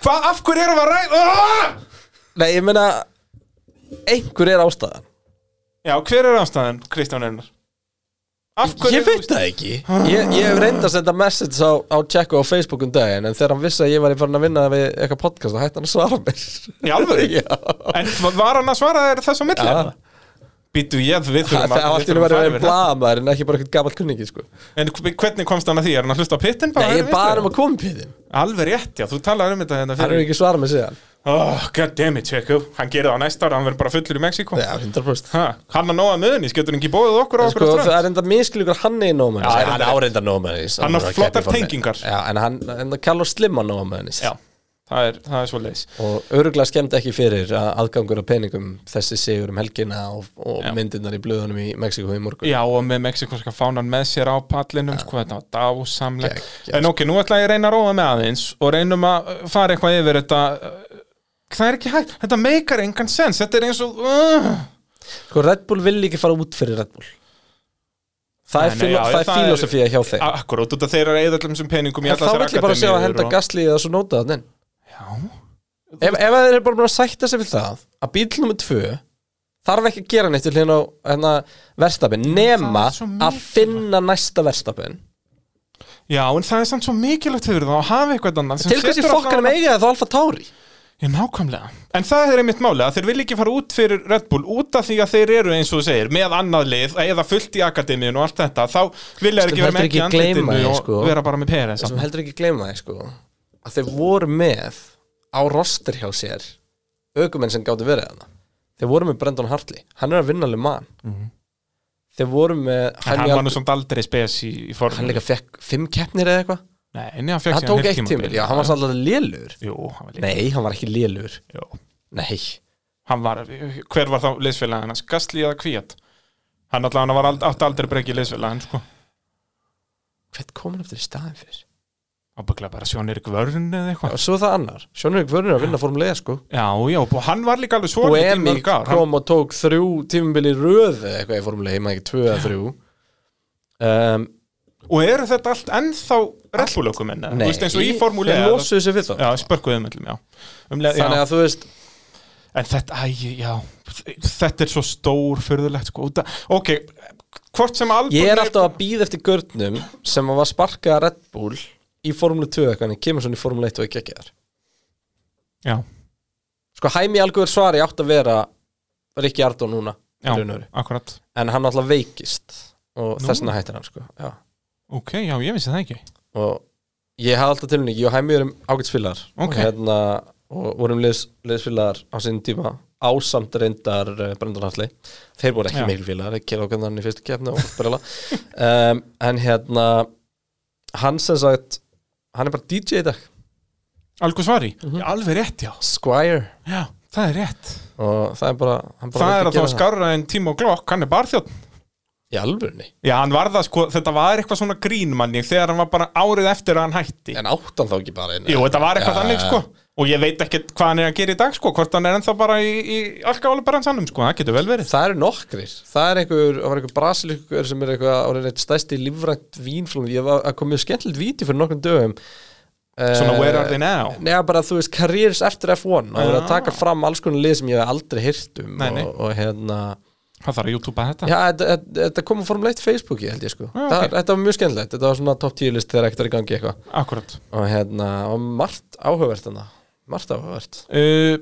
Speaker 1: hvað, af hverju erum við að ræða Ah!
Speaker 2: Nei, ég meina Einhver er ástæðan
Speaker 1: já, hver er ástæðan, Kristján Einar af hverju
Speaker 2: Ég veit það ekki Ég, ég hef reynd að senda message á, á Tjekko á Facebook um daginn En þegar hann vissi að ég var farin að vinna við eitthvað podcast þá hætti hann að svara mér
Speaker 1: Í alvöru?
Speaker 2: Já
Speaker 1: En var hann að svara þér þess á milli?
Speaker 2: Já.
Speaker 1: eða? Býtu ég, við þurfum
Speaker 2: Það
Speaker 1: að,
Speaker 2: það
Speaker 1: við
Speaker 2: allt í
Speaker 1: þurfum
Speaker 2: henni
Speaker 1: að fara yfir
Speaker 2: verið að vera blamaður en ekki bara eitthvað gamall kunningi sko
Speaker 1: þetta. En hv- hvernig komst hann að því? Er hann að hlusta á pittin?
Speaker 2: Nei, ég er bara um að koma píðin
Speaker 1: Alveg rétt, já, þú talaði um þetta hérna
Speaker 2: Hann er
Speaker 1: fyrir
Speaker 2: ekki svara mér síðan
Speaker 1: Oh, god damn it, Jacob Hann gerir það á næsta ára, hann verður bara fullur í Mexiko
Speaker 2: Já, 100%
Speaker 1: ha, Hann að nóga möðunis, getur hann ekki bóðið okkur á
Speaker 2: En
Speaker 1: okkur
Speaker 2: Sko,
Speaker 1: á
Speaker 2: það
Speaker 1: strönd
Speaker 2: er enda miskilíkur að hann er nómanis
Speaker 1: Já, hann er-
Speaker 2: áreinda nómanis
Speaker 1: Hann á flottar tengingar.
Speaker 2: Já, en hann, en það kallar slimma nómanis
Speaker 1: Já, það er, það er svo leis
Speaker 2: Og öruglega skemmt ekki fyrir að aðgangur af peningum þessi sigur um helgina og, og
Speaker 1: Já.
Speaker 2: myndirnar í blöðunum í Mexiko í morgun
Speaker 1: Já, og með mexikonska fánan með sér á pallinum sko, þetta var dásamlegt
Speaker 2: Geggjað.
Speaker 1: En ok, nú ætla ég að reyna að róa með aðeins og reynum að uh, fara eitthvað yfir þetta uh, Það er ekki hægt, þetta meikar engan sens Þetta er eins og uh,
Speaker 2: Sko, Red Bull vil ekki fara út fyrir Red Bull Það
Speaker 1: Nei,
Speaker 2: er,
Speaker 1: nei,
Speaker 2: fílo,
Speaker 1: já,
Speaker 2: það er
Speaker 1: það er-
Speaker 2: filosofía hjá þeim
Speaker 1: Akkurát, út af þeir eru að eyða allum sem peningum í
Speaker 2: En þá
Speaker 1: allar
Speaker 2: vill
Speaker 1: þessar
Speaker 2: ég bara sjá að
Speaker 1: akademíur
Speaker 2: henda
Speaker 1: og-
Speaker 2: gasli í þessu nóta þannig Ef, ef þeir eru bara búin að sætta sig við það að bíl nummer tvö þarf ekki að gera neitt til hérna á hérna, verstafinn nema
Speaker 1: svo
Speaker 2: að finna næsta verstafinn
Speaker 1: Já, en það er samt svo mikilvægt fyrir það að hafa eitthvað annan
Speaker 2: Til hversi fokkanum eiga það þá Alfa Tauri
Speaker 1: Já, nákvæmlega. En það er einmitt máli að þeir vilja ekki fara út fyrir Red Bull út af því að þeir eru eins og þú segir með annað lið eða fullt í akademíun og allt þetta þá vilja þeir
Speaker 2: Skulum
Speaker 1: ekki vera með
Speaker 2: heldur
Speaker 1: ekki
Speaker 2: Sko, ekki gleyma
Speaker 1: andlitinu
Speaker 2: því,
Speaker 1: og
Speaker 2: sko.
Speaker 1: vera bara með Peres
Speaker 2: sem heldur ekki gleyma það sko að þeir voru með á roster hjá sér aukumenn sem gáttu verið hana þeir voru með Brendan Hartley, hann er að vinna alveg mann þeir voru með
Speaker 1: Mhm. En hann
Speaker 2: í
Speaker 1: var
Speaker 2: Alp-
Speaker 1: nú samt aldrei spes í, í form
Speaker 2: hann líka fekk fimm keppnir eða eitthvað
Speaker 1: Nei, nei, hann fekk
Speaker 2: hann tók eitt tímil, já, hann var sannlega lélur
Speaker 1: Jú, hann var líka
Speaker 2: nei, hann var ekki lélur
Speaker 1: Jú.
Speaker 2: nei,
Speaker 1: Hann var, hver var þá liðsfélagin hans? Gastli eða Kvíat? Hann allavega var ald, átti aldrei brekki liðsfélag hann sko
Speaker 2: Hvern kom hann eftir í staðin fyrir?
Speaker 1: Ábygglega bara Sjón Erik Vörn eða eitthvað
Speaker 2: Og svo er það annar, Sjónur Vörnur er að vinna formulega sko
Speaker 1: Já, já, og hann var líka alveg svo
Speaker 2: Og
Speaker 1: í
Speaker 2: Emil
Speaker 1: mörg ár hann,
Speaker 2: kom og tók þrjú tímabili röð eða eitthvað í formulega, ég maður ekki tvö að þrjú um,
Speaker 1: Og eru þetta allt ennþá reddbúlökum enna? Þú veist eins og í
Speaker 2: Þeir
Speaker 1: formúlega
Speaker 2: losuðu sig við þá
Speaker 1: Já, spörkuðum öllum, já, um leið,
Speaker 2: Þannig
Speaker 1: já.
Speaker 2: að þú veist,
Speaker 1: En þetta, æ, já Þetta er svo stór fyrðulegt sko Út að- Ok, hvort sem Albon
Speaker 2: ég er alltaf að býða eftir görnum sem var sparkað að Red Bull í formule 2 eitthvað, en kemur svona í formule 1 og ekki ekki þar
Speaker 1: Já,
Speaker 2: Sko, Hæmi Alguver Svari átt að vera Rikki Ardó núna í
Speaker 1: já,
Speaker 2: raun og veru.
Speaker 1: akkurat
Speaker 2: en hann alltaf veikist og
Speaker 1: Nú.
Speaker 2: þess vegna hættir hann sko já.
Speaker 1: Ok, já, ég vissi það ekki
Speaker 2: og ég hafði alltaf tilhengi ég og Hæmi erum ágætsfélagar
Speaker 1: Ok.
Speaker 2: og, hérna, og vorum liðs, liðsfélagar á sínum tíma ásamt reyndar uh, Brendan Hartley þeir voru ekki
Speaker 1: Já.
Speaker 2: mikil félagar ekki ákveðan hann í fyrstu keppni og brela [LAUGHS] um, en hérna hann sem sagt hann er bara DJ í dag
Speaker 1: Algu svari,
Speaker 2: Mhm.
Speaker 1: alveg rétt, já
Speaker 2: Squire
Speaker 1: Já, það er rétt
Speaker 2: og það er bara, hann bara
Speaker 1: Það
Speaker 2: veit
Speaker 1: er að
Speaker 2: gera
Speaker 1: þá skarra en tíma og glokk, hann er barþjótt
Speaker 2: í alvörni
Speaker 1: Já, hann var það sko, þetta var eitthvað svona grín manni þegar hann var bara árið eftir að hann hætti
Speaker 2: en áttan þá ekki bara inn
Speaker 1: Jú, þetta var eitthvað
Speaker 2: Já,
Speaker 1: þannig
Speaker 2: já.
Speaker 1: sko og ég veit ekkert hvað hann er að gera í dag sko hvort hann er ennþá bara í, í alkaóla bara hans sko, það getur vel verið
Speaker 2: Það eru nokkrir Það er einhver, það var einhver brasilíkur sem er eitthvað orðin eitt stæsti lífrænt vínflum Ég var að komið skemmtilegt víti fyrir nokkrum dögum Eh,
Speaker 1: Svona where are they now?
Speaker 2: Nei, bara þú veist, careers eftir F1 Það er að taka fram alls konar lið sem ég hef aldrei hýrt um
Speaker 1: Nei, nei.
Speaker 2: Og, og hérna
Speaker 1: Hann þarf að youtubea þetta
Speaker 2: Já, þetta- þetta þetta kom að formuleitt Facebooki held ég sko
Speaker 1: Já,
Speaker 2: það,
Speaker 1: ok.
Speaker 2: Þetta var mjög skemmtilegt, þetta var svona top 10 list þegar ekkert er í gangi eitthvað
Speaker 1: Akkurat
Speaker 2: Og hérna, og margt áhugavert þarna Margt áhugavert
Speaker 1: uh,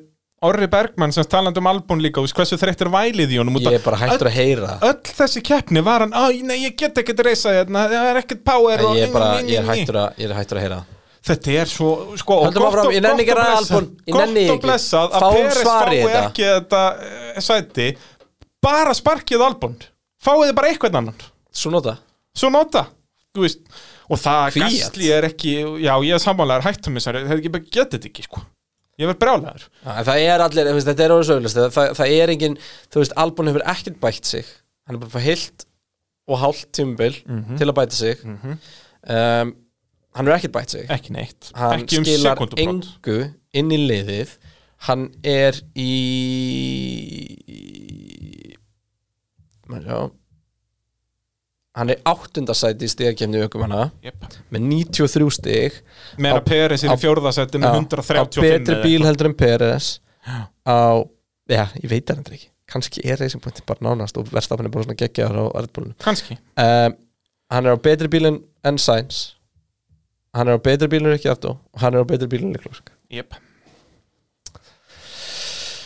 Speaker 1: Orri Bergmann sem talandi um albún líka þú veist hversu þreyttir vælið í honum út
Speaker 2: Ég
Speaker 1: að
Speaker 2: er bara hættur að heyra
Speaker 1: Öll þessi keppni var hann, æ, nei, ég get ekkert reisa hérna, það er ekkert power og
Speaker 2: Ég er bara,
Speaker 1: ný, ný,
Speaker 2: ég er
Speaker 1: ný, ný.
Speaker 2: hættur að, ég er hættur að heyra
Speaker 1: Þetta er svo, sko, og
Speaker 2: Höldum áfram, ég nenni ekki að ræða Albon, ég nenni
Speaker 1: gott og
Speaker 2: ekki.
Speaker 1: blessað að
Speaker 2: Fáum
Speaker 1: Peres
Speaker 2: svar í
Speaker 1: fái
Speaker 2: þetta.
Speaker 1: ekki þetta eh, sæti bara sparkið Albon fáiði bara eitthvað annan
Speaker 2: Svo nota
Speaker 1: svo nota, þú veist og það
Speaker 2: Fiat.
Speaker 1: gastli er ekki, já, ég er sammálaður hættum þessari, þegar ég bara getið þetta ekki, sko ég verð brjálæður,
Speaker 2: Já, en það er allir, þú veist, þetta er orðið sögulegst það, það, það er engin, þú veist, Albon hefur ekkert bætt sig hann er bara fá heilt og hálft tímubil
Speaker 1: Mhm.
Speaker 2: til að bæta sig um, hann hefur ekkert bætt sig
Speaker 1: ekki neitt
Speaker 2: hann
Speaker 1: ekki um
Speaker 2: skilar
Speaker 1: sekundubrót
Speaker 2: engu inn í liðið hann er í maður sjá hann er áttundasæti í stegakefni aukumanna
Speaker 1: yep.
Speaker 2: með 93 stig
Speaker 1: meðan
Speaker 2: Á-
Speaker 1: Peres er í fjórðasæti
Speaker 2: Já,
Speaker 1: með
Speaker 2: á
Speaker 1: 135
Speaker 2: betri
Speaker 1: eða
Speaker 2: bíl
Speaker 1: eitthvað.
Speaker 2: heldur en Peres á, já, ég veit það endur ekki kannski er Racing Pointin bara nánast og verðstafan er bara svona geggjaður á Erdbólun
Speaker 1: kannski,
Speaker 2: um, hann er á betri bíl en- en Sainz hann er á betri bíl en Rikki Ardó og hann er á betri bíl en Leclerc
Speaker 1: yep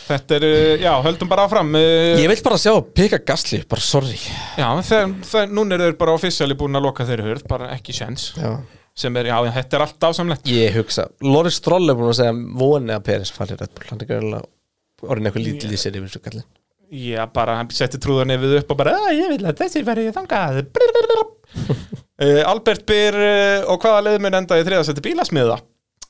Speaker 1: Þetta er, uh, já, höldum bara áfram uh,
Speaker 2: ég vil bara sjá Pika Gasly, bara sorry
Speaker 1: Já, þeir, þeir, núna eru þeir bara officially búin að loka þeirri hurð, bara ekki sjens
Speaker 2: já.
Speaker 1: sem er, já, þetta er allt ásamlegt
Speaker 2: ég hugsa, Loris Stroll er búin að segja voni að Peres fari í Red Bull hann er gæðilega orðin eitthvað lítið í sér yfir svo kallin
Speaker 1: Já, bara hann setti trúðan yfir upp og bara, "Æ, ég vil að þessi verði þangað [LAUGHS] Brrrrrrr. uh, Albert Byr uh, og hvaða leið mun enda í þriðasætti bílasmiða?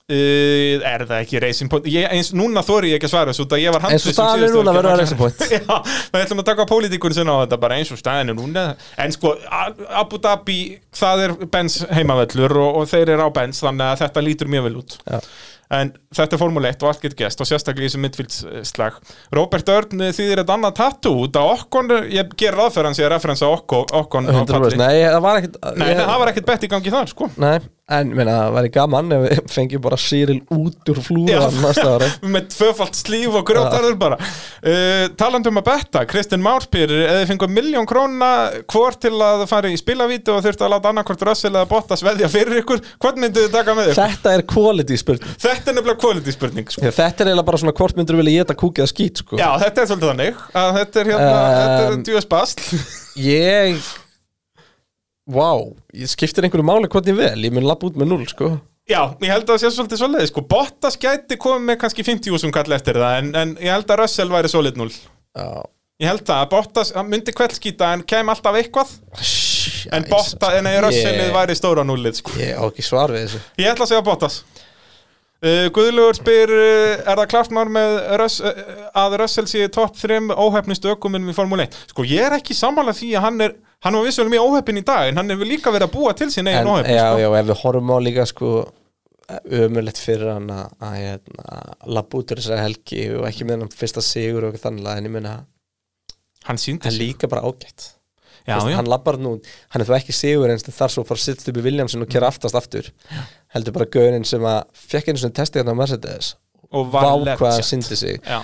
Speaker 1: Uh, er það ekki Racing Point? Ég, eins, núna þori ég ekki að svara þessu út að ég var
Speaker 2: Eins og
Speaker 1: handviss um
Speaker 2: staðan er
Speaker 1: síðustu helgi
Speaker 2: núna
Speaker 1: að
Speaker 2: verður það
Speaker 1: maður-
Speaker 2: Racing Point.
Speaker 1: Já, við ætlum að taka pólitíkun sinna á þetta bara eins og staðinu núna En sko, A- Abu Dhabi, það er Benz heimavellur og, og þeir eru á Benz þannig að þetta lítur mjög vel út
Speaker 2: Já.
Speaker 1: En þetta er Formule 1 og allt getur gæst og sérstaklega í þessu midfieldslag Robert Örn þýðir þetta annað tattoo út að okkon, ég ger ráð fyrir hans ég að referensa okkon, okkon á
Speaker 2: 100%,
Speaker 1: palli.
Speaker 2: nei, það var ekkert
Speaker 1: Nei,
Speaker 2: ég-
Speaker 1: það var ekkert bett í gangi þar, sko
Speaker 2: Nei, en meina, það væri gaman ef við fengjum bara Cyril út úr flúðan næsta ári
Speaker 1: með tvöfalt slíf og grjótarður bara uh, talandum að betta, Kristinn Márspyr eða fengur miljón króna hvort til að fara í spilavíti og þurftu að láta annarkvort Russell eða Bottas veðja fyrir ykkur hvort myndu þið taka með ykkur?
Speaker 2: Þetta er quality spurning
Speaker 1: Þetta er nefnilega quality spurning sko.
Speaker 2: Þetta er eiginlega bara svona hvort myndur vilja geta kúkið að skýt sko.
Speaker 1: Já, þetta er svolítið þannig að þetta er hérna,
Speaker 2: Um,
Speaker 1: þetta er djúðspast
Speaker 2: Ég Vá, ég skiptir einhverju máli hvort ég vel Ég mun lappa út með null sko.
Speaker 1: [LAUGHS] Já, ég held að það sé svolítið svolítið sko. Bottas gæti komið með kannski 50.000 kall eftir það en, en ég held að Russell væri svolít 0
Speaker 2: Já,
Speaker 1: Ég held að Bottas, hann myndi kveldskýta en kem alltaf eitthvað en Bottas, en að Russellið
Speaker 2: Ég-
Speaker 1: væri stóra núlið sko.
Speaker 2: Ég á ekki svar við þessu
Speaker 1: Ég ætla að segja Bottas Uh, Guðlaugur spyr, uh, er það klart mál með Russ, uh, að Russell sé í topp 3 óhefnist ökumunum í Formule 1? Sko ég er ekki sammála því að hann er, hann var vissulega mjög óhefn í dag en hann hefur líka verið að búa til sín
Speaker 2: en,
Speaker 1: eigin óhefn.
Speaker 2: já,
Speaker 1: sko.
Speaker 2: já, ef við horfum á líka sko ömulegt fyrir hann að, að, hérna, að labba út úr þessari helgi og ekki með hann fyrsta sigur og þannig en ég meina,
Speaker 1: Hann síndi
Speaker 2: hann líka bara ágætt
Speaker 1: Já,
Speaker 2: Þú veist,
Speaker 1: já.
Speaker 2: hann labbar nú, hann er þó ekki sigur eins þar svo fara að sitta upp í Williamson og kera aftast aftur heldur bara gaunin sem að fekk einu svona testi hérna á Mercedes
Speaker 1: og
Speaker 2: vá
Speaker 1: var
Speaker 2: hvað hann
Speaker 1: legit.
Speaker 2: syndi sig
Speaker 1: Já,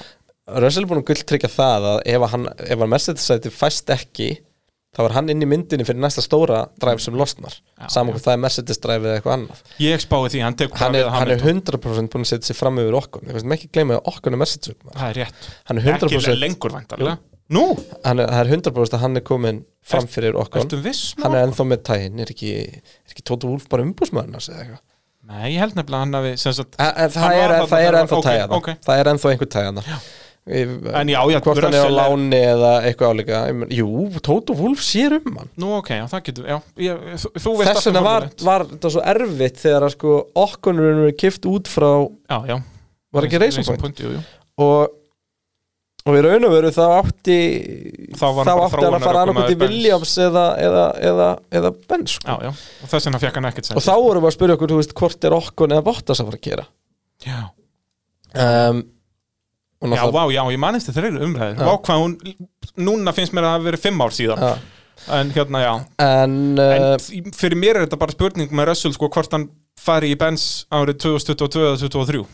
Speaker 2: Russell er búin að gulltryggja það að ef að hann, ef hann Mercedes sæti fæst ekki þá er hann inn í myndinni fyrir næsta stóra dræf sem losnar, saman hvað það er Mercedes dræf eða eitthvað annað
Speaker 1: ég spái því, hann tekur
Speaker 2: hann
Speaker 1: bara
Speaker 2: er,
Speaker 1: við
Speaker 2: hann er
Speaker 1: Hamilton.
Speaker 2: 100% búin að setja sig fram yfir okkur við veistum ekki gleyma að okkur er Mercedes ökumaður.
Speaker 1: Það er rétt.
Speaker 2: hann er
Speaker 1: Ekki
Speaker 2: 100%
Speaker 1: lengur vantarlega. Nú,
Speaker 2: hann er, það er 100% að hann er komin fram
Speaker 1: Ert-
Speaker 2: fyrir okkur
Speaker 1: ertu viss?
Speaker 2: hann
Speaker 1: Marko?
Speaker 2: er ennþá með tægin er ekki, er ekki Tóta Wolf bara umbúsmaðurinn hans eða eitthvað
Speaker 1: Nei, ég held nefnilega að hann hafi, sem sagt,
Speaker 2: En- en
Speaker 1: Hann
Speaker 2: það
Speaker 1: var
Speaker 2: er,
Speaker 1: þarna
Speaker 2: það er
Speaker 1: þegar-
Speaker 2: ennþá
Speaker 1: ok,
Speaker 2: tægana
Speaker 1: ok.
Speaker 2: það er ennþá einhver tægana
Speaker 1: En já, já,
Speaker 2: hvort hann er á
Speaker 1: Russell er-
Speaker 2: láni eða eitthvað álíka Ég meina, jú, Tóta Wolf sér um hann
Speaker 1: nú ok, já, það getur, já, ég, þú, þú veist
Speaker 2: þess
Speaker 1: allt um
Speaker 2: vegna var,
Speaker 1: Formule 1.
Speaker 2: var þetta svo erfitt þegar að sko okkur er kift út frá
Speaker 1: Já, já.
Speaker 2: var ekki Racing Point
Speaker 1: jú, jú.
Speaker 2: og og í raun og veru þá átti
Speaker 1: Þá var hann bara
Speaker 2: þá átti hann að fara
Speaker 1: þróunarökumaður
Speaker 2: annarkot í
Speaker 1: Benz.
Speaker 2: Williams eða, eða, eða, eða Benz sko.
Speaker 1: Já, já, og þess vegna fekk hann ekkert
Speaker 2: og þá vorum við að spyrja okkur þú veist, hvort er okkur eða Bottas að fara að gera
Speaker 1: Já,
Speaker 2: um, og
Speaker 1: já,
Speaker 2: náttúrulega
Speaker 1: vá, já, ég manist þetta reyður umræður Vá, hvað hún, núna finnst mér að það hafi verið fimm ár síðan
Speaker 2: Já.
Speaker 1: En hérna, já
Speaker 2: en,
Speaker 1: En
Speaker 2: uh,
Speaker 1: uh, fyrir mér er þetta bara spurning með Russell, sko, hvort hann fari í Benz árið 2022 eða 2023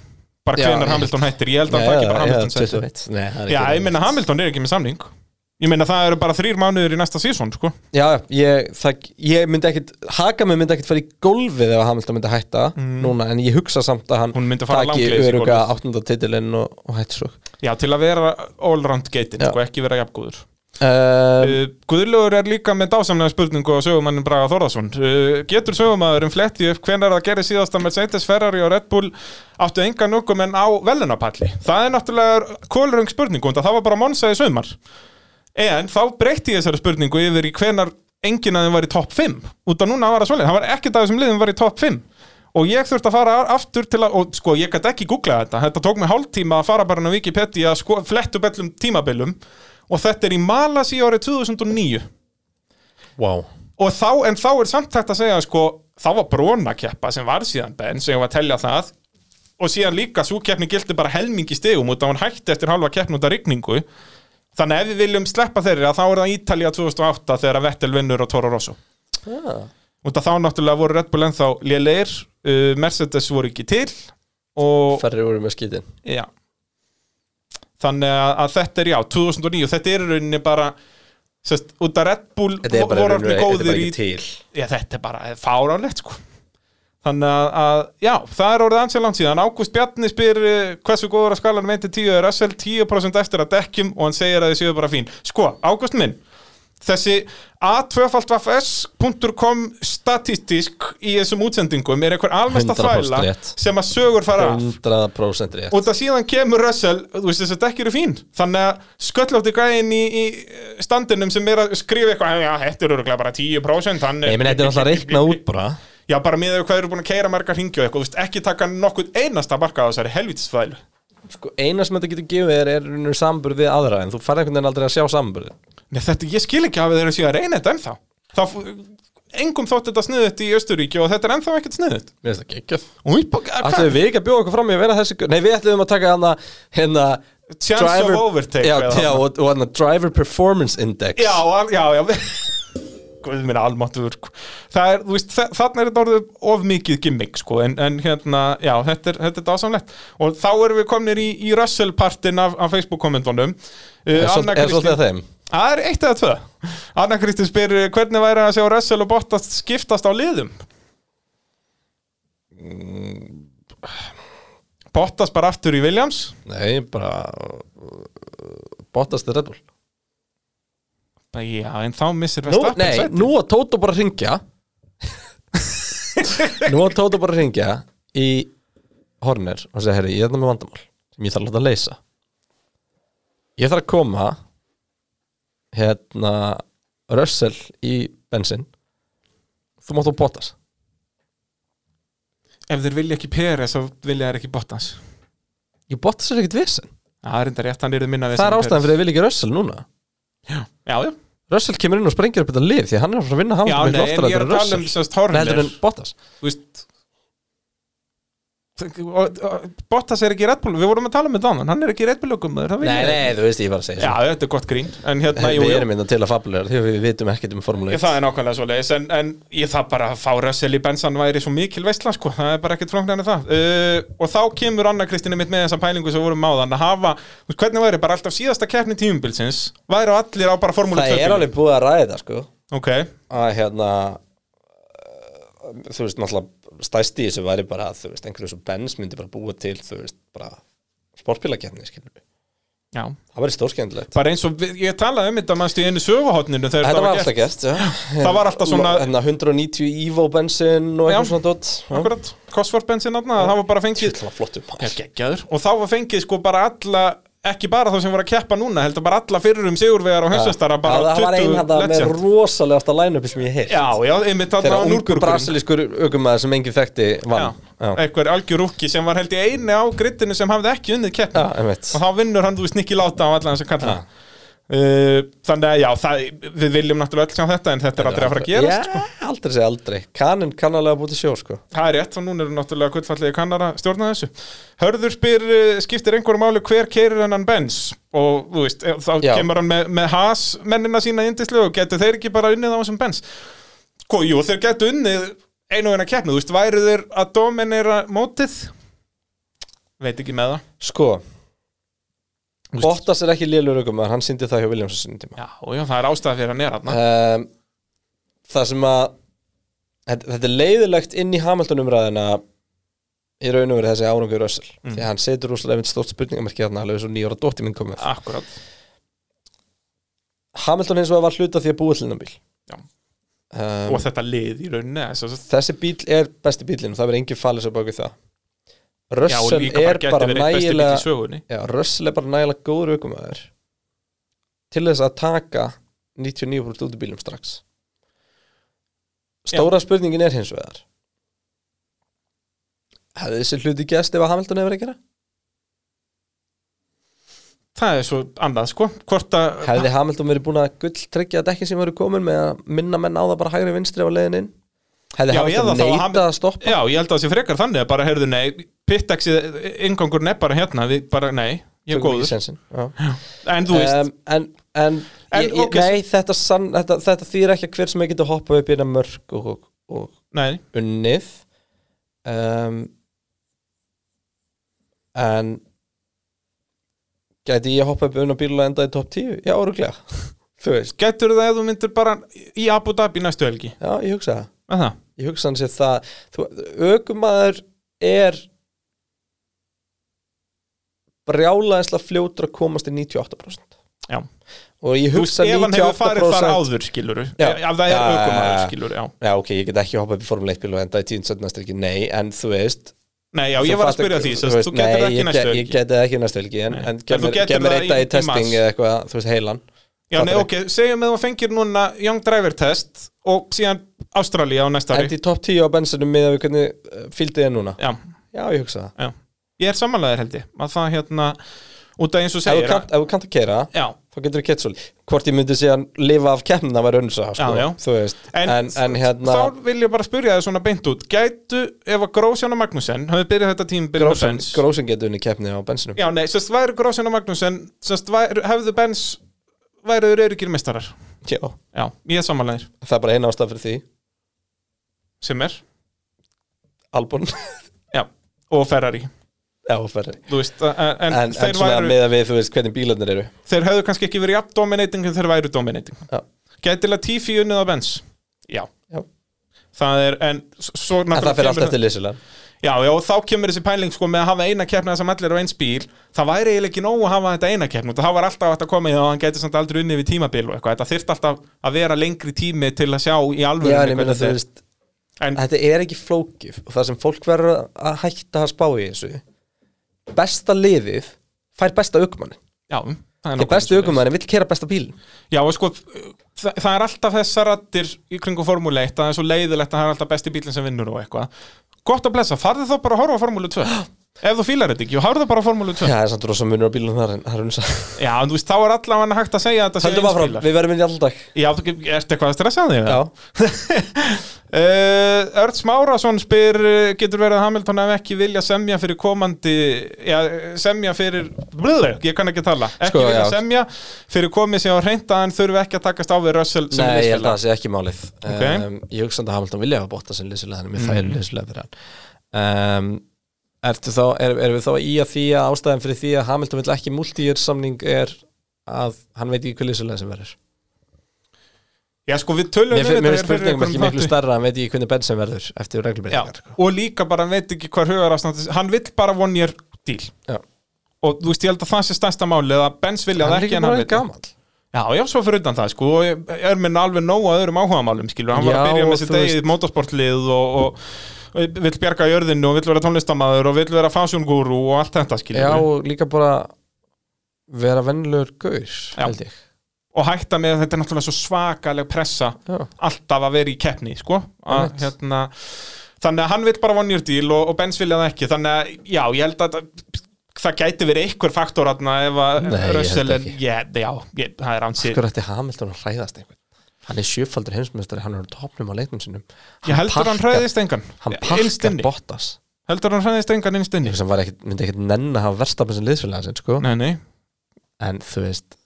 Speaker 1: Bara
Speaker 2: Já,
Speaker 1: hvenar
Speaker 2: ég-
Speaker 1: Hamilton hættir, ég held að hann taki bara Hamilton sæti.
Speaker 2: Nei, það er
Speaker 1: Já,
Speaker 2: ekki
Speaker 1: ég meina Hamilton er ekki með samning Ég meina það eru bara þrýr mánuður í næsta sísón, sko
Speaker 2: já, ég, það, ég myndi ekkit haka mig myndi ekkit fara í gólfið ef að Hamilton myndi hætta núna en ég hugsa samt að hann
Speaker 1: Mm. Hún myndi fara
Speaker 2: taki
Speaker 1: langleiðis í
Speaker 2: öruga
Speaker 1: gólfið.
Speaker 2: áttunda titilinn og, og hætti svo
Speaker 1: Já, til að vera allround geitin,
Speaker 2: Já.
Speaker 1: sko, ekki vera jafngóður
Speaker 2: um,
Speaker 1: Uh, Guðlaugur er líka með dásamlega spurningu á sögumannin Braga Þórðarsson uh, Getur sögumæðurinn fletti upp hvenær það gerir síðasta Mercedes, Ferrari og Red Bull áttu engan okkur menn á velunapalli Það er náttúrulega kólröng spurningu en það var bara Monsa í sögumar En þá breytti ég þessari spurningu yfir í hvenar enginn að þeim var í topp 5 út af núna var það svolítið, það var ekkert að þessum liðum var í topp 5 og ég þurfti að fara aftur til að, og sko ég gæti ekki googlað þetta þetta tók mig hálftíma að fara bara inn á Wikipedia að sko, flett upp öllum tímabilum og þetta er í Malasi árið 2009
Speaker 2: wow
Speaker 1: og þá, en þá er samt hægt að segja sko, þá var brónakeppa sem var síðan Benz, sem var að telja það og síðan líka svo keppni gildi bara helmingi stegum út af hún hætti eftir halva keppn út af rigningu þannig að ef við viljum sleppa þeirri að þá er það Ítalía 2008 þegar að Vettel vinnur og Toro Rosso út af þá náttúrulega voru Red Bull ennþá lélegir, uh, Mercedes voru ekki til og
Speaker 2: Ferri voru með skítin
Speaker 1: Já Þannig að, að þetta er já, 2009 Þetta er í rauninni bara sest, út að Red Bull voru orðnir góðir í
Speaker 2: til
Speaker 1: Já, þetta er bara fáránlegt sko Þannig að, að, já, það er orðið ansið langt síðan Ágúst Bjarni spyr eh, hversu góður að skalan meinti 10 er Russell 10% eftir að dekkjum og hann segir að þið séu bara fín Sko, Ágúst minn Þessi a2.fs.com statistisk í þessum útsendingum er einhver almesta
Speaker 2: 100%
Speaker 1: þvæla
Speaker 2: rétt.
Speaker 1: sem að sögur fara af
Speaker 2: 100% rétt
Speaker 1: og það síðan kemur Russell þú veist þess að dekk eru fín þannig að sköllótti gæðin í, í standinum sem er að skrifa eitthvað já, þetta eru örugglega bara 10% hann
Speaker 2: Ég minn, þetta er alltaf reiknað út bara
Speaker 1: já, bara með þau hvað eru búin að keira margar hringi og eitthvað þú veist, ekki taka nokkuð einasta marka á þessari helvitisfælu
Speaker 2: Sko, eina sem þetta getur gefið er, er unnur samburð við aðra en þú færði einhvern veginn aldrei að sjá samburðin
Speaker 1: Nei, þetta, ég skil ekki að þeir eru síðan að reyna þetta ennþá þá, f- engum þótt þetta sniðut í Östuríki og þetta er ennþá ekkert sniðut
Speaker 2: Mér finnst það geggjað Ætlum
Speaker 1: Alltaf
Speaker 2: við ekki að bjóða okkur fram í að vera þessi gau- Nei, við ætlum að taka hana, hana
Speaker 1: Chance of overtake,
Speaker 2: Já,
Speaker 1: eða
Speaker 2: já
Speaker 1: þarna.
Speaker 2: og, og hana driver performance index
Speaker 1: Já, al- já, já [LAUGHS] Guð minna almáttur Það er, þú veist, þa- þarna er þetta orðið of mikið gimmick, sko, en, en hérna já, þetta er, þetta er dásamlegt og þá erum við komnir í, í Russell partin af, af Facebook kommentunum
Speaker 2: Er svol- er svolítið að þeim?
Speaker 1: Það er eitt eða tvö Anna Kristín spyr eh, hvernig væri að sjá Russell og Bottas skiptast á liðum Mm. Bottas bara aftur í Williams
Speaker 2: Nei, bara Bottas til Red Bull
Speaker 1: Já, en þá missir
Speaker 2: Nú,
Speaker 1: Verstappen
Speaker 2: nei,
Speaker 1: sætið.
Speaker 2: nú að Tóta bara ringja Nú að Tóta bara ringja í Horner og segja, herri, ég er það með vandamál sem ég þarf að láta að leysa Ég þarf að koma hérna Russell í bensin Þú mátt þú bótast
Speaker 1: ef þeir vilja ekki Peres þá vilja þeir ekki Bottas
Speaker 11: Ég Bottas er ekkert vesen
Speaker 1: það er enda rétt, hann er minna
Speaker 11: Það er ástæðan fyrir að ég vil ekki Russell núna
Speaker 1: já, já,
Speaker 11: Russell kemur inn og sprengir upp þetta lið því að hann er að fara að vinna
Speaker 1: já,
Speaker 11: Hamilton miklu
Speaker 1: nei, en
Speaker 11: oftar
Speaker 1: ég er
Speaker 11: heldur en
Speaker 1: að
Speaker 11: Russell
Speaker 1: tala um sérst
Speaker 11: Nei, heldur en
Speaker 1: Horner
Speaker 11: Bottas
Speaker 1: þú veist og- og- og- Bottas er ekki Red Bull við vorum að tala með Dánan, hann er ekki Red Bull okkum
Speaker 11: Nei, nei, þú veist ég var að segja
Speaker 1: já, þetta er gott grín en hérna,
Speaker 11: svona
Speaker 1: jú,
Speaker 11: Við
Speaker 1: jú,
Speaker 11: erum innan til að fabulegar því að við vitum ekkert um Formule 1
Speaker 1: Ég, það er nákvæmlega svo leiðis en, en ég það bara að fá Russell í bensan væri svo mikil veistla sko, það er bara ekkert flóknar en það uh, og þá kemur Anna Kristina mitt með þessa pælingu sem vorum áðan að hafa, þú veist hvernig væri bara alltaf síðasta keppni tímubilsins, væri á allir á bara formúlu 2
Speaker 2: Það er alveg búið að ræða þetta, sko
Speaker 1: ok,
Speaker 2: að hérna uh, þú veist, náttúrulega stæsti í þessu væri bara að, þú veist, einhverju svo Benz myndi bara búa til, þú veist, bara sportbílakeppni, skilur við.
Speaker 1: já
Speaker 2: Það væri stórskemmtilegt.
Speaker 1: bara eins og, við, ég talaði um þetta mannstu í einu söguhotninu þegar
Speaker 2: Þetta
Speaker 1: þetta
Speaker 2: var alltaf gert, já.
Speaker 1: Það var alltaf svona-
Speaker 2: Hérna 190 Evo Benzin og
Speaker 1: Já.
Speaker 2: eitthvað svona dot.
Speaker 1: akkurat, Cosworth-bensin þarna, það var bara fengið
Speaker 2: Það var flottum.
Speaker 1: geggjaður og þá var fengið sko bara alla ekki bara þá sem voru að keppa núna heldur bara alla fyrir um sigurvegar og heimsvistara bara
Speaker 2: það var
Speaker 1: 20
Speaker 2: ein þetta með
Speaker 1: legend.
Speaker 2: rosalegasta line-upi sem ég heilt.
Speaker 1: Já, já, einmitt þarna
Speaker 2: Þegar
Speaker 1: á
Speaker 2: ungu
Speaker 1: Núrburgurinn
Speaker 2: brasilískur aukumæður sem enginn þekkti
Speaker 1: Já,
Speaker 2: vann. Já,
Speaker 1: einhver algjör rúkki sem var held í einu á grittinu sem hafði ekki unnið keppni
Speaker 2: Já, einmitt.
Speaker 1: og þá vinnur hann, þú veist, Nicky Láta á allan þess að kalla uh, þannig að já, það, við viljum náttúrulega öll sjá þetta en þetta er aldrei að fara að
Speaker 2: Já,
Speaker 1: gerast sko.
Speaker 2: aldrei segja aldrei. Kanin kannalega búið til sjó, sko.
Speaker 1: það er rétt og núna eru náttúrulega gullfallegi kannar að stjórna þessu Hörður spyr, uh, skiptir einhverju máli hver keirir hennan Benz og þú veist, eh, þá
Speaker 2: Já.
Speaker 1: kemur hann með, með has mennina sína yndislu og getur þeir ekki bara unnið á þessum Benz sko, jú, þeir getur unnið einu og eina keppni, þú veist, væru þeir að dominera mótið veit ekki með það
Speaker 2: Sko,
Speaker 1: Þú veist-
Speaker 2: Bottas er ekki liðlur aukumæður, hann síndi það hjá Williams á sinni tíma.
Speaker 1: Já, já, það er ástæða fyrir hann er hann
Speaker 2: um, það sem að þetta, þetta er leiðilegt inn í Hamilton umræðina í raun og verið þessi árangur Russell
Speaker 1: Mm.
Speaker 2: því að hann setur rússalega einmitt stórt spurningamarki þarna alveg svo nýjóra dótti minn komið
Speaker 1: Akkurat
Speaker 2: Hamilton hins vegar var hluta því að búa til hennar bíl
Speaker 1: Já.
Speaker 2: um,
Speaker 1: Og þetta lið í rauninni þess að-
Speaker 2: þessi bíl er besti bílinn og það verður engin fallis á bakið það
Speaker 1: Já, og
Speaker 2: Russell
Speaker 1: líka bara
Speaker 2: er
Speaker 1: geti
Speaker 2: bara
Speaker 1: verið eitt besti bíl í
Speaker 2: nægilega
Speaker 1: sögunni
Speaker 2: já, Russell er bara nægilega góður aukumæður til þess að taka 99% út í bílum strax Stóra spurningin er hins vegar Hefði þessi hluti gæst ef að Hamilton hefur verið að gera?
Speaker 1: Það er svo annað, sko Hvort að
Speaker 2: Hefði Hamilton verið búin að gull tryggja að dekkin sem voru komin með að minna menn á það bara hægri vinstri á leiðin inn? Hefði
Speaker 1: Já, eða
Speaker 2: Hamilton
Speaker 1: þá að
Speaker 2: neitað
Speaker 1: Hamil-
Speaker 2: að stoppa?
Speaker 1: Já, ég held að það sé frekar þannig að bara heyrðu nei Pittaxið, ingangur nefn bara hérna við, bara, Nei, ég er
Speaker 2: Tökum ekki
Speaker 1: góður
Speaker 2: sénsinn. Já.
Speaker 1: En þú veist,
Speaker 2: um, en, en,
Speaker 1: En,
Speaker 2: ég, ég,
Speaker 1: ok.
Speaker 2: nei, þetta, sann, þetta, þetta þýr ekki að hver sem er getur hoppað upp í hérna mörg og, og, og
Speaker 1: nei
Speaker 2: unnið um, en gæti ég hoppa upp unn á bíl og enda í topp 10? Já, öruglega [LAUGHS] þú veist,
Speaker 1: Gætur það ef þú myndir bara í Abu Dhabi næstu helgi
Speaker 2: já, ég hugsa það
Speaker 1: Með það
Speaker 2: ég hugsa hann sér það þú, ökumaður er brjálaðislega fljótur að komast í 98%
Speaker 1: Já.
Speaker 2: og ég
Speaker 1: Þú veist,
Speaker 2: hugsa
Speaker 1: ef hann hefur farið þar
Speaker 2: 98%
Speaker 1: áður, skilur Ef
Speaker 2: Já.
Speaker 1: ef það er
Speaker 2: Já, já,
Speaker 1: aukumaður,
Speaker 2: já.
Speaker 1: skilur, já
Speaker 2: já, ok, ég get ekki hoppað upp í Formule 1 bíl og enda í 10 stjórnastyrki, nei, en þú veist
Speaker 1: Nei, já,
Speaker 2: Þú
Speaker 1: ég var að
Speaker 2: fattar-
Speaker 1: spyrja því sem sagt,
Speaker 2: veist,
Speaker 1: Þú getur
Speaker 2: nei,
Speaker 1: það ekki
Speaker 2: ég
Speaker 1: næstu
Speaker 2: get- Ég
Speaker 1: helgi
Speaker 2: geti það ekki næstu helgi En,
Speaker 1: Nei.
Speaker 2: en
Speaker 1: En þú
Speaker 2: kemur,
Speaker 1: getur
Speaker 2: kemur
Speaker 1: það
Speaker 2: eitt dag
Speaker 1: í-
Speaker 2: í
Speaker 1: í
Speaker 2: testing
Speaker 1: mars.
Speaker 2: eða eitthvað, þú veist, heilan
Speaker 1: Já, nei,
Speaker 2: Fattar
Speaker 1: ok, segjum að þú fengir núna Young Driver test og síðan Ástralía á næsta ári
Speaker 2: Endi í topp 10 á bensinum með að við hvernig uh, fylgdi þið núna
Speaker 1: Já,
Speaker 2: Já, ég hugsa það
Speaker 1: já Ég er samanlegaðir held ég að það hérna út af eins og
Speaker 2: Ef þú
Speaker 1: segir
Speaker 2: kannt- ef þú kannt að kera,
Speaker 1: að, Já,
Speaker 2: þá getur þú kett svolítið Hvort ég myndi síðan lifa af keppnina var önnsa sko,
Speaker 1: Já, já.
Speaker 2: Þú veist,
Speaker 1: En-
Speaker 2: en, en, hérna
Speaker 1: þá vil ég bara spyrja þið svona beint út Gætu, ef að Grósján og Magnúsen hafið byrjað þetta tíma byrjað
Speaker 2: Grósin,
Speaker 1: Benz
Speaker 2: grósin getur unni keppni á bensinum
Speaker 1: Já, nei, sérst væri Grósján og Magnúsen sérst væri, hefðu Benz væriður öryggir meistarar
Speaker 2: Já,
Speaker 1: Já, ég er samanlegaðir
Speaker 2: það er bara eina ástæð fyrir því
Speaker 1: sem er,
Speaker 2: Albon, [LAUGHS]
Speaker 1: já, og Ferrari
Speaker 2: já, ferri
Speaker 1: Þú veist, en, en,
Speaker 2: En, en
Speaker 1: þeir,
Speaker 2: svona
Speaker 1: væru,
Speaker 2: með að við, þú veist, hvernig bílarnir eru
Speaker 1: þeir hefðu kannski ekki verið jafn dominating en þeir væru dominating
Speaker 2: Já,
Speaker 1: Gæti Latifi unnið á Benz? Já
Speaker 2: já
Speaker 1: Það er, en s- svo
Speaker 2: En það fyrir allt eftir lýsilega
Speaker 1: Já, já, og þá kemur þessi pæling sko með að hafa eina keppna sem allir á eins bíl Það væri eiginlega ekki nóg að hafa þetta eina keppna og það var alltaf hægt að koma í það og hann gæti samt aldrei unni við tímabil og eitthvað Þetta þyrft alltaf að vera lengri tími til að sjá í alvöru
Speaker 2: Já, en ég meina, þú veist,
Speaker 1: En,
Speaker 2: þetta er ekki flókif og það sem fólk verður að hætta að spá í þessu besta liðið fær besta aukumann
Speaker 1: já, það er
Speaker 2: því
Speaker 1: nákvæmlega
Speaker 2: besti
Speaker 1: svoleiðis.
Speaker 2: aukumann vil kera besta bíl
Speaker 1: Já, og sko, Þa, það er alltaf þessar rattir í kringum Formúlu 1 að það er svo leiðilegt að það er alltaf besti bílinn sem vinnur og eitthvað gott að blessa, farðu þá bara að horfa á Formúlu
Speaker 2: [GASPS]
Speaker 1: 2 ef þú fílar þetta ekki, horfðu bara á Formúlu 2
Speaker 2: [LAUGHS]
Speaker 1: já,
Speaker 2: Já, það er samt rosa munur á bílunum þar en það er unsa
Speaker 1: en þú veist, þá er allavega hægt að segja að þetta
Speaker 2: Haldum áfram,
Speaker 1: bílar
Speaker 2: við verðum inn í alldag
Speaker 1: já, þú ert eitthvað að stressa þig [LAUGHS]
Speaker 2: Já,
Speaker 1: Uh, Örd Smárasson spyr uh, getur verið að Hamilton hef ekki vilja semja fyrir komandi já, semja fyrir, blöðu, ég kann ekki tala ekki
Speaker 2: Sko,
Speaker 1: vilja
Speaker 2: já.
Speaker 1: semja fyrir komið sem á reynda en þurfi ekki að takast á við Russell sem
Speaker 2: nei, ég held að
Speaker 1: liðsfélag.
Speaker 2: það sé ekki málið
Speaker 1: Ok.
Speaker 2: um, Ég hugsa að Hamilton vilja hafa bóta sem lýsilega þannig mér það er lýsilega fyrir hann um, Ertu þá, er, erum við þá í að því að ástæðan fyrir því að Hamilton vill ekki multi-year samning er að hann veit ekki hvað lýsilega sem verður
Speaker 1: já sko við tölum
Speaker 2: Mér,
Speaker 1: um
Speaker 2: fi-
Speaker 1: þetta
Speaker 2: mér
Speaker 1: hér fyrir
Speaker 2: finnst spurningum ekki
Speaker 1: einhverjum
Speaker 2: miklu
Speaker 1: þætti.
Speaker 2: starra, hann veit ekki hvernig benn sem verður eftir reglubreitingar
Speaker 1: já, og líka bara hann veit ekki hvað hugar hann vill bara one year deal
Speaker 2: Já.
Speaker 1: og þú veist ég held að það sé stærsta málið að Benz vilja það
Speaker 2: Hann er
Speaker 1: ekki
Speaker 2: ekki
Speaker 1: en hann
Speaker 2: bara
Speaker 1: vill það.
Speaker 2: gamall
Speaker 1: Já, já, svo fyrir utan það, sko, og er minn alveg nóg að öðrum áhugamálum, skilur, hann var
Speaker 2: Já,
Speaker 1: að byrja
Speaker 2: og
Speaker 1: með sitt
Speaker 2: þú veist-
Speaker 1: eigið motorsportlið og, og, og vill bjarga jörðinu og vill vera tónlistamæður og vill vera fasjóngúru og allt þetta, skilur,
Speaker 2: Já, og líka bara vera vennlur gaur,
Speaker 1: Já.
Speaker 2: held ég
Speaker 1: og hætta með að þetta er náttúrulega svo svakaleg pressa
Speaker 2: Já.
Speaker 1: alltaf að vera í keppni, sko, að,
Speaker 2: Einmitt.
Speaker 1: hérna, þannig að hann vill bara vonjur díl og, og Benz vilja það ekki, þannig að, já, ég held að það gæti verið einhver faktor aðna ef að
Speaker 2: Nei, ég held
Speaker 1: Russell er,
Speaker 2: ekki.
Speaker 1: já, já, ég, það er ansið
Speaker 2: Hver ætti Hamilton að hræðast einhvern? Hann er sjöfaldur heimsmeistari, hann er á topnum á leiknum sinum
Speaker 1: Ég heldur hann
Speaker 2: parkar-
Speaker 1: hræðist engan
Speaker 2: Hann
Speaker 1: innst
Speaker 2: parkar
Speaker 1: inni.
Speaker 2: Bottas
Speaker 1: heldur hann hræðist engan innstinni
Speaker 2: sem var ekkit, myndi ekkit nenn að hafa verstafn sem liðsfélaga sinn, sko
Speaker 1: Nei, nei,
Speaker 2: En þú veist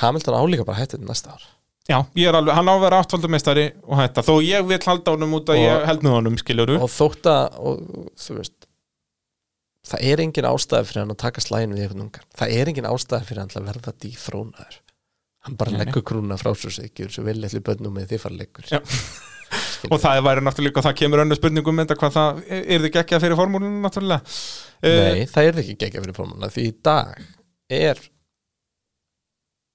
Speaker 2: Hamilton álíka bara hættið næsta ár
Speaker 1: já, ég er alveg, hann á að vera áttfaldameistari og þetta, þó ég vil halda honum út að
Speaker 2: Og-
Speaker 1: ég held með honum, skiljuru
Speaker 2: Og þótt að, og, þú veist Það er engin ástæði fyrir hann að taka slægin við einhvern ungar Það er engin ástæði fyrir hann til að verða dýfrónaður Hann bara
Speaker 1: Nei, nei.
Speaker 2: leggur krúna frá svo sig Gjur svo vel eitthvað bönnum með því fara leikur
Speaker 1: Já. og það væri náttúrulega, það kemur önnur spurningum með þetta hvað það, er þið gekkjað fyrir formúlunum náttúrulega Eh,
Speaker 2: Nei, það er ekki gegja fyrir formúluna því í dag er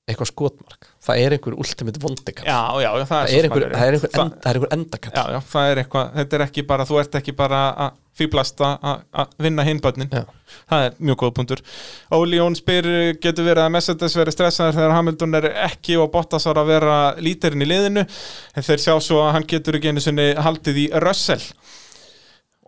Speaker 2: eitthvað skotmark það er einhver ultimate vondikall
Speaker 1: Já, já, já, það er
Speaker 2: það,
Speaker 1: svo
Speaker 2: er
Speaker 1: smakar,
Speaker 2: einhver, það, er einhver
Speaker 1: Það-
Speaker 2: end, það er einhver endakall
Speaker 1: Já, já, það er eitthvað, þetta er ekki bara, þú ert ekki bara að fýblast að vinna hinn börnin
Speaker 2: Já.
Speaker 1: Það er mjög góð punktur Óli Jón spyr, getur verið að Mercedes verið stressaður þegar Hamilton er ekki og Bottas var að vera lítirinn í liðinu en þeir sjá svo að hann getur ekki einu sinni haldið í Russell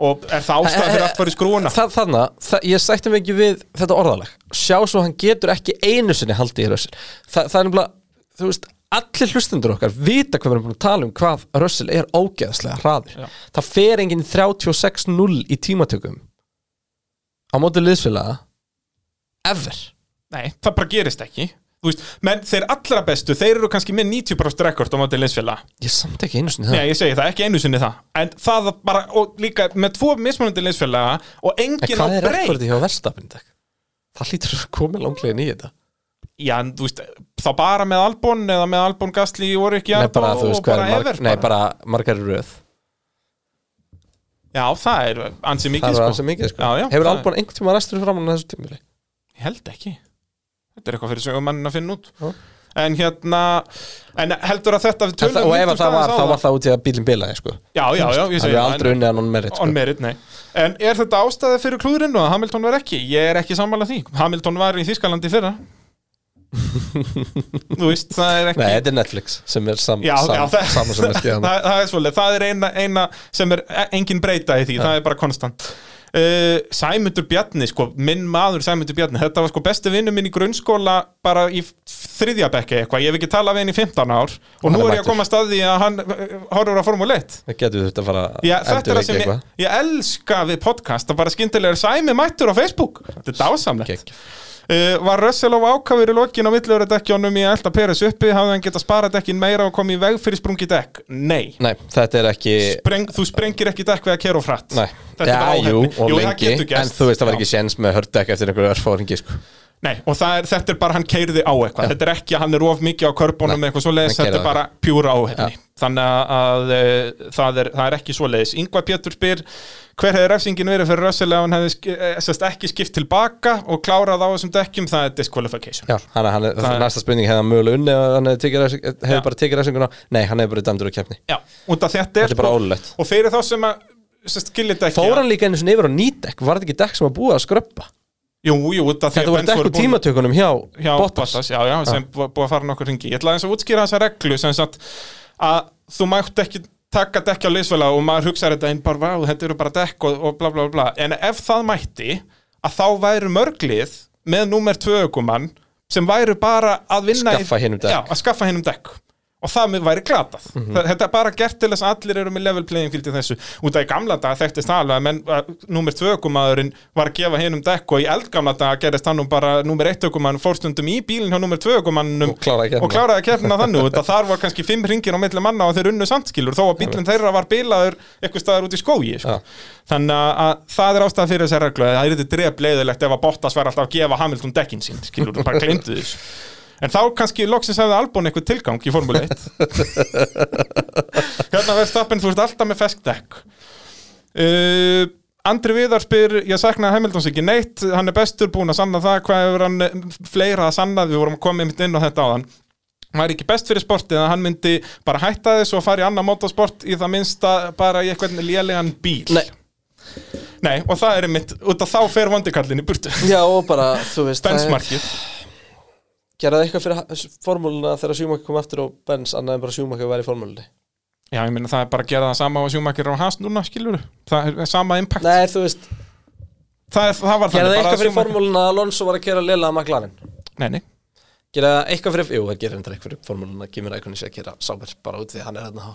Speaker 1: og er það ástæða fyrir allt var í skrúuna
Speaker 2: Þa, Þannig, það, ég sætti mig ekki við þetta orðalag sjá svo hann getur ekki einu sinni haldið í rössil Þa, það er nefnilega, þú veist allir hlustendur okkar vita hvað við erum búin að tala um hvað rössil er ógeðslega hraður
Speaker 1: Já.
Speaker 2: það fer enginn 36-0 í tímatökum á móti liðsfélaga ever
Speaker 1: Nei, það bara gerist ekki Þú veist, menn þeir allra bestu, þeir eru kannski með 90% rekord á móti linsfélag
Speaker 2: Ég samt ekki einu sinni það
Speaker 1: Nei, ég segi það, ekki einu sinni það En það að bara, og líka með tvo mismunandi linsfélaga og
Speaker 2: En
Speaker 1: engin á
Speaker 2: hvað er
Speaker 1: breytt
Speaker 2: rekordið hjá Verstapin dag? Það hlýtur að koma langlegin í þetta
Speaker 1: Já, en þú veist, þá bara með Albon eða með Albon Gastli og Rikki
Speaker 2: Nei, bara,
Speaker 1: og,
Speaker 2: þú veist,
Speaker 1: og
Speaker 2: hvað
Speaker 1: bara
Speaker 2: er marg,
Speaker 1: Ever
Speaker 2: Nei,
Speaker 1: bara.
Speaker 2: bara margar í röð
Speaker 1: Já, það er ansið mikið
Speaker 2: Það
Speaker 1: sko.
Speaker 2: er aðeins mikið, sko
Speaker 1: Já, já,
Speaker 2: Hefur
Speaker 1: það
Speaker 2: Albon einhvern tíma restur fram á þessu tímili?
Speaker 1: er- Ég held ekki Þetta er eitthvað fyrir sögumannin að finna út
Speaker 2: Já.
Speaker 1: En hérna, en heldur að þetta við
Speaker 2: En það-
Speaker 1: tölum
Speaker 2: Og ef
Speaker 1: hittust
Speaker 2: að það
Speaker 1: aðeins
Speaker 2: var,
Speaker 1: á
Speaker 2: þá var það út í að bílinn bilaði, sko
Speaker 1: Já, já, já, ég
Speaker 2: Það
Speaker 1: segi
Speaker 2: er aldrei unnið að non merit,
Speaker 1: On
Speaker 2: sko
Speaker 1: merit, nei En er þetta ástæði fyrir klúðrinu að Hamilton var ekki? Ég er ekki sammála því Hamilton var í Þískalandi
Speaker 2: [LAUGHS]
Speaker 1: fyrra Þú veist, það er ekki
Speaker 2: Nei, þetta er Netflix sem er sam,
Speaker 1: Já,
Speaker 2: sam,
Speaker 1: já, það- [LAUGHS]
Speaker 2: saman sem er skjæðan
Speaker 1: það, það er svolítið, það er eina, eina sem er e- engin breyta í því, það er bara konstant uh, Sæmundur Bjarni, sko, minn maður Sæmundur Bjarni, þetta var sko besti vinnu minn í grunnskóla bara í f- þriðja bekki eitthvað, ég hef ekki talað við henni í 15 ár og
Speaker 2: Hann
Speaker 1: nú
Speaker 2: er
Speaker 1: er ég að
Speaker 2: mættur.
Speaker 1: koma að staði að hann eh, horfur á Formule 1
Speaker 2: Það getur þetta að fara að
Speaker 1: Já, þetta er það
Speaker 2: endurvekja
Speaker 1: sem ég,
Speaker 2: eitthvað.
Speaker 1: ég elska við podcast að bara skyndilega er Sæmi mættur á Facebook Þetta er dásamlegt
Speaker 2: Geggjað.
Speaker 1: uh, Var Russell of ákafur í lokin á milluröðdekkjónum í að elda Peres uppi, hafði hann geta sparað dekkin meira og komið í veg fyrir sprungi dekk? Nei
Speaker 2: Nei, þetta er ekki
Speaker 1: Spreng, Þú sprengir ekki dekk við að kera og frætt
Speaker 2: Eh. Nei,
Speaker 1: Þetta er
Speaker 2: já,
Speaker 1: bara óheppni.
Speaker 2: jú, og
Speaker 1: Jú, það
Speaker 2: lengi
Speaker 1: getur gerst.
Speaker 2: En þú veist, það var ekki
Speaker 1: Já.
Speaker 2: séns með hördekk eftir einhverju örfóringi, sko
Speaker 1: Nei, og það er, þetta er bara hann keirði á eitthvað Þetta er ekki að hann er of mikið á körbónum eitthvað svoleiðis,
Speaker 2: hann keyrði
Speaker 1: þetta er
Speaker 2: á
Speaker 1: bara pjúra áhefni Þannig að uh, það, er, það er ekki svoleiðis Ingvar Pétur spyr Hver hefði refsingin verið fyrir Russell ef hann hefði sk- eh, sest, ekki skipt tilbaka og klárað á þessum dekkjum, það er disqualification
Speaker 2: Já, hann, hann,
Speaker 1: Það er-
Speaker 2: næsta spurning hefði hann mögulega unni og hann hefði tekið refsing- hefði
Speaker 1: Já.
Speaker 2: bara tekið refsinguna Nei, hann hefði bara dæmdur á keppni
Speaker 1: Já, út af þetta er,
Speaker 2: Þetta er bara ólulegt
Speaker 1: Og fyrir þá sem að skiljið þetta ekki
Speaker 2: Fór hann líka einu sinni yfir á nýdekk, var þetta ekki dekk sem var búið að skröppa?
Speaker 1: Jú, jú, út af því
Speaker 2: Þetta
Speaker 1: að
Speaker 2: voru
Speaker 1: Benz
Speaker 2: dekku
Speaker 1: búin-
Speaker 2: tímatökunum hjá,
Speaker 1: hjá
Speaker 2: Bottas
Speaker 1: Bottas, já, já, sem var búið að fara nokkur ringi ég ætla aðeins að útskýra þessa reglu sem sagt að þú mátt ekki taka dekki á liðsfélag og maður hugsaði þetta einn bara, vá, þetta eru bara dekk og, og bla bla bla en ef það mætti að þá væru mörglið með númer tvö ökumann sem væru bara að vinna
Speaker 2: Skaffa hinum dekk.
Speaker 1: já, að skaffa hennum dekk og það með væri glatað
Speaker 2: Mhm.
Speaker 1: Þa- þetta er bara gert til þess að allir eru með level playing field í þessu út af í gamla daga þekktist það alveg að menn, að, númer tvö ökumaðurinn var að gefa hennum dekk og í eldgamla daga gerist hann nú bara númer eitt ökumann fórstundum í bílinn hjá númer tvö ökumannum
Speaker 2: Og kláraði keppnina.
Speaker 1: og kláraði keppnina þannig út að þar var kannski fimm ringir á milli manna og þeir unnu samtskilur þó að bílinn þeirra var bilaður eitthvað staðar út í skói sko. þannig að, að það er ástæða fyrir þessar reglu að það er þetta drefleiðilegt ef að Bottas var alltaf að gefa Hamilton dekkin sín skilur, bara glemdu þessu En þá kannski loksins hefði Albon eitthvað tilgang í Formule
Speaker 2: [LAUGHS]
Speaker 1: 1 Hérna verð stappin, þú ert alltaf með fesk dekk uh, Andri Viðar spyr Ég sakna Hamiltons ekki neitt Hann er bestur búinn að sanna það Hvað hefur hann eh, fleira að sanna Við vorum komið mitt inn á þetta áðan væri ekki best fyrir sportið að hann myndi bara hætta þessu og fara í annan motorsport í það minnsta bara í eitthvað lélegan bíl
Speaker 2: Nei.
Speaker 1: Nei, og það er einmitt, út af þá fer vondikallin í burtu
Speaker 2: Já, og bara, þú veist það er-
Speaker 1: Bensmarkið
Speaker 2: Gerði það eitthvað fyrir formúluna þegar Sjúmakki kom aftur og Benz annað en bara Sjúmakki að vera í formúlunni
Speaker 1: Já, ég meina það er bara að gera það sama og sjúmakir á hans núna, skilur Það er sama impact
Speaker 2: Nei, þú veist,
Speaker 1: það, er, það var
Speaker 2: gerði það
Speaker 1: bara
Speaker 2: eitthvað fyrir
Speaker 1: Schumacher-
Speaker 2: formúluna að Alonso var að kera liðlega að McLaren
Speaker 1: Nei, nei,
Speaker 2: Gerði það eitthvað fyrir, jú, það gerði þetta eitthvað fyrir formúluna að Kimi Rækunni sé að kera Sáber bara út því að hann er þarna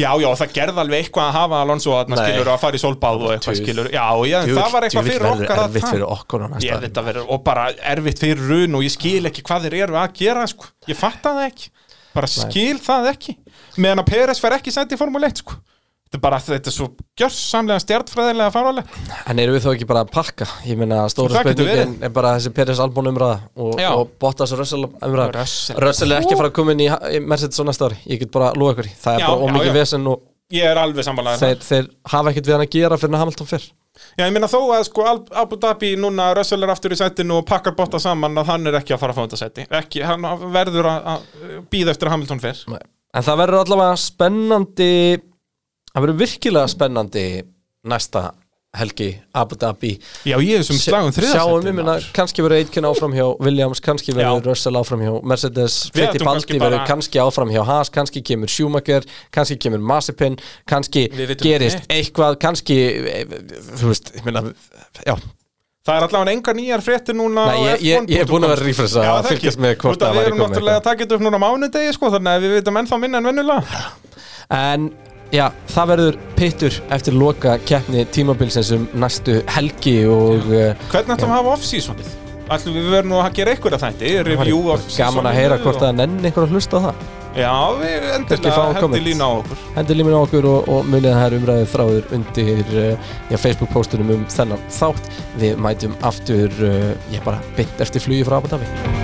Speaker 1: já, já, það gerði alveg eitthvað að hafa Alonso að
Speaker 2: Nei.
Speaker 1: skilur og að fara í solbáð og eitthvað
Speaker 2: Djöfull-
Speaker 1: skilur Já, já, en það var eitthvað fyrir okkar að
Speaker 2: Erfitt
Speaker 1: tala
Speaker 2: fyrir okkur á næsta
Speaker 1: Ég
Speaker 2: ári.
Speaker 1: þetta verður, og bara erfitt fyrir run og ég skil ekki hvað þeir eru að gera, sko Ég fatta það ekki, bara skil það ekki Meðan að Peres fer ekki sæti í Formule 1, sko Þetta er bara, þetta er svo gjörsamlega stjartfræðilega faralega
Speaker 2: En eru við þó ekki bara að pakka? Ég meina stóra
Speaker 1: Það getur
Speaker 2: spurningin er bara þessi Peres Albon umræða og,
Speaker 1: Já.
Speaker 2: og Bottas Russell umræða
Speaker 1: Russell.
Speaker 2: Russell er ekki að fara að koma inn í í Mercedes á næsta ári Ég get bara að lúa ykkur í. Það er
Speaker 1: Já,
Speaker 2: bara
Speaker 1: já,
Speaker 2: ómikið
Speaker 1: já.
Speaker 2: vesen og
Speaker 1: Ég er alveg sammálaður
Speaker 2: þeir, þeir hafa ekkert við hann að gera fyrir en Hamilton fyrr
Speaker 1: Já, ég meina þó að sko Al- Abu Dhabi núna Russell er aftur í setinu og pakkar botta saman að hann er ekki að fara að fá þetta seti ekki, hann verður að, að býða eftir að Hamilton fyrr
Speaker 2: En það verður allavega spennandi Það verður virkilega spennandi næsta helgi Abu Dhabi
Speaker 1: Já, ég er sem um slagum
Speaker 2: Sjáum við minna,
Speaker 1: þriðasettin
Speaker 2: kannski verður Eitken áfram hjá Williams, kannski verður
Speaker 1: Já.
Speaker 2: Russell áfram hjá Mercedes,
Speaker 1: Við
Speaker 2: Fetti
Speaker 1: ættum
Speaker 2: Baldi
Speaker 1: kannski bara-
Speaker 2: verður kannski áfram hjá Haas, kannski kemur Schumacher, kannski kemur Mazepin kannski
Speaker 1: Við vitum
Speaker 2: gerist
Speaker 1: neitt.
Speaker 2: eitthvað kannski, eh, þú veist ég minna, já,
Speaker 1: Það er allavega engar nýjar fréttir núna
Speaker 2: Nei,
Speaker 1: á
Speaker 2: ég- ég- ég er
Speaker 1: F1.com.
Speaker 2: búinn að vera að refresha
Speaker 1: Já,
Speaker 2: að
Speaker 1: það
Speaker 2: fylgjast
Speaker 1: ekki.
Speaker 2: með hvort
Speaker 1: Út af
Speaker 2: það væri
Speaker 1: Við erum
Speaker 2: komið
Speaker 1: náttúrulega að taka þetta upp núna á mánudegi sko, þannig að við veitum ennþá minna en vennulega
Speaker 2: en já, það verður pittur eftir loka keppni tímabilsins um næstu helgi og eh,
Speaker 1: Hvernig ætlum við að hafa off-seasonið? Ætlum við verðum nú að gera eitthvað þætti, review
Speaker 2: væri
Speaker 1: off-seasonið
Speaker 2: gaman að heyra hvort
Speaker 1: og-
Speaker 2: það nenni einhver að hlusta á það
Speaker 1: Já, við
Speaker 2: Kannski
Speaker 1: endilega
Speaker 2: fáum
Speaker 1: hendi
Speaker 2: comment.
Speaker 1: lína á okkur
Speaker 2: hendur líminu á okkur og, og munið að það er umræðið þráður undir uh, já, Facebook eh, postunum um þennan þátt við mætum aftur uh, ég bara bytt eftir flugi frá Abu Dhabi